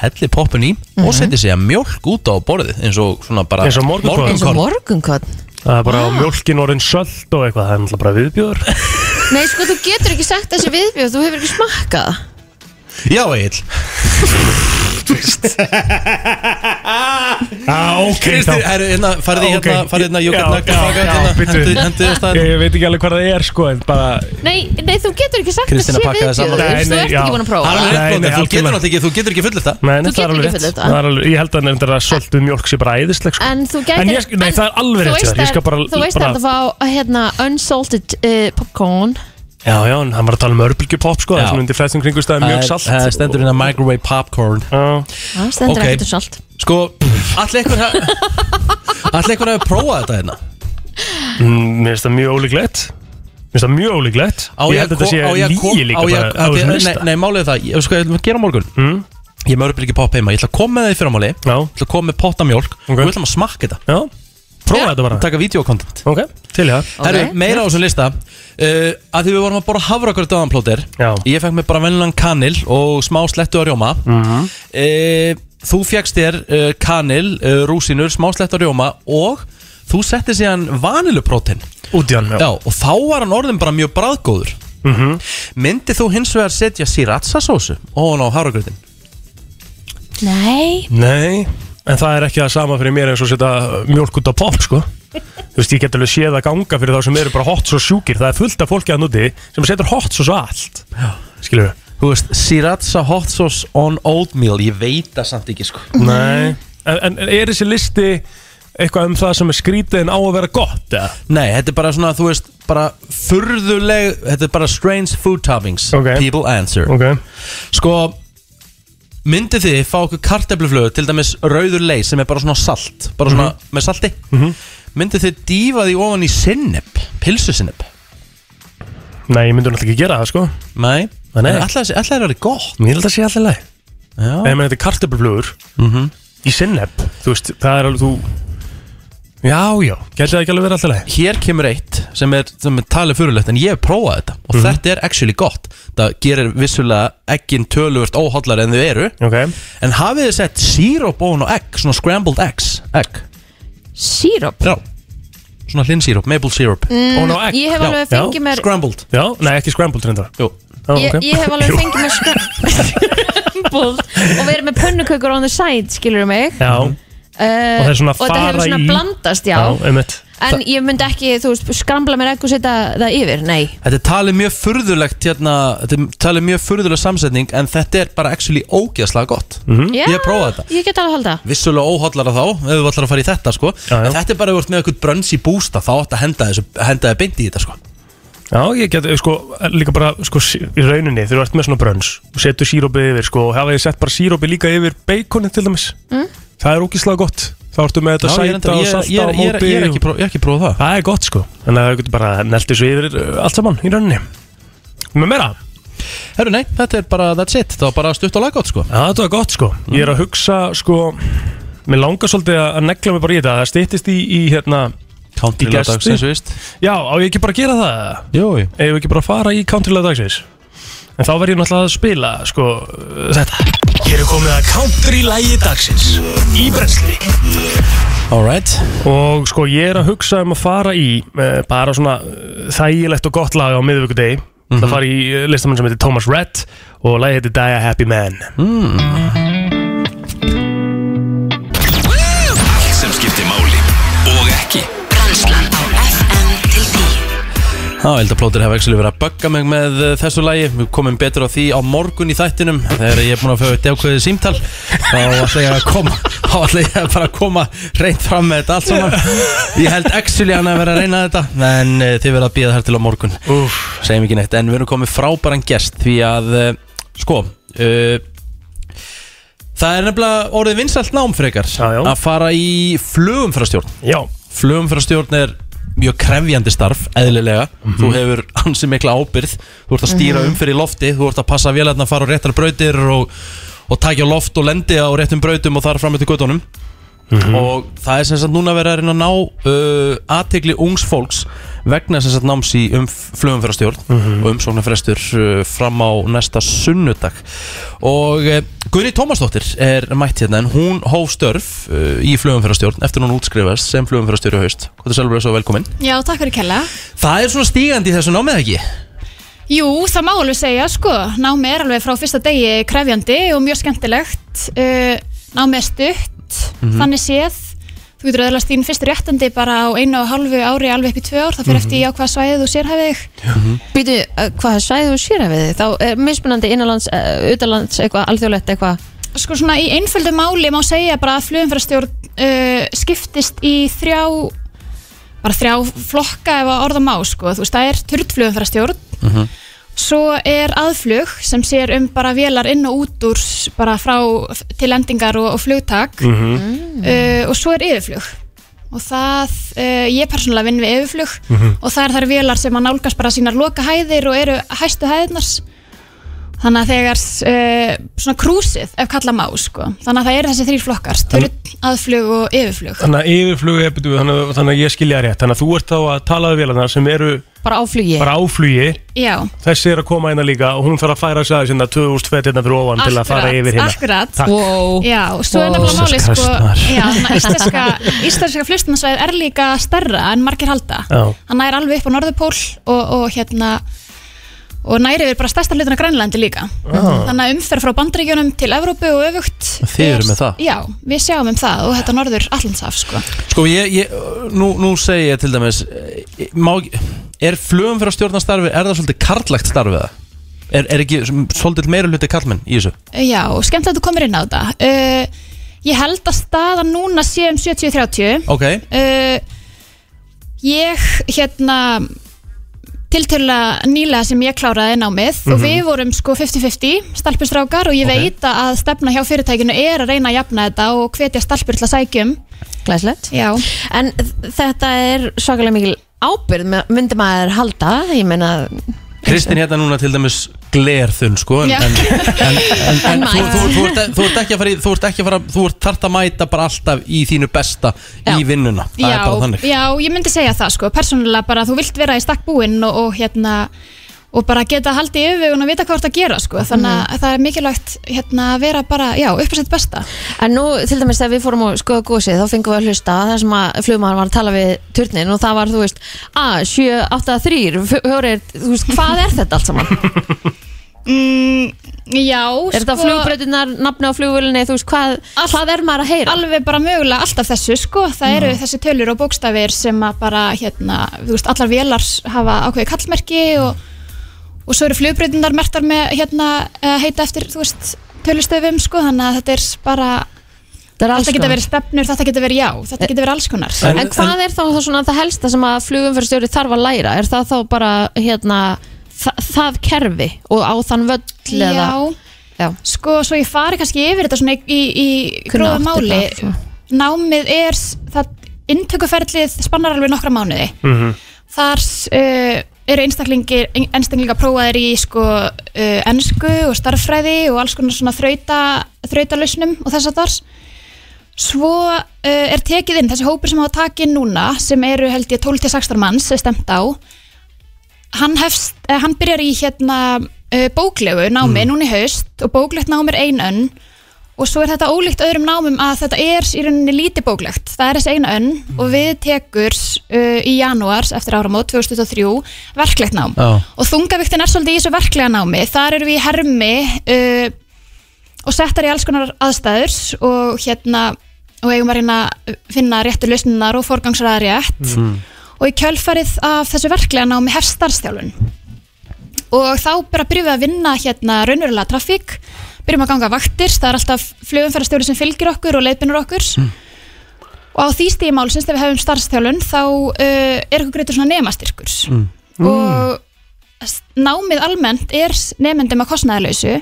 S1: hellið poppin í og setið sér mjölk út á borðið eins og svona bara
S2: Mhm. Eins og morgunkorn.
S3: Eins og morgunkorn
S2: Það er bara á mjölkin orðin söld og eitthvað Það er náttúrulega bara viðbjóður
S3: Nei, sko, þú getur ekki sagt þessi viðbjóð Þú hefur ekki smakkað það.
S1: Já, Egil fyrst
S2: ah, ok
S1: Kristín,
S2: þá-
S1: herru, hérna, farðu í
S2: Ah, ok.
S1: hérna- farðu hérna, Jókert
S2: Já,
S1: Nagla,
S2: já,
S1: baka
S2: já,
S1: hérna,
S2: bíddu.
S1: hendu- hendu þér af stað.
S2: Ég ég veit ekki alveg hvað það er sko En bara
S3: Nei, nei, þú getur ekki sagt að sé
S2: Kristína pakkaði saman.
S3: viðbjöður,
S2: Nei,
S3: þú
S2: nei,
S3: ert
S2: já.
S3: ekki búin að prófa
S2: Hann er rétt, Blóter, þú getur
S1: náttúrulega ekki, þú getur ekki fullið það
S2: Nei, nei,
S3: Þú
S2: það er
S3: getur
S2: alveg rétt.
S3: ekki fullyrt það.
S2: Það er alveg- Ég held að nefndir að soltuð mjólk sé bara æðisleg sko.
S3: En þú
S2: En
S3: gætir
S2: ég, nei, það er alveg
S3: Þú
S2: rétt hjá þér.
S3: veist
S2: Ég
S3: að
S2: skal bara,
S3: þú veist
S2: bara
S3: að það fá hérna, unsalted uh, popcorn
S2: Já, já, en hann var að tala um örbylgjupopp sko, það
S1: Já.
S2: er svona undir flestum kringustæðum mjög salt
S1: Það er stendur hérna microwave popcorn
S3: Það stendur
S1: Ok.
S3: ekkert um salt
S1: Sko, allir einhver Allir einhver hafi prófað þetta hérna
S2: Mm, Mér finnst það mjög ólíklegt Mér finnst það mjög ólíklegt
S1: Á
S2: Ég held að
S1: ko-
S2: þetta
S1: á ég
S2: sé
S1: að kom-
S2: lígi
S1: á
S2: líka
S1: ég að-
S2: bara á
S1: að-
S2: þessum
S1: nei,
S2: lista Hmm?
S1: Nei, málið er það, ég, sko, ég ætlum að gera á morgun Ég er með örbyrgi popp heima, ég ætla að koma með það í fyrramáli Ég ætla að koma með potta mjólk og við ætlum að smakka þetta
S2: Já, prófa þetta bara
S1: Taka videokontent
S2: Ok, til í það
S1: Herru, meira á þessum lista uh, að því við vorum að bora hafrakur döðanplótir ég fekk mér bara vennilegan kanil og smá slettu að rjóma
S2: Mhm.
S1: Eh, þú fjækst þér uh, kanil, uh, rúsinur, smá slett og rjóma og þú setti síðan vaniluprótin
S2: Út í hann,
S1: já. og þá var hann orðin bara mjög bræðgóður
S2: mm -hmm.
S1: myndi þú hins vegar setja sriracha sósu ofan á háragrutin
S3: Nei
S2: Nei, en það er ekki það sama fyrir mér eins og setja mjölk út á pop sko. Þú veist, ég get alveg séð að ganga fyrir þá sem eru bara hot svo sjúkir Það er fullt af fólki að núti sem setur hot svo svo allt Skilur
S1: þú veist, sriracha hot sauce on oatmeal ég veit það samt ekki sko
S2: Nei En, en er þessi listi eitthvað um það sem er skrítið en á að vera gott? eða?
S1: Nei, þetta er bara svona, þú veist, bara furðuleg, þetta er bara strange food toppings People answer
S2: okay.
S1: Sko, myndið þið fá okkur kartefluflögu, til dæmis rauður lei sem er bara svona salt, bara svona með salti
S2: Mhm.
S1: Myndið þið dýfa því ofan í sinneb, pilsusinneb
S2: Nei, ég myndi náttúrulega ekki gera það sko
S1: Nei,
S2: Nei, nei.
S1: En alltaf þessi- alltaf er það gott
S2: Mér held að sé alltaf leið
S1: Já
S2: En ég meina, þetta er kartöfluflugur
S1: Mhm.
S2: Í sinnepp, þú veist, það er alveg þú Já, já, gæti það ekki alveg verið alltaf leið
S1: Hér kemur eitt sem er, sem er talið fyrirlegt en ég hef prófað þetta og
S2: Mhm.
S1: þetta er actually gott það gerir vissulega eggin töluvert óhóllar en þau eru
S2: okay.
S1: en hafið þið sett síróp ofan á egg svona scrambled eggs egg
S3: Síróp?
S1: Já, svona hlinsíróp, maple síróp
S3: Mm, Ofan á egg? ég hef alveg
S1: Já,
S3: fengið
S1: já.
S3: mér-
S1: Scrambled
S2: Já, nei ekki scrambled reyndar
S1: Jú
S3: ég, ég hef alveg fengið mér skrambúl og verið með pönnukökur on the side, skilur mig
S2: Já,
S3: Uh,
S2: Og það er svona
S3: þetta hefur
S2: fara
S3: svona
S2: í-
S3: blandast, já,
S2: einmitt
S3: En ég myndi ekki, þú veist, skrambla mér egg og setja það yfir, nei
S1: Þetta er talið mjög furðulegt hérna, þetta er talið mjög furðuleg samsetning en þetta er bara actually ógeðslega gott
S2: Mhm. Mm,
S1: -hmm.
S3: Já,
S1: Ég hef prófað þetta
S3: Ég get alveg að halda
S1: Vissulega óhóllara þá, ef við ætlar að fara í þetta sko En þetta er bara ef þú ert með eitthvað brönns í bústa þá átt að henda þessu, henda þið beint í þetta sko
S2: Já, ég get, sko, líka bara, sko, sí- í rauninni Þegar þú ert með svona brönns og setur sírópið yfir, sko Og hafa ég sett bara sírópið líka yfir baconið til dæmis
S3: Mm.
S2: Það er ógislega gott Þá ertu með þetta
S1: Já, ég er
S2: sæta
S1: enda-
S2: og
S1: ég-
S2: salta
S1: ég er-
S2: á
S1: ég er-
S2: móti
S1: ég er ekki
S2: og-
S1: pró- Ég er ekki prófað það
S2: Það er gott sko Þannig að það getur bara neltið svo yfir uh, allt saman í rauninni Með meira?
S1: Herru, nei, þetta er bara, that's it Það var bara stutt og laggótt sko
S2: Já, þetta var gott sko Ég er að hugsa sko Mér langar svolítið að negla mig bara í þetta Það stýttist í, í hérna
S1: Country lag
S2: gesti.
S1: dagsins, víst.
S2: Já, á ég ekki bara að gera það
S1: Jú, jú
S2: Ef ekki bara að fara í country lag dagsins En þá verð ég náttúrulega að spila sko uh, þetta Hér er komið að country lagi dagsins Í brensli
S1: Alright
S2: Og sko ég er að hugsa um að fara í uh, bara svona uh, þægilegt og gott lag á miðvíkudegi mm
S1: Mhm.
S2: Það fara í uh, listamenn sem heitir Thomas Rhett og lagið heitir Die a Happy Man mm.
S4: Allt sem skiptir máli og ekki
S5: Brennslan á FM til 10
S1: Já, ég held að plótir hefur ekki verið að bögga mig með uh, þessu lagi Við komum betur á því á morgun í þættinum Þegar ég er búin að fá eitt ákveðið símtal Þá ætla ég að koma Þá ætla ég bara að koma reynd fram með þetta allt saman Ég held actually hann að vera að reyna þetta En uh, þið verða að býða þar til á morgun
S2: Úf.
S1: Segjum ekki neitt En við erum komið frábæran gest Því að, uh, sko uh, Það er nefnilega orðið vinsælt nám frekar já, já. að fara í flugumfærastjórn
S2: Já
S1: Flugumfærastjórn er mjög krefjandi starf, eðlilega Þú hefur ansi mikla ábyrð Þú ert að stýra
S2: Mhm.
S1: umfyrir lofti Þú ert að passa vélarnar að fara á réttar brautir og, og takja loft og lendi á réttum brautum og þar fram eftir göttunum Og það er sem sagt núna verið að reyna að ná uh, aðtegli ungs fólks vegna sem sagt náms í um flugumfærastjórn og umsóknarfrestur uh, fram á næsta sunnudag og uh, Gunni Tómasdóttir er mætt hérna en hún hóf störf uh, í flugumfærastjórn eftir hún útskrifast sem flugumfærastjóri í haust Hvað er sjálfur svo velkomin?
S16: Já, takk fyrir kella
S1: Það er svona stígandi í þessu námið ekki?
S16: Jú, það má alveg segja, sko, námi er alveg frá fyrsta degi krefjandi og mjög skemmtilegt, uh, námi er stutt,
S17: Mhm.
S16: þannig séð, þú getur öðlast þín fyrstu réttandi bara á einu og hálfu ári alveg upp í tvö ár, það fyrir
S3: Mhm.
S16: eftir í á hvaða svæðið þú sérhæfið þig.
S3: Býtu, eh, hvað svæðu sér að við þið? Þá er mismunandi innanlands, eh, utanlands, eitthvað, alþjóðlegt eitthvað
S16: Sko svona í einföldu máli má segja bara að flugumfærastjórn uh, skiptist í þrjá, bara þrjá flokka ef að orða má, sko, þú veist, það er turtflugumfærastjórn, Svo er aðflug sem sér um bara vélar inn og út úr s- bara frá f- til lendingar og, og flugtak
S17: Mhm.
S16: uh, og svo er yfirflug og það, uh, ég persónulega vinn við yfirflug
S17: Mhm.
S16: og það er þar vélar sem að nálgast bara sínar loka hæðir og eru hæstu hæðinars þannig að þegar uh, svona krúsið ef kalla má sko þannig að það eru þessi þrýr flokkar, styrn, aðflug og yfirflug
S2: Þannig að yfirflug er betur, þannig, að- þannig að ég skilja það rétt Þannig að þú ert þá að tala við vélarnar sem eru
S3: Bara áflugi
S2: bara áflugi
S16: Já,
S2: Þessi er að koma hérna líka og hún þarf að færa sig aðeins hérna 2000 fett hérna fyrir ofan til að fara yfir hérna
S16: akkurat
S2: Takk.
S3: wow.
S16: já, og svo er
S2: Wow.
S16: nefnilega máli
S2: Jesus
S16: sko,
S2: Christ,
S16: já, þannig að íslenska, íslenska flustunarsvæð er líka starra en margir halda
S2: Já.
S16: hann nær alveg upp á norðupól og, og hérna og nær yfir bara stærsta hlutin af Grænlandi líka
S1: Já.
S16: þannig að umferð frá bandríkjunum til Evrópu og öfugt
S1: Þið eru með það?
S16: já, við sjáum um það og þetta norður allanshaf sko.
S1: Sko ég, ég nú, nú segi ég til dæmis eh, má, ekki- Er flugum fyrir að stjórna starfi Er það svolítið karlægt starfið það? Er, er ekki sm- svolítið meira hluti karlmenn í þessu?
S16: já, og skemmt að þú komir inn á þetta uh, ég held að staðan núna sé um 70-30
S1: Ok
S16: uh, ég hérna tiltöla nýlega sem ég kláraði námið og
S17: Mhm.
S16: við vorum sko 50-50 stalpustrákar og ég
S17: Ok.
S16: veit að stefna hjá fyrirtækinu er að reyna að jafna þetta og hvetja stalpur til að um. sækjum
S3: Glæslegt
S16: Já
S3: En þetta er svakalega mikil ábyrð með- myndi maður halda Ég meina
S1: Kristín hérna núna til dæmis glerþunn sko En,
S3: Já.
S1: en, en, en, en
S3: En
S1: þú,
S3: mætt.
S1: þú, þú, ert- þú ert ekki að fara í, Þú ert ekki að fara Þú ert þart að mæta bara alltaf í þínu besta Í vinnuna Það er bara þannig
S16: já, ég myndi segja það sko, persónulega bara þú vilt vera í stakk búinn og, og hérna og bara geta haldið yfir og vita hvað þú ert að gera sko, þannig
S1: Mhm.
S16: að það er mikilvægt hérna að vera bara, já, upp að sitt besta
S3: En nú, til dæmis, þegar við fórum að skoða gósið þá fengum við að hlusta að það sem að flugmaður var að tala við turnin og það var, þú veist A, 7, 8, 3, 4 þú veist, hvað er þetta allt saman?
S16: Mm, já,
S3: Er þetta
S16: sko-
S3: flugbrautirnar, nafni á flugvölinni þú veist, hvað, hvað er maður að heyra? Mm.
S16: Alveg bara mögulega alltaf þessu sko, það eru þessi tölur og bókstafir sem að bara hérna, þú veist, allar vélar hafa ákveði kallmerki og, og svo eru flugbreytindar mertar með hérna eh, heita eftir, þú veist, tölustöfum sko, þannig að þetta er bara
S3: er alls
S16: Þetta
S3: konar.
S16: getur verið stefnur, þetta getur verið já, þetta getur verið alls konar
S3: En, hvað er þá það, svona, það helsta sem að flugumfyrstjóri þarf að læra? Er það þá bara hérna, það, það kerfi og á þann völl E- eða?
S16: Já,
S3: Já.
S16: sko, svo ég fari kannski yfir þetta svona í, í, í
S3: Kunna
S16: gróða
S3: átti
S16: máli
S3: það, svo.
S16: Námið er, s- það, inntökuferlið spannar alveg nokkra mánuði
S1: Mhm.
S16: Þar uh, eru einstaklingar, einstaklingar prófaðir í sko, uh, ennsku og starffræði og alls konar svona þrauta, þrautalausnum og þess að þar. Svo uh, er tekið inn, þessi hópur sem hafa takið núna, sem eru held ég 12-16 manns, er stemt á, hann, hefst, eh, hann byrjar í hérna uh, bóklegu námi núna í haust og bóklegt námi er ein önn og svo er þetta ólíkt öðrum námum að þetta er í rauninni lítið bóklegt það er þessi eina önn og við tekur uh, í janúars eftir áramót 2023 verklegt nám
S17: Já.
S16: og þungavíktin er svolítið í þessu verklega námi þar eru við í hermi uh, og settar í alls konar aðstæður og hérna og eigum að reyna að finna réttu lausninar og forgangsraða
S15: Mhm.
S16: rétt
S2: Hmm.
S16: og í kjölfarið af þessu verklega námi hefst starfstjálfun og þá bara byrjum við að vinna hérna raunverulega trafík byrjum að ganga vaktir, það er alltaf flugumferðarstjóri sem fylgir okkur og leiðbinur okkur og á því stíði málsins þegar við hefum starfstjálfun þá uh, er okkur greitur svona nemastyrkur
S17: Mm.
S16: og s- námið almennt er s- nemendum að kostnaðalausu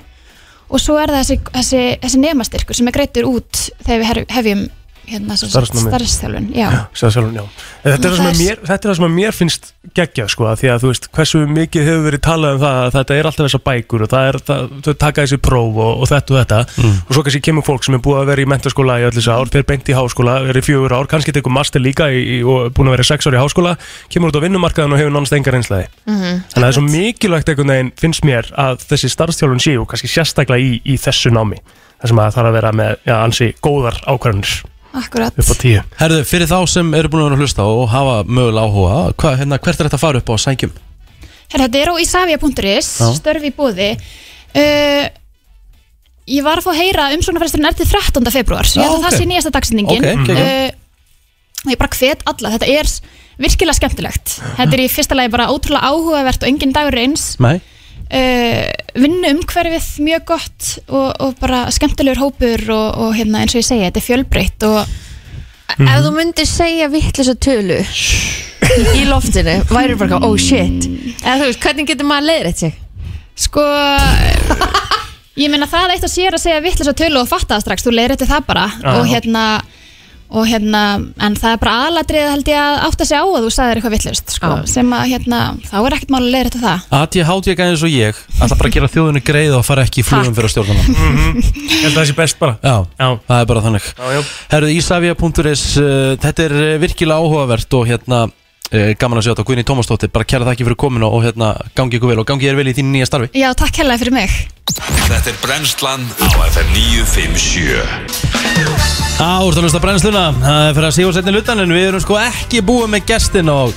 S16: og svo er það þessi, þessi, þessi nemastyrkur sem er greitur út þegar við her- hefjum hérna, sem sagt,
S2: Starfsnámið.
S16: starfstjálfun já.
S2: Sjálfum, já. En Þetta, er það sem að mér, þetta er það sem að mér finnst geggjað sko, að því að þú veist hversu mikið hefur verið talað um það að þetta er alltaf þessar bækur og það er, það, þau taka þessi próf og, og þetta og þetta og svo kannski kemur fólk sem er búið að vera í mentaskóla í öll þessi ár, fer beint í háskóla, er í fjögur ár kannski tekur master líka í, í, og er búin að vera í sex ár í háskóla, kemur út á vinnumarkaðan og hefur nánast engar einslæði
S7: Mm-hmm.
S17: Mhm.
S2: Þannig að það er svo mikilvægt einhvern veginn finnst mér að þessi starfstjálfun séu kannski sérstaklega í, í þessu námi þar sem að það þarf að vera með já, ansi góðar ákvarðanir
S16: Akkurat
S2: upp á tíu
S1: Herðu, fyrir þá sem eru búin að vera að hlusta og hafa mögulega áhuga, hvað, hérna, hvert er þetta að fara upp á sængjum?
S16: Her, þetta er á isavia.is,
S17: Já.
S16: störfi í bóði. Uh, ég var að fá að heyra umsóknarfæristurinn er til 13. februar,
S17: Já,
S16: ég held að
S17: ok.
S16: það sé nýjasta dagsendingin.
S17: Ok, ok, ok.
S16: og ég bara hvet alla, þetta er s- virkilega skemmtilegt. Þetta er í fyrsta lagi bara ótrúlega áhugavert og engin dagur er eins.
S1: Nei
S16: Uh, vinnu umhverfið mjög gott og, og bara skemmtilegur hópur og, og hérna, eins og ég segi, þetta er fjölbreytt og
S3: Ef þú myndir segja vittlisa tölu í loftinu, væri bara eitthvað, oh shit Eða þú veist, hvernig getur maður leiðrætt sig?
S16: Sko Ég meina það eitt og sér að segja vittlis að tölu og fatta það strax, þú leiðir þetta það bara
S17: Já.
S16: og hérna, og hérna en það er bara aðladrið held ég að átta sig á að þú sagðir eitthvað vittlist sko, sem að hérna, þá er ekkert mál að leiðir þetta það
S1: ADHD ekki eins og ég ætla bara að gera þjóðinu greið og fara ekki í flugum fyrir að stjórna Ég held að það sé best bara Já, það er bara þannig Herðu, isavia.is, uh, þetta er uh, virkilega áhugavert og hérna uh, gaman að sjá þetta, Guðni Tómasdóttir, bara kæra þakki fyrir komuna og hérna gangi ykkur vel og gangi þér vel í þínu nýja starfi
S16: Já, takk hérlega fyrir mig
S4: Þetta er brennslan á FM 957
S1: Á, þú ert að hlusta á brennsluna Það er fyrir að síða setni lutan en við erum sko ekki búið með gestin og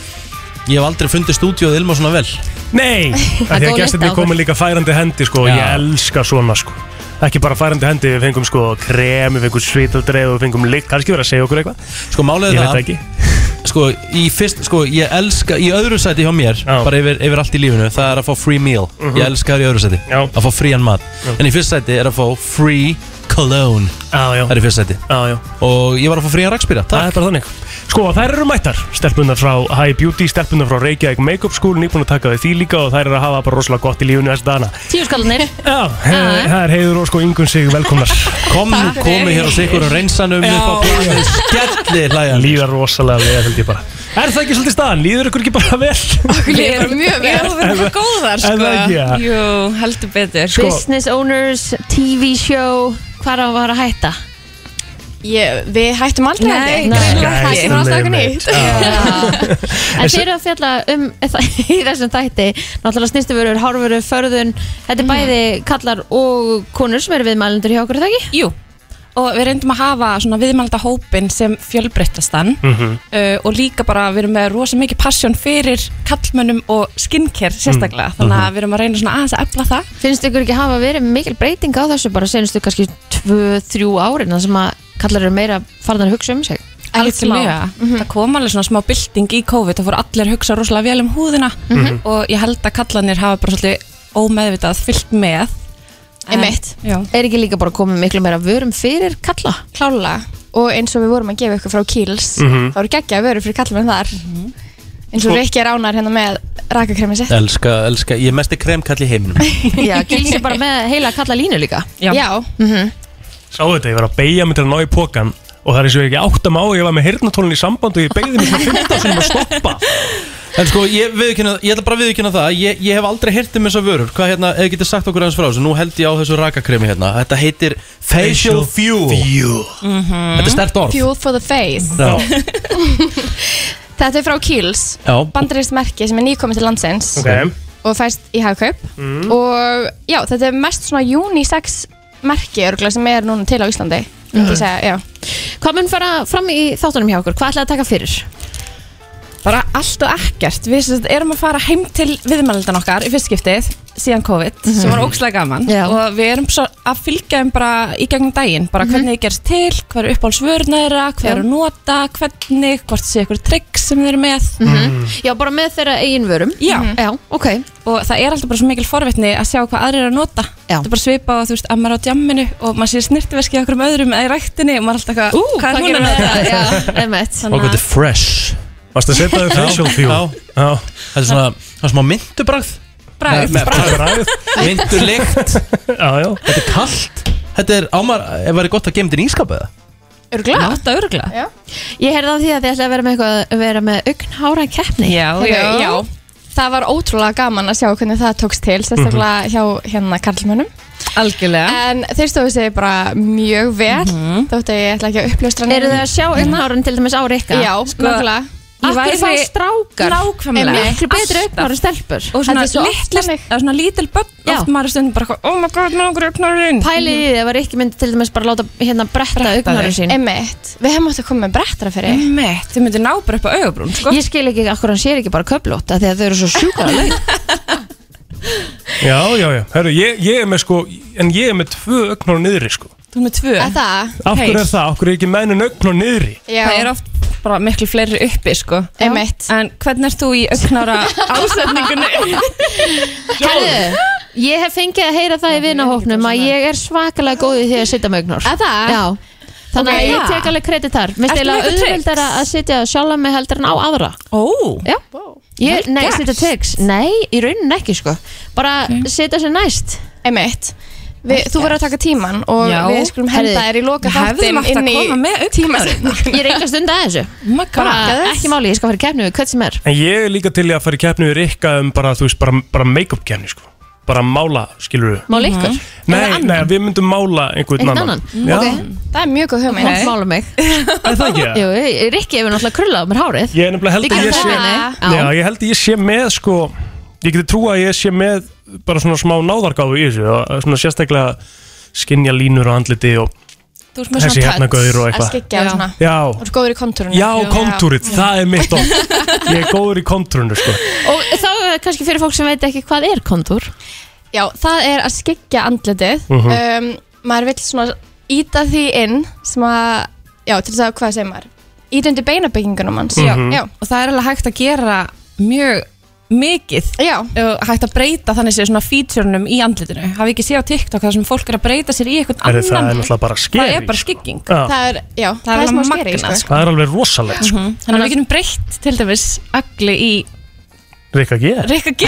S1: ég hef aldrei fundið stúdíóð ilma svona vel
S2: Nei, af
S1: Það kom
S2: því að
S1: létt
S2: gestinni
S1: á
S2: komi
S1: okkur.
S2: líka færandi hendi sko, og
S1: Já.
S2: ég elska svona sko ekki bara færandi hendi, við fengum sko krem, við fengum svítaldreið og við fengum lykt kannski verið að segja okkur eitthvað
S1: Sko málið er
S2: Ég
S1: það-
S2: veit ekki
S1: Sko, í fyrst, sko, ég elska í öðru sæti hjá mér, bara yfir, yfir allt í lífinu það er að fá free meal,
S2: Mhm.
S1: ég elska það í öðru sæti já. að fá frían mat,
S2: Já.
S1: en í fyrst sæti er að fá free cologne
S2: já, já.
S1: það er í fyrst sæti
S2: já, já.
S1: og ég var að fá frían rakspýra,
S2: Það er bara þannig Sko, þær eru mættar Stelpunar frá High Beauty, stelpunar frá Reykjavík Makeup School Nýbúin að taka því því líka og þær eru að hafa bara rosalega gott í lífinu þess dana
S3: Tíu skallanir
S2: He- Það er heiður og sko yngun sig velkomnar
S1: Kom, Takk. komu hér og sigur og reynsanum upp á borðið, skellir hlæjan
S2: Líða rosalega vel held ég bara Er það ekki svolítið staðan? Líður ykkur ekki bara vel?
S17: Ég er mjög vel
S2: við erum bara
S17: góðar
S2: sko. Er það ekki, ja? Sko-
S17: Jú, heldur betur
S3: Business owners, TV show, hvað er að vara að hætta?
S17: Ég, við hættum aldrei
S3: Nei,
S17: held ég.
S3: nei.
S17: Greinilega
S3: Nei,
S17: ekki. Það er alltaf eitthvað
S3: einmitt.
S17: nýtt En
S3: En þið eru að fjalla um í þessum þætti, náttúrulega snýstuvörur, hárvörur, förðun, þetta er
S17: Mm.
S3: bæði kallar og konur sem eru viðmælendur hjá okkur, er það ekki?
S17: Jú, og við reyndum að hafa svona viðmælda hópin sem fjölbreyttastan
S3: Mhm.
S17: uh, og líka bara við erum með rosa mikið passion fyrir kallmönnum og skincare
S2: Mm.
S17: sérstaklega þannig
S2: Mhm.
S17: að við erum að reyna svona aðeins að efla það
S3: Finnst ykkur ekki hafa verið mikil breyting á þessu bara senustu kannski 2-3 árin þar sem að kallar eru meira farðan að hugsa um sig?
S17: Algjörlega,
S3: Mhm.
S17: það kom alveg svona smá bylting í COVID, það fór allir að hugsa rosalega vel um húðina
S3: Mhm.
S17: og ég held að kallanir hafa bara svolítið ómeðvitað fyllt með
S3: Einmitt. Er ekki líka bara komið miklu meira vörum fyrir kalla?
S17: Klála
S18: og eins og við vorum að gefa ykkur frá Kiehl's
S1: Mhm. Sko-
S18: þá eru geggja að vera fyrir kallmenn þar eins og
S1: Og-
S18: Rikki ránar hérna með rakakremi sitt
S1: elska, elska, ég er mest í kremkall í heiminum
S3: Já, Gils er bara með heila kalla línu líka Mhm.
S17: Já,
S2: Sáu þetta, ég var að beigja mig til að ná í pókan og það er eins og ég ekki átt að má ég var með hirnatólun í samband og ég beigði mig svona 15 sem að stoppa
S1: En sko, ég, viðurkenna- ég ætla bara að viðkynna það ég, ég hef aldrei heyrt um þessar vörur Hvað hérna, ef þið getur sagt okkur aðeins frá þessu Nú held ég á þessu rakakremi hérna Þetta heitir Facial
S2: Facial
S1: Fuel, fuel. Þetta er sterkt orð
S18: Mhm. Fuel for the face
S1: Já.
S18: Þetta er frá Kiehl's
S1: Já.
S18: bandarist merki sem er nýkomið til landsins
S1: Ok.
S18: og fæst í hagkaup
S1: Mm.
S18: og já, þetta er mest svona unisex merki örgulega sem er núna til á Íslandi mm
S3: Mhm.
S18: -hmm. segja, já.
S3: Hvað mun fara fram í þáttunum hjá okkur? Hvað ætlaði að taka fyrir?
S17: bara allt og ekkert við sem sagt erum að fara heim til viðmældan okkar í fyrstskiptið síðan COVID sem var ógslag gaman
S3: Mhm. Já.
S17: og við erum svo að fylgja þeim bara í gegnum daginn
S3: Mhm.
S17: bara hvernig þið gerst til, hver er uppáhaldsvörnæra hver er að nota, hvernig hvort sé ykkur trygg sem þið eru með
S3: Mhm. Já, bara með þeirra eigin vörum Mhm.
S17: Já.
S3: Já, ok
S17: og það er alltaf bara svo mikil forvitni að sjá hvað aðrir eru að nota
S3: Já.
S17: það er bara svipa á þú veist að maður er á djamminu og maður sér snirtiverski okkur um öðrum eða í ræktinni og maður er alltaf eitthvað,
S3: Ú,
S17: hvað er
S3: hvað
S17: hún að
S3: gerum við
S17: nota?"
S3: það? Já,
S1: Og hvað þetta er fresh Varst
S2: að setja þau facial fuel?
S1: Já Þetta er svona, það er smá myndubræð
S17: Bragð. Bragð.
S1: Myndulikt
S2: Já, já
S1: Þetta er kallt Þetta er ámar, ef væri gott að gema þetta í ískapið
S3: Örgla
S17: Þetta örgla
S3: Ég heyrði á því að þið ætlaði að vera með eitthvað að vera með augnhára keppni
S18: Heyrðu, já. Það var ótrúlega gaman að sjá hvernig það tókst til, sérstaklega hjá hérna karlmönnum.
S17: Algjörlega. Mhm.
S18: En þeir stóðu sig bara mjög vel, þótt að ég ætla ekki að uppljóstra
S3: Eru þið að sjá augnháran til dæmis á Rikka?
S18: Já,
S3: Sko,
S18: nákvæmlega.
S3: Af hverju fá strákar
S17: Nákvæmlega.
S3: er miklu betri
S17: Alltaf.
S3: augnhára stelpur
S17: og
S3: Þetta
S17: svona,
S3: er svo oft
S17: litli, eða svona lítil börn oft maður er stundum bara eitthvað, oh my god, maður okkur augnarinn
S3: Pælið í því að var ekki myndi til dæmis bara láta hérna bretta augnhára sín
S18: Emmett, við hefum átt að koma með brettara fyrir
S17: Emmett, þið myndir ná bara upp á augabrún sko.
S3: Ég skil ekki akkur hann sér ekki bara köflót af því að þau eru svo sjúkara laun
S2: Já, já, já, herru, ég, ég er með sko En ég er með tvö ögn á niðri sko
S17: Þú er með tvö
S18: Að það?
S2: Af hverju er það? Af hverju er ekki mennun ögn á niðri?
S18: Já.
S17: Það er oft bara miklu fleiri uppi sko Einmitt. En hvernig ert þú í auknára ásetningunni?
S3: Herðu, ég hef fengið að heyra það í vinahópnum að ég er svakalega góð í því að sitja með ögnur
S18: Að það?
S3: Já Þannig
S18: Ok.
S3: að ég tek alveg kredit þar Mér
S18: Ertu
S3: stila
S18: með eitthvað
S3: auðvöldara að sitja sjálf með heldur en á aðra
S17: Ó
S3: Já Ég,
S18: Vel
S3: nei,
S18: gert.
S3: sitja tricks Nei, í rauninni ekki sko Bara sitja sér næst
S18: Einmitt Við, þú verður að taka tíman og
S3: Já.
S18: við skulum henda
S3: Herri,
S18: þér í loka
S3: við hefðum
S18: þáttin
S3: átt að
S18: inn í
S3: koma með Oh
S18: tímasetningu.
S3: Ég er einhver stund að þessu
S17: oh
S3: Bara ekki máli, ég skal fara í keppni við hvern sem er
S2: En ég er líka til í að fara í keppni við Rikka um bara, þú veist, bara, bara make-up keppni sko Bara mála, skilur við
S3: Mála ykkur?
S2: Nei, nei, við myndum mála einhvern
S3: Einhvern
S2: annan
S3: annan?
S2: Já,
S3: Ok.
S18: Það er mjög góð hugmynd
S3: Mátt mála mig
S2: Er það ekki það?
S3: Jú, Rikki hefur náttúrulega krullað á mér hárið
S2: Ég er nefnilega held að ég sé Já, ég held að ég sé með sko Ég geti trú að ég sé með bara svona smá náðargáfu í þessu og svona sérstaklega skinja línur á andliti og
S18: Þú ert með svona
S2: Þessi hérna gaur og
S18: töts að
S2: eitthvað.
S18: skyggja og svona
S2: Já.
S18: Þú ert góður í kontúrunum
S2: Já, kontúrið, það er mitt orð Ég er góður í kontúrinu sko
S3: Og þá er kannski fyrir fólk sem veit ekki hvað er kontúr
S18: Já, það er að skyggja andlitið
S3: Mhm.
S18: um, Maður vill svona íta því inn sem að, já, til þess að hvað segir maður Íta undir beinabyggingunum hans
S17: Mhm.
S18: já, já.
S17: Og það er alveg hægt að gera mjög mikið
S18: Já.
S17: hægt að breyta þannig séu svona featurenum í andlitinu hafi ekki séð á TikTok þar sem fólk er að breyta sér í eitthvað
S2: Herri,
S17: annan
S2: það er náttúrulega bara
S17: það
S2: skeri,
S17: er bara
S2: sko.
S17: skygging
S2: Já. Það
S18: er, já, það,
S17: er,
S18: er smá skeri,
S17: alveg
S18: sko.
S17: magnað, sko.
S2: Það er alveg rosalegt sko
S17: Mhm. þannig að við getum breytt til dæmis agli í
S2: Rikka G
S17: Rikka G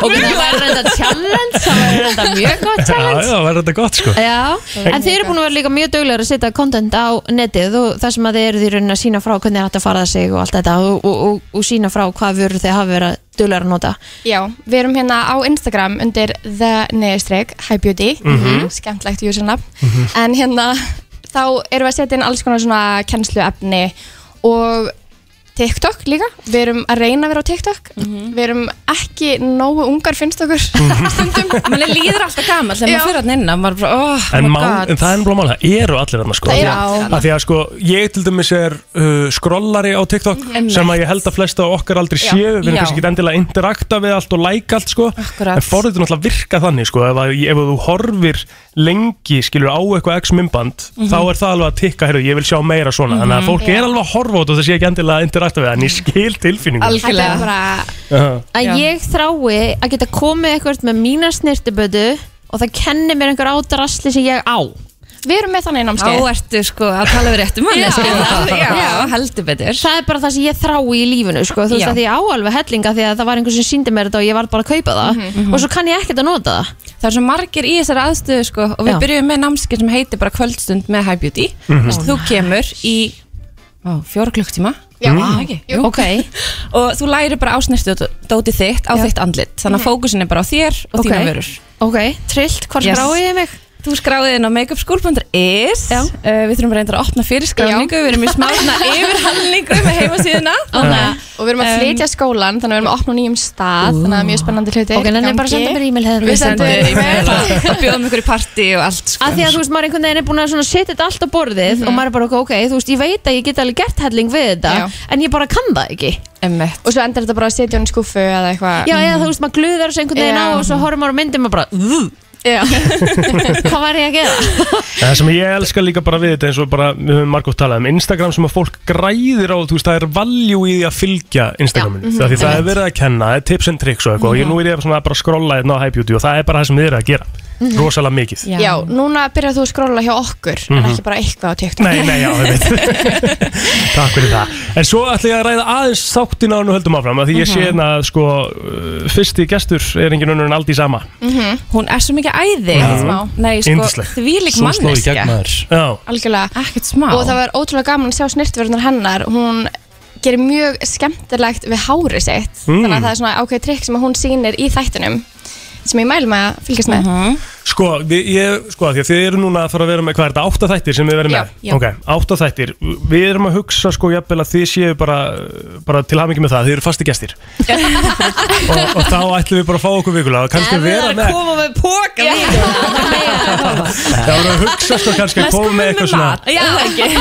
S3: Og það var reynda challenge Það var reynda mjög gott
S2: Já,
S3: challenge
S2: já, verður þetta gott sko
S3: Já, en
S2: En-
S3: þið eru búin að vera líka mjög duglegar að setja content á netið og það sem að þið eru því raunin að sína frá hvernig er hægt að fara það sig og allt þetta og, og, og, og sína frá hvað vörur þið hafa verið duglegar að nota
S18: Já, við erum hérna á Instagram undir the neðustreg, high beauty
S3: Mhm.
S18: skemmtlegt usernafn en hérna þá erum við að setja inn alls konar svona kennsluefni og TikTok líka, við erum að reyna að vera á TikTok
S17: Mhm.
S18: við erum ekki nógu ungar finnst okkur stundum
S17: mann líður alltaf gammal þegar maður fyrir hann inn og maður bara, oh,
S2: En,
S17: my
S2: mál,
S17: god
S2: en það er náttúrulega mál, það eru allir þarna sko
S17: Það eru
S2: Af því að-
S17: allir þarna.
S2: Af því að sko, ég til dæmis er uh, skrollari á TikTok
S17: Mhm. Einmitt.
S2: sem að ég held að flesta af okkar aldrei
S17: Já.
S2: séu, við erum
S17: Já.
S2: kannski ekki endilega að interakta við allt og like allt sko
S17: Akkurat.
S2: en forðið náttúrulega virka þannig sko ef, að, ef þú horfir lengi skilur á eitthvað x mymband
S17: Mhm.
S2: þá er það alveg að tikka, heyrðu, ég vil sjá meira svona þannig að
S17: Mhm.
S2: fólk
S17: Já.
S2: er alveg að horfa á þetta og það sé ekki endilega að interakta við það en ég skil tilfinningu
S3: Algjörlega.
S18: Þetta er bara-
S3: að ég þrái að geta komið eitthvað með mína snirtibödu og það kenni mér einhver ádrasli sem ég á
S18: Við erum með þannig
S17: námskeið. Þá ertu sko að tala við réttum manni, sko. Já,
S3: heldur betur Það er bara það sem ég þrái í lífinu sko. Þú veist
S17: Já.
S3: að því ég á alveg hellinga því að það var einhver sem síndi mér þetta og ég var bara að kaupa það
S17: Mhm.
S3: og svo kann ég ekkert að nota það
S17: það er svo margir í þessari aðstöðu sko, og við
S3: Já.
S17: byrjum með námskeið sem heitir bara kvöldstund með High Beauty
S3: Mhm.
S17: mm -hmm. þú kemur í ó, fjóra klukktíma
S18: Já.
S17: Á, ekki? Jú. og þú læri bara ásnertu dóti þitt á þitt andlit
S3: Mhm.
S17: þannig að fókusin er bara á þér og
S3: Ok.
S17: þína vörur
S3: Ok, trillt, hvar yes. skrái ég mig?
S17: Þú skráðið inn á makeupschool.is uh, Við þurfum reyndar að opna fyrir skráningu Við erum í smá svona yfirhalningu með heimasíðuna
S18: Þannig að- og
S3: Um,
S18: við erum að
S17: Em,
S18: flytja skólan þannig að við erum að opna á nýjum stað þannig að mjög spennandi hluti
S3: Ok, nenni bara að senda mér e-mail hérna. hefðum
S18: Við sendum þér e-mail.
S17: og bjóðum ykkur í partí og allt sko.
S3: Af því að þú veist, maður einhvern veginn er búin að svona setja þetta allt á borðið og maður er bara, ok, ok, þú veist, ég veit að ég get alveg gert helling við þetta, en ég bara kann það ekki
S17: Emmett.
S18: og svo endar þetta bara að setja hún í skuffu eða eitthvað
S3: Já, eða þú veist, maður gluðar þessu einhvern veginn á
S18: Já.
S3: og svo horfum maður á myndum og bara
S18: Já
S3: Hvað var ég að gera?
S2: Það sem ég elska líka bara við þetta eins og bara við höfum margótt talað um Instagram sem að fólk græðir á þú veist það er valjú í því að fylgja
S1: Já,
S2: Instagraminu mm því
S1: mhm,
S2: það er
S1: einmitt.
S2: verið að kenna, það er tips and tricks og eitthvað og ég nú er ég svona bara að skrolla hérna á High Beauty og það er bara það sem þið eru að gera
S18: Mhm.
S2: rosalega mikið
S18: Já. núna byrjar þú að skróla hjá okkur en
S2: Mhm.
S18: ekki bara eitthvað á TikTok
S2: Nei, nei, já, ég veit Takk fyrir það En svo ætla ég að ræða aðeins þáttina og nú höldum áfram af Því ég sé
S17: Mhm.
S2: hérna að sko uh, Fyrsti gestur er engin önnur en aldrei sama
S17: Mhm. Hún er svo mikið æði
S2: Já.
S17: smá. Nei, sko,
S2: Yndisleg.
S17: því lík manneskja
S2: Já
S18: Algjörlega
S17: Ekkert smá
S18: Og það var ótrúlega gaman að sjá snirtverðunar hennar Hún gerir mjög skemmtilegt við hárið sitt
S2: Mm.
S3: Mhm.
S18: Þannig að það er svona ákveðið trikk sem að hún sýnir í þættinum Sem ég mælu með að fylgjast með
S17: -hmm.
S2: Sko, við, ég, sko, af því að þið eru núna að fara að vera með, hvað er þetta, átta þættir sem við verðum
S17: Já,
S2: með?
S17: já.
S2: Ok, átta þættir. Við erum að hugsa, sko, jafnvel að þið séu bara, bara til hamingi með það, þið eru fasti gestir. og, og þá ætlum við bara að fá okkur vikulega, og kannski vera með,
S19: koma með póka
S2: þá erum við að hugsa, sko, kannski að koma með eitthvað svona,
S19: Já, ekki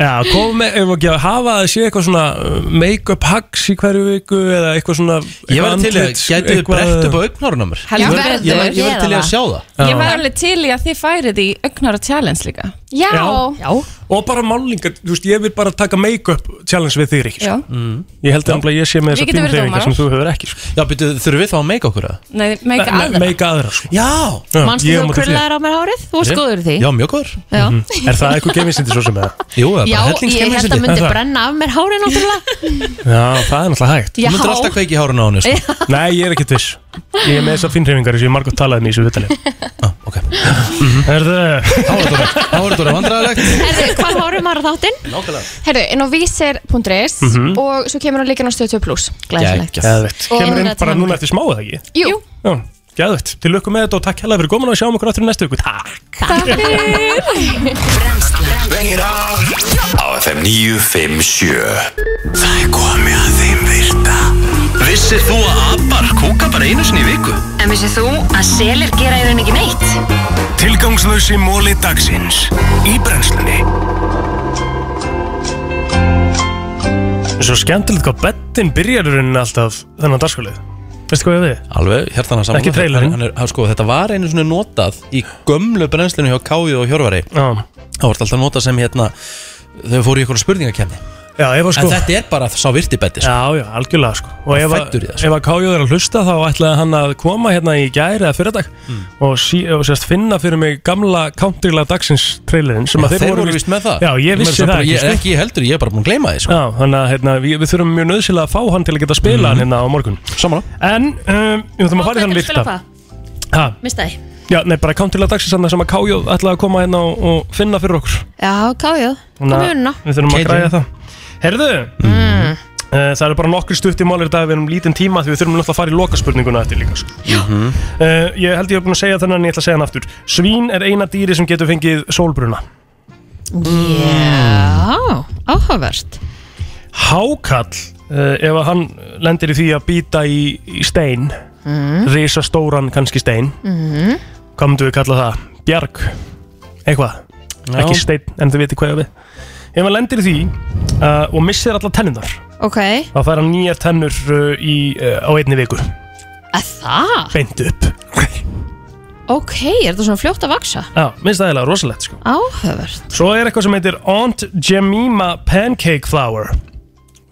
S2: já, koma með, ef ekki að hafa að sé eitthvað svona uh, make-up hacks í hverju viku, eða eitthvað svona,
S1: Ég væri til í að- gætuð þið brett upp á
S2: augnhárun á mér?
S17: Heldur betur.
S1: Ég verði til í að sjá það
S17: Ég var alveg til í að þið færið í augnára challenge líka
S2: Já. Og bara málingar, þú veist, ég vil bara taka make-up challenge við þig, Ríkis.
S17: Já.
S2: Mm. Ég held að ég sé með þessar
S17: Við getum verið
S2: pínurhefingar
S17: dómarar.
S2: sem þú hefur ekki. Sko. Já, byrju, þurfum við þá að make okkur það?
S17: Nei, make aðra
S2: Make aðra, sko. Já!
S3: Manstu
S2: ég á
S3: þú
S2: móti þér.
S3: krullaðir á mér hárið? Þú varst góður í því
S1: Já, mjög góður
S3: Já.
S2: Mhm. Er það eitthvað gemisindi svo sem eða? Jú,
S3: Já, ég held að myndi brenna af mér hárið náttúrulega
S2: Já, það er náttúrulega hægt.
S3: Þú myndir Já. alltaf
S2: kveiki hárun á henni,
S3: sko.
S2: Nei, ég er ekki viss. Ég er með þessar pínurhefingar sem ég margótt talaði um í þessu viðtalið. Ah, ok. Herðu,
S1: Háratóra vandræðilegt
S18: Herðu,
S3: Hvað hárið maður þáttinn?
S1: Nákvæmlega
S18: Herðu, inn á vísir.is
S2: Mhm.
S18: og svo kemur hann líka inn á stöð 2 plus
S2: Gæðvett.
S18: Og-
S2: Kemur inn bara núna eftir smá eða ekki?
S18: Jú,
S2: Já, gæðvett. Til lukku með þetta og takk hella fyrir komin og sjáum okkur aftur í næstu viku. Takk.
S18: takk fyrir
S4: Á FM 957 Það er komið að þeim virta Vissir þú að abar kúka bara einu sinni í viku?
S5: En vissið þú að selir gera í rauninni ekki neitt?
S4: Tilgangslösi móli dagsins Í brennslunni
S2: Svo skemmtilegt hvað bettin byrjar í rauninni alltaf þennan dagskulið. Veistu hvað ég á við?
S1: Alveg, hérna hann
S2: Ekki trailerinn.
S1: Sko, þetta var einu svona notað í gömlu brennslinu hjá Káju og Hjörvari
S2: Já.
S1: Það var alltaf notað sem hérna þau fóru í eitthvað spurningakefni
S2: Já, ef að sko
S1: En þetta er bara sá virtibætti sko.
S2: Já, já, algjörlega sko Og
S1: Hann
S2: ef
S1: fæddur
S2: að,
S1: í það,
S2: ef að Kájóð er að hlusta þá ætlaði hann að koma hérna í gæri eða fyrirdag
S1: Mm.
S2: og, sí, og sérst finna fyrir mig gamla countrylag dagsins trailerinn sem
S1: Já,
S2: að
S1: þeir voru víst með það.
S2: Já,
S1: Ég
S2: ég
S1: meina
S2: vissi
S1: samt
S2: það
S1: bara-
S2: ekki, sko.
S1: ég- ekki ég heldur, ég er bara búin að gleyma því sko.
S2: Já, þannig að hérna, við, við þurfum mjög nöðsilega að fá hann til að geta spila
S1: Mhm.
S2: hann hérna á morgun
S1: Saman
S2: En, um, við þurfum að fara í þann virta Ha,
S3: Mista því
S2: Já, nei, bara countrylag dagsins hann sem að Kájóð ætlaði að koma hérna og, og finna fyrir okkur
S3: Já, kájóð, komið
S2: að
S3: unna
S2: við þurfum að græja það Herðu,
S3: Mm.
S2: eh, það eru bara nokkri stutt í málir í dag við erum lítinn tíma því við þurfum náttúrulega að fara í lokaspurninguna eftir líka sko.
S1: Mhm.
S2: uh, Ég held ég hef búin að segja þennan en ég ætla að segja hann aftur Svín er eina dýri sem getur fengið sólbruna
S3: Já, áhugavert
S2: Hákall, uh, ef að hann lendir í því að býta í, í stein
S3: Mm.
S2: risastóran kannski stein
S3: Mhm.
S2: hvað myndum við kalla það? Bjarg eitthvað,
S1: Já.
S2: ekki stein en þið veitir hvað ég á við ef hann lendir í því uh, og missir alla tennunar
S3: Ok,
S2: þá fær hann nýjar tennur uh, í, uh, á einni viku
S3: að það?
S2: beint upp
S3: Ok, er þetta svona fljótt að vaksa?
S2: já, minnst það eiginlega rosalegt sko
S3: Áhugavert
S2: svo er eitthvað sem heitir Aunt Jemima Pancake Flour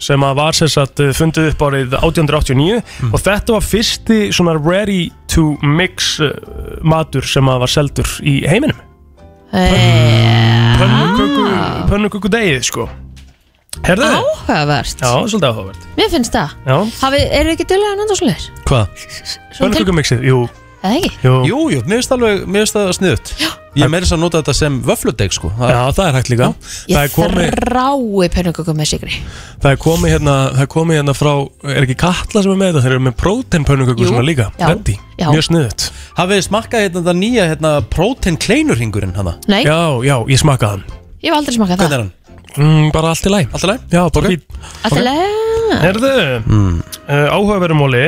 S2: sem að var sem sagt uh, fundið upp árið 1889 og þetta var fyrsti svona ready to mix uh, matur sem að var seldur í heiminum
S3: Pönnuköku
S2: pönnuköku degið sko Herðu?
S3: Áhugavert
S2: Já, svolítið áhugavert
S3: Mér finnst það
S2: Já,
S3: Hafi, eru ekki döllega að nönda svolítið?
S1: Hvað?
S3: Svona til-
S2: Pönnukökumixið, jú
S3: Eða ekki?
S2: Jú,
S1: jú, jú mér finnst alveg, mér finnst það sniðut Ég er meira þess að nota þetta sem vöfludeg sko það,
S2: Já, það er hægt líka
S1: Það er
S3: Ég þrái pönnuköku með sigri
S2: það er komið hérna, það er komið hérna frá er ekki Katla sem er með þetta, þeir eru með protein pönnukökur
S1: Jú,
S2: svona líka,
S1: já,
S2: Reddy,
S1: já.
S2: mjög sniðut
S1: Hafið þið smakkað hérna þetta nýja hérna, protein kleinurringurinn hana?
S3: Nei.
S2: Já, já, ég smakkaði hann
S3: Ég hef aldrei smakað
S1: Hvernig
S3: það
S1: er hann?
S2: Mm, bara allt í læg
S1: Allt í læg?
S2: Já, bara fín
S3: Alltaf leið
S2: Herðu,
S1: Hmm.
S2: mm. uh, áhugaverumóli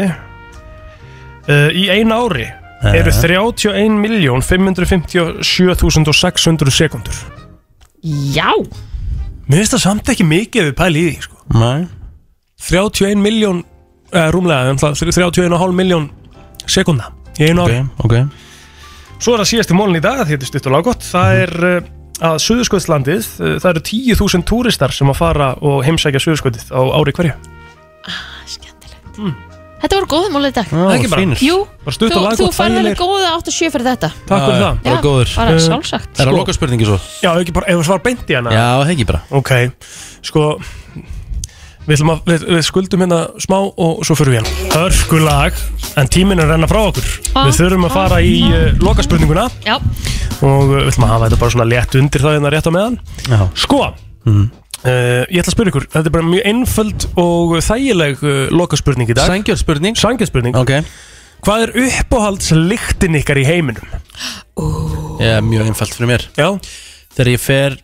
S2: uh, Í einu ári
S1: Ja.
S2: eru 31.557.600 sekundur
S3: Já
S2: Mér finnst það samt ekki mikið ef við pæli í því sko.
S1: Nei
S2: 31 miljón eh, rúmlega, um það, 31,5 miljón sekunda í einu ári
S1: Ok,
S2: Svo er það síðasti mólin í dag, þetta er stutt og lággott Það
S1: Mhm.
S2: er eh, að Suðurskvöldslandið eh, það eru 10.000 túristar sem að fara og heimsækja Suðurskvöldið á ári hverju
S3: Þetta voru góðum múlið í dag
S2: Það er ekki bara-
S3: Jú,
S2: Bara
S3: þú,
S2: stutt og laggott,
S3: þú færði alveg
S2: þægilegir.
S3: góða 8-7 fyrir þetta
S2: Takk fyrir það Eh.
S3: Já, bara sjálfsagt.
S1: Eh,
S3: Sko-
S1: Er það loka spurningi svo?
S2: Já, ef ekki bara, ef það svar beint í hana
S1: Já, það ekki bara
S2: Ok, sko Við, ætlum að, við, við skuldum hérna smá og svo fyrir við hérna Hörkulag, en tíminn er að renna frá okkur
S3: Ah,
S2: Við þurfum að
S3: ah,
S2: fara í uh, lokaspurninguna
S3: Já,
S2: Og uh, við ætlum að hafa þetta bara svona létt undir það hérna rétt á meðan
S1: Já. Mhm.
S2: Sko, Uh, ég ætla að spyrja ykkur, þetta er bara mjög einföld og þægileg uh, lokaspurning í dag
S1: Sængjörn spurning
S2: Sængjörn spurning
S1: Ok
S2: Hvað er uppáhaldslyktin ykkar í heiminum?
S1: Já, mjög einfalt fyrir mér
S2: Já
S1: Þegar ég fer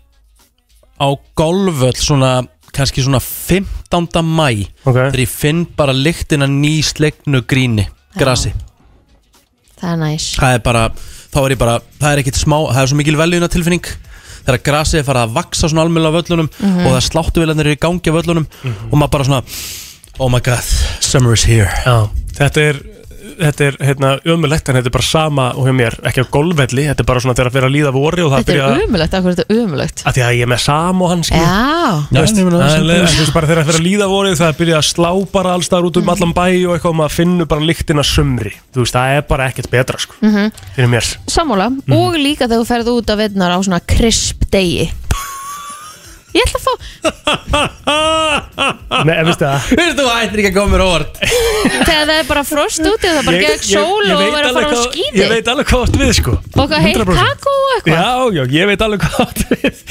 S1: á golföll svona kannski svona 15. mæ okay. Þegar ég finn bara lyktina ný slegnu gríni grasi
S3: Það er næs
S1: Það er bara, þá er ég bara, það er ekkit smá, það er svo mikil veljuna tilfinning Þegar grasið er farið að vaksa svona almjöla völlunum
S3: Mhm.
S1: Og það sláttu viljanir eru í gangi af völlunum
S2: Mm.
S1: Og maður bara svona, oh my god, summer is here
S2: Já, þetta er Þetta er hérna ömulegt en þetta er bara sama og hjá mér, ekki á golfvelli, þetta er bara svona þegar að vera að líða vori og það
S3: Þetta
S2: byrja
S3: er umulegt, akkur þetta er umulegt
S2: að því að ég er með sam og hann skil
S3: Já.
S2: Þú veist,
S3: Já, ég meina,
S2: það
S3: það
S2: er
S3: er
S2: leið-
S3: sem-
S2: þú veist, bara þegar það er að líða vorið það er byrjað að slá bara allstaðar
S3: Mhm.
S2: út um allan bæ og eitthvað og maður finnur bara lyktina sumri þú veist, það er bara ekkert betra sko
S3: mm
S2: fyrir mér
S3: Sammála,
S2: Mhm.
S3: og líka þegar þú ferð út af vinnar á svona krisp degi Ég ætla að fá
S2: Nei, veistu það
S1: Þú ættir ekki að koma mér á orð
S3: Þegar það er bara frost úti og það er bara gegn sól og það er að fara á skíði
S2: Ég veit alveg hvað átt við sko
S3: Og eitthvað heitt
S2: 100%.
S3: kakó og eitthvað
S2: Já, já, ég veit alveg hvað átt við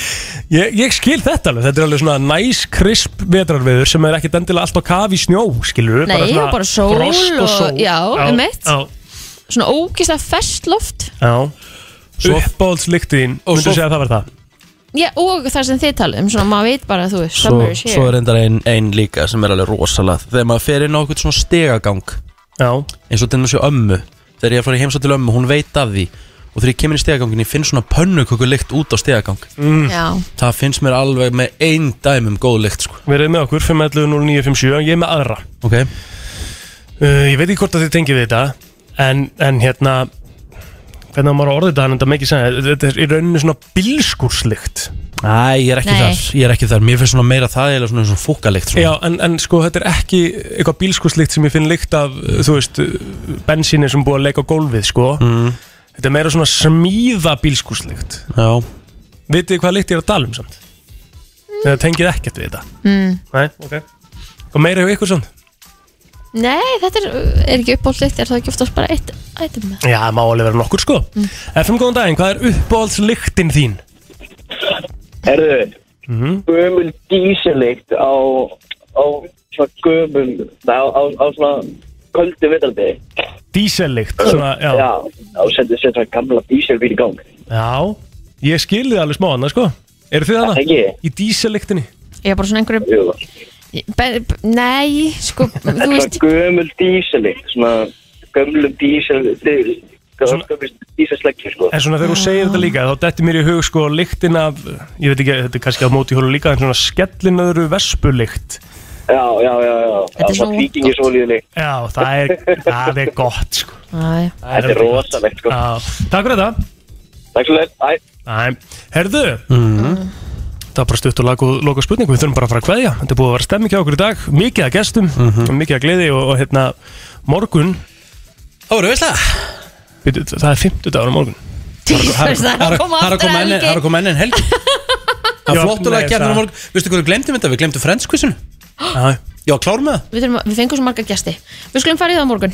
S2: ég, ég skil þetta alveg, þetta er alveg svona næs krisp vetrarveður sem er ekkert endilega allt á kafi í snjó, skilur
S3: Nei, bara, bara sól og,
S2: frost og sól
S3: Já, um
S2: já,
S3: Svona ógislega fest loft
S2: já. Uppáhaldslyktin,
S1: Og
S2: myndu
S1: svo-
S2: segja að það var það
S3: Já, og það sem þið talið um, svona maður veit bara, þú veist,
S1: Svo,
S3: summer is here
S1: svo er reyndar ein, ein líka sem er alveg rosalega Þegar maður fer inn á eitthvað svona stegagang
S2: Já
S1: Eins og til þessu ömmu Þegar ég er farið heimsá til ömmu, hún veit af því Og þegar ég kemur í stegagangin, ég finn svona pönnuköku lykt út á stegagang
S2: Mm.
S3: Já.
S1: Það finnst mér alveg með ein dæmum góð lykt sko.
S2: Verið með okkur, 511-0957, ég er með aðra
S1: Ok
S2: uh, Ég veit ekki hvort að þið tengið við þetta En, en hérna Hvernig á maður að orða þetta, en þetta með ekki segja Þetta er í rauninu svona bílskúrslykt
S1: Æ, ég er ekki
S2: Nei.
S1: þar, ég er ekki þar Mér finnst svona meira það eða svona, svona fúkalykt svona.
S2: Já, en, en sko þetta er ekki eitthvað bílskúrslykt sem ég finn lykt af uh, Þú veist, uh, bensíni sem búið að leika á gólfið sko
S1: Mm.
S2: Þetta er meira svona smíða bílskúrslykt
S1: Já
S2: Vitið þið hvað lykt ég er að tala um samt? Þetta tengið ekkert við þetta
S3: Mm.
S2: Nei, ok Og meira hjá ykkur samt?
S3: Nei, þetta er, uh, er ekki uppáhaldsleikt, er það ekki oftast bara eitt item
S2: Já, það má alveg vera nokkur sko
S3: Mm.
S2: FM, góðan daginn, hvað er uppáhaldslyktin þín?
S15: Herðu,
S2: Mm -hmm.
S15: gömul díselikt á, á svona gömul, á, á, á svona köldu vitaldi.
S2: Dísellykt, svona, já
S15: Já, þá sendur sér svona gamla díselbíl í gang.
S2: Já, ég skilði alveg smá annað sko Eru þið hana?
S15: Ekki.
S2: Í dísalyktinni
S3: Ég er bara svona einhverju Be- b- Nei, sko, þú
S15: Svona
S3: veist
S15: gömul díselikt, svona gömlum dísel, gömul díselsleggjur sko.
S2: En svona þegar þú segir þetta líka Þá dettir mér í hug sko lyktin af Ég veit ekki, þetta er kannski á móti hólu líka En svona skellinöðru vespulykt
S15: Já, já, já, já.
S3: Þetta er svo
S15: svona tvíkingisólíðulykt.
S2: Já, það er, það er gott sko
S3: Æ.
S15: Þetta er rosalegt sko.
S2: Já, takk fyrir þetta
S15: Takk svo leið, æ.
S2: Æ, herðu
S1: Mhm.
S2: Það var bara stutt og lagu, loka spurningu Við þurfum bara að fara að kveðja Þetta er búið að vera stemming hjá okkur í dag Mikið að gestum,
S1: Mhm.
S2: mikið að gleði og, og hérna morgun
S1: Það voru veist
S2: Það er 50 dagur á morgun
S1: Jesus, það er að koma aftur helgi. Það er að koma enn en helgi Það
S2: Já,
S1: er flottulega
S2: nei,
S1: að gera
S2: það-
S1: það morgun Vistu hvað við glemtum þetta? Við glemtum frendskvísinu Já, klár með það
S3: Við, þurfum, að- við fengum svo marga gæsti Við skulum fara í það á morgun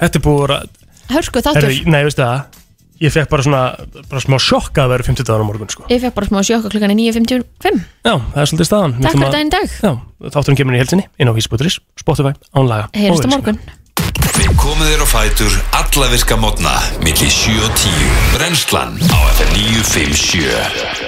S2: Þetta er búið að vera-
S3: Hörsku þáttur
S2: Herðu, Nei, veistu það Ég fekk bara svona, bara smá sjokka að vera 50 dagar á morgun sko.
S3: Ég fekk bara smá sjokka klukkan í 9.55
S2: Já, það er svolítið staðan Við
S3: Takk
S2: ætlum
S3: fyrir
S2: að-
S3: daginn í dag
S2: Já, þátturinn kemur inn í helsinni inn á Ísbúturis, Spotify, ánlaga
S3: Heyrjumst á morgun
S4: Við komum þér á fætur alla virka mótna millir 7 og 10 Brennslan á FM 957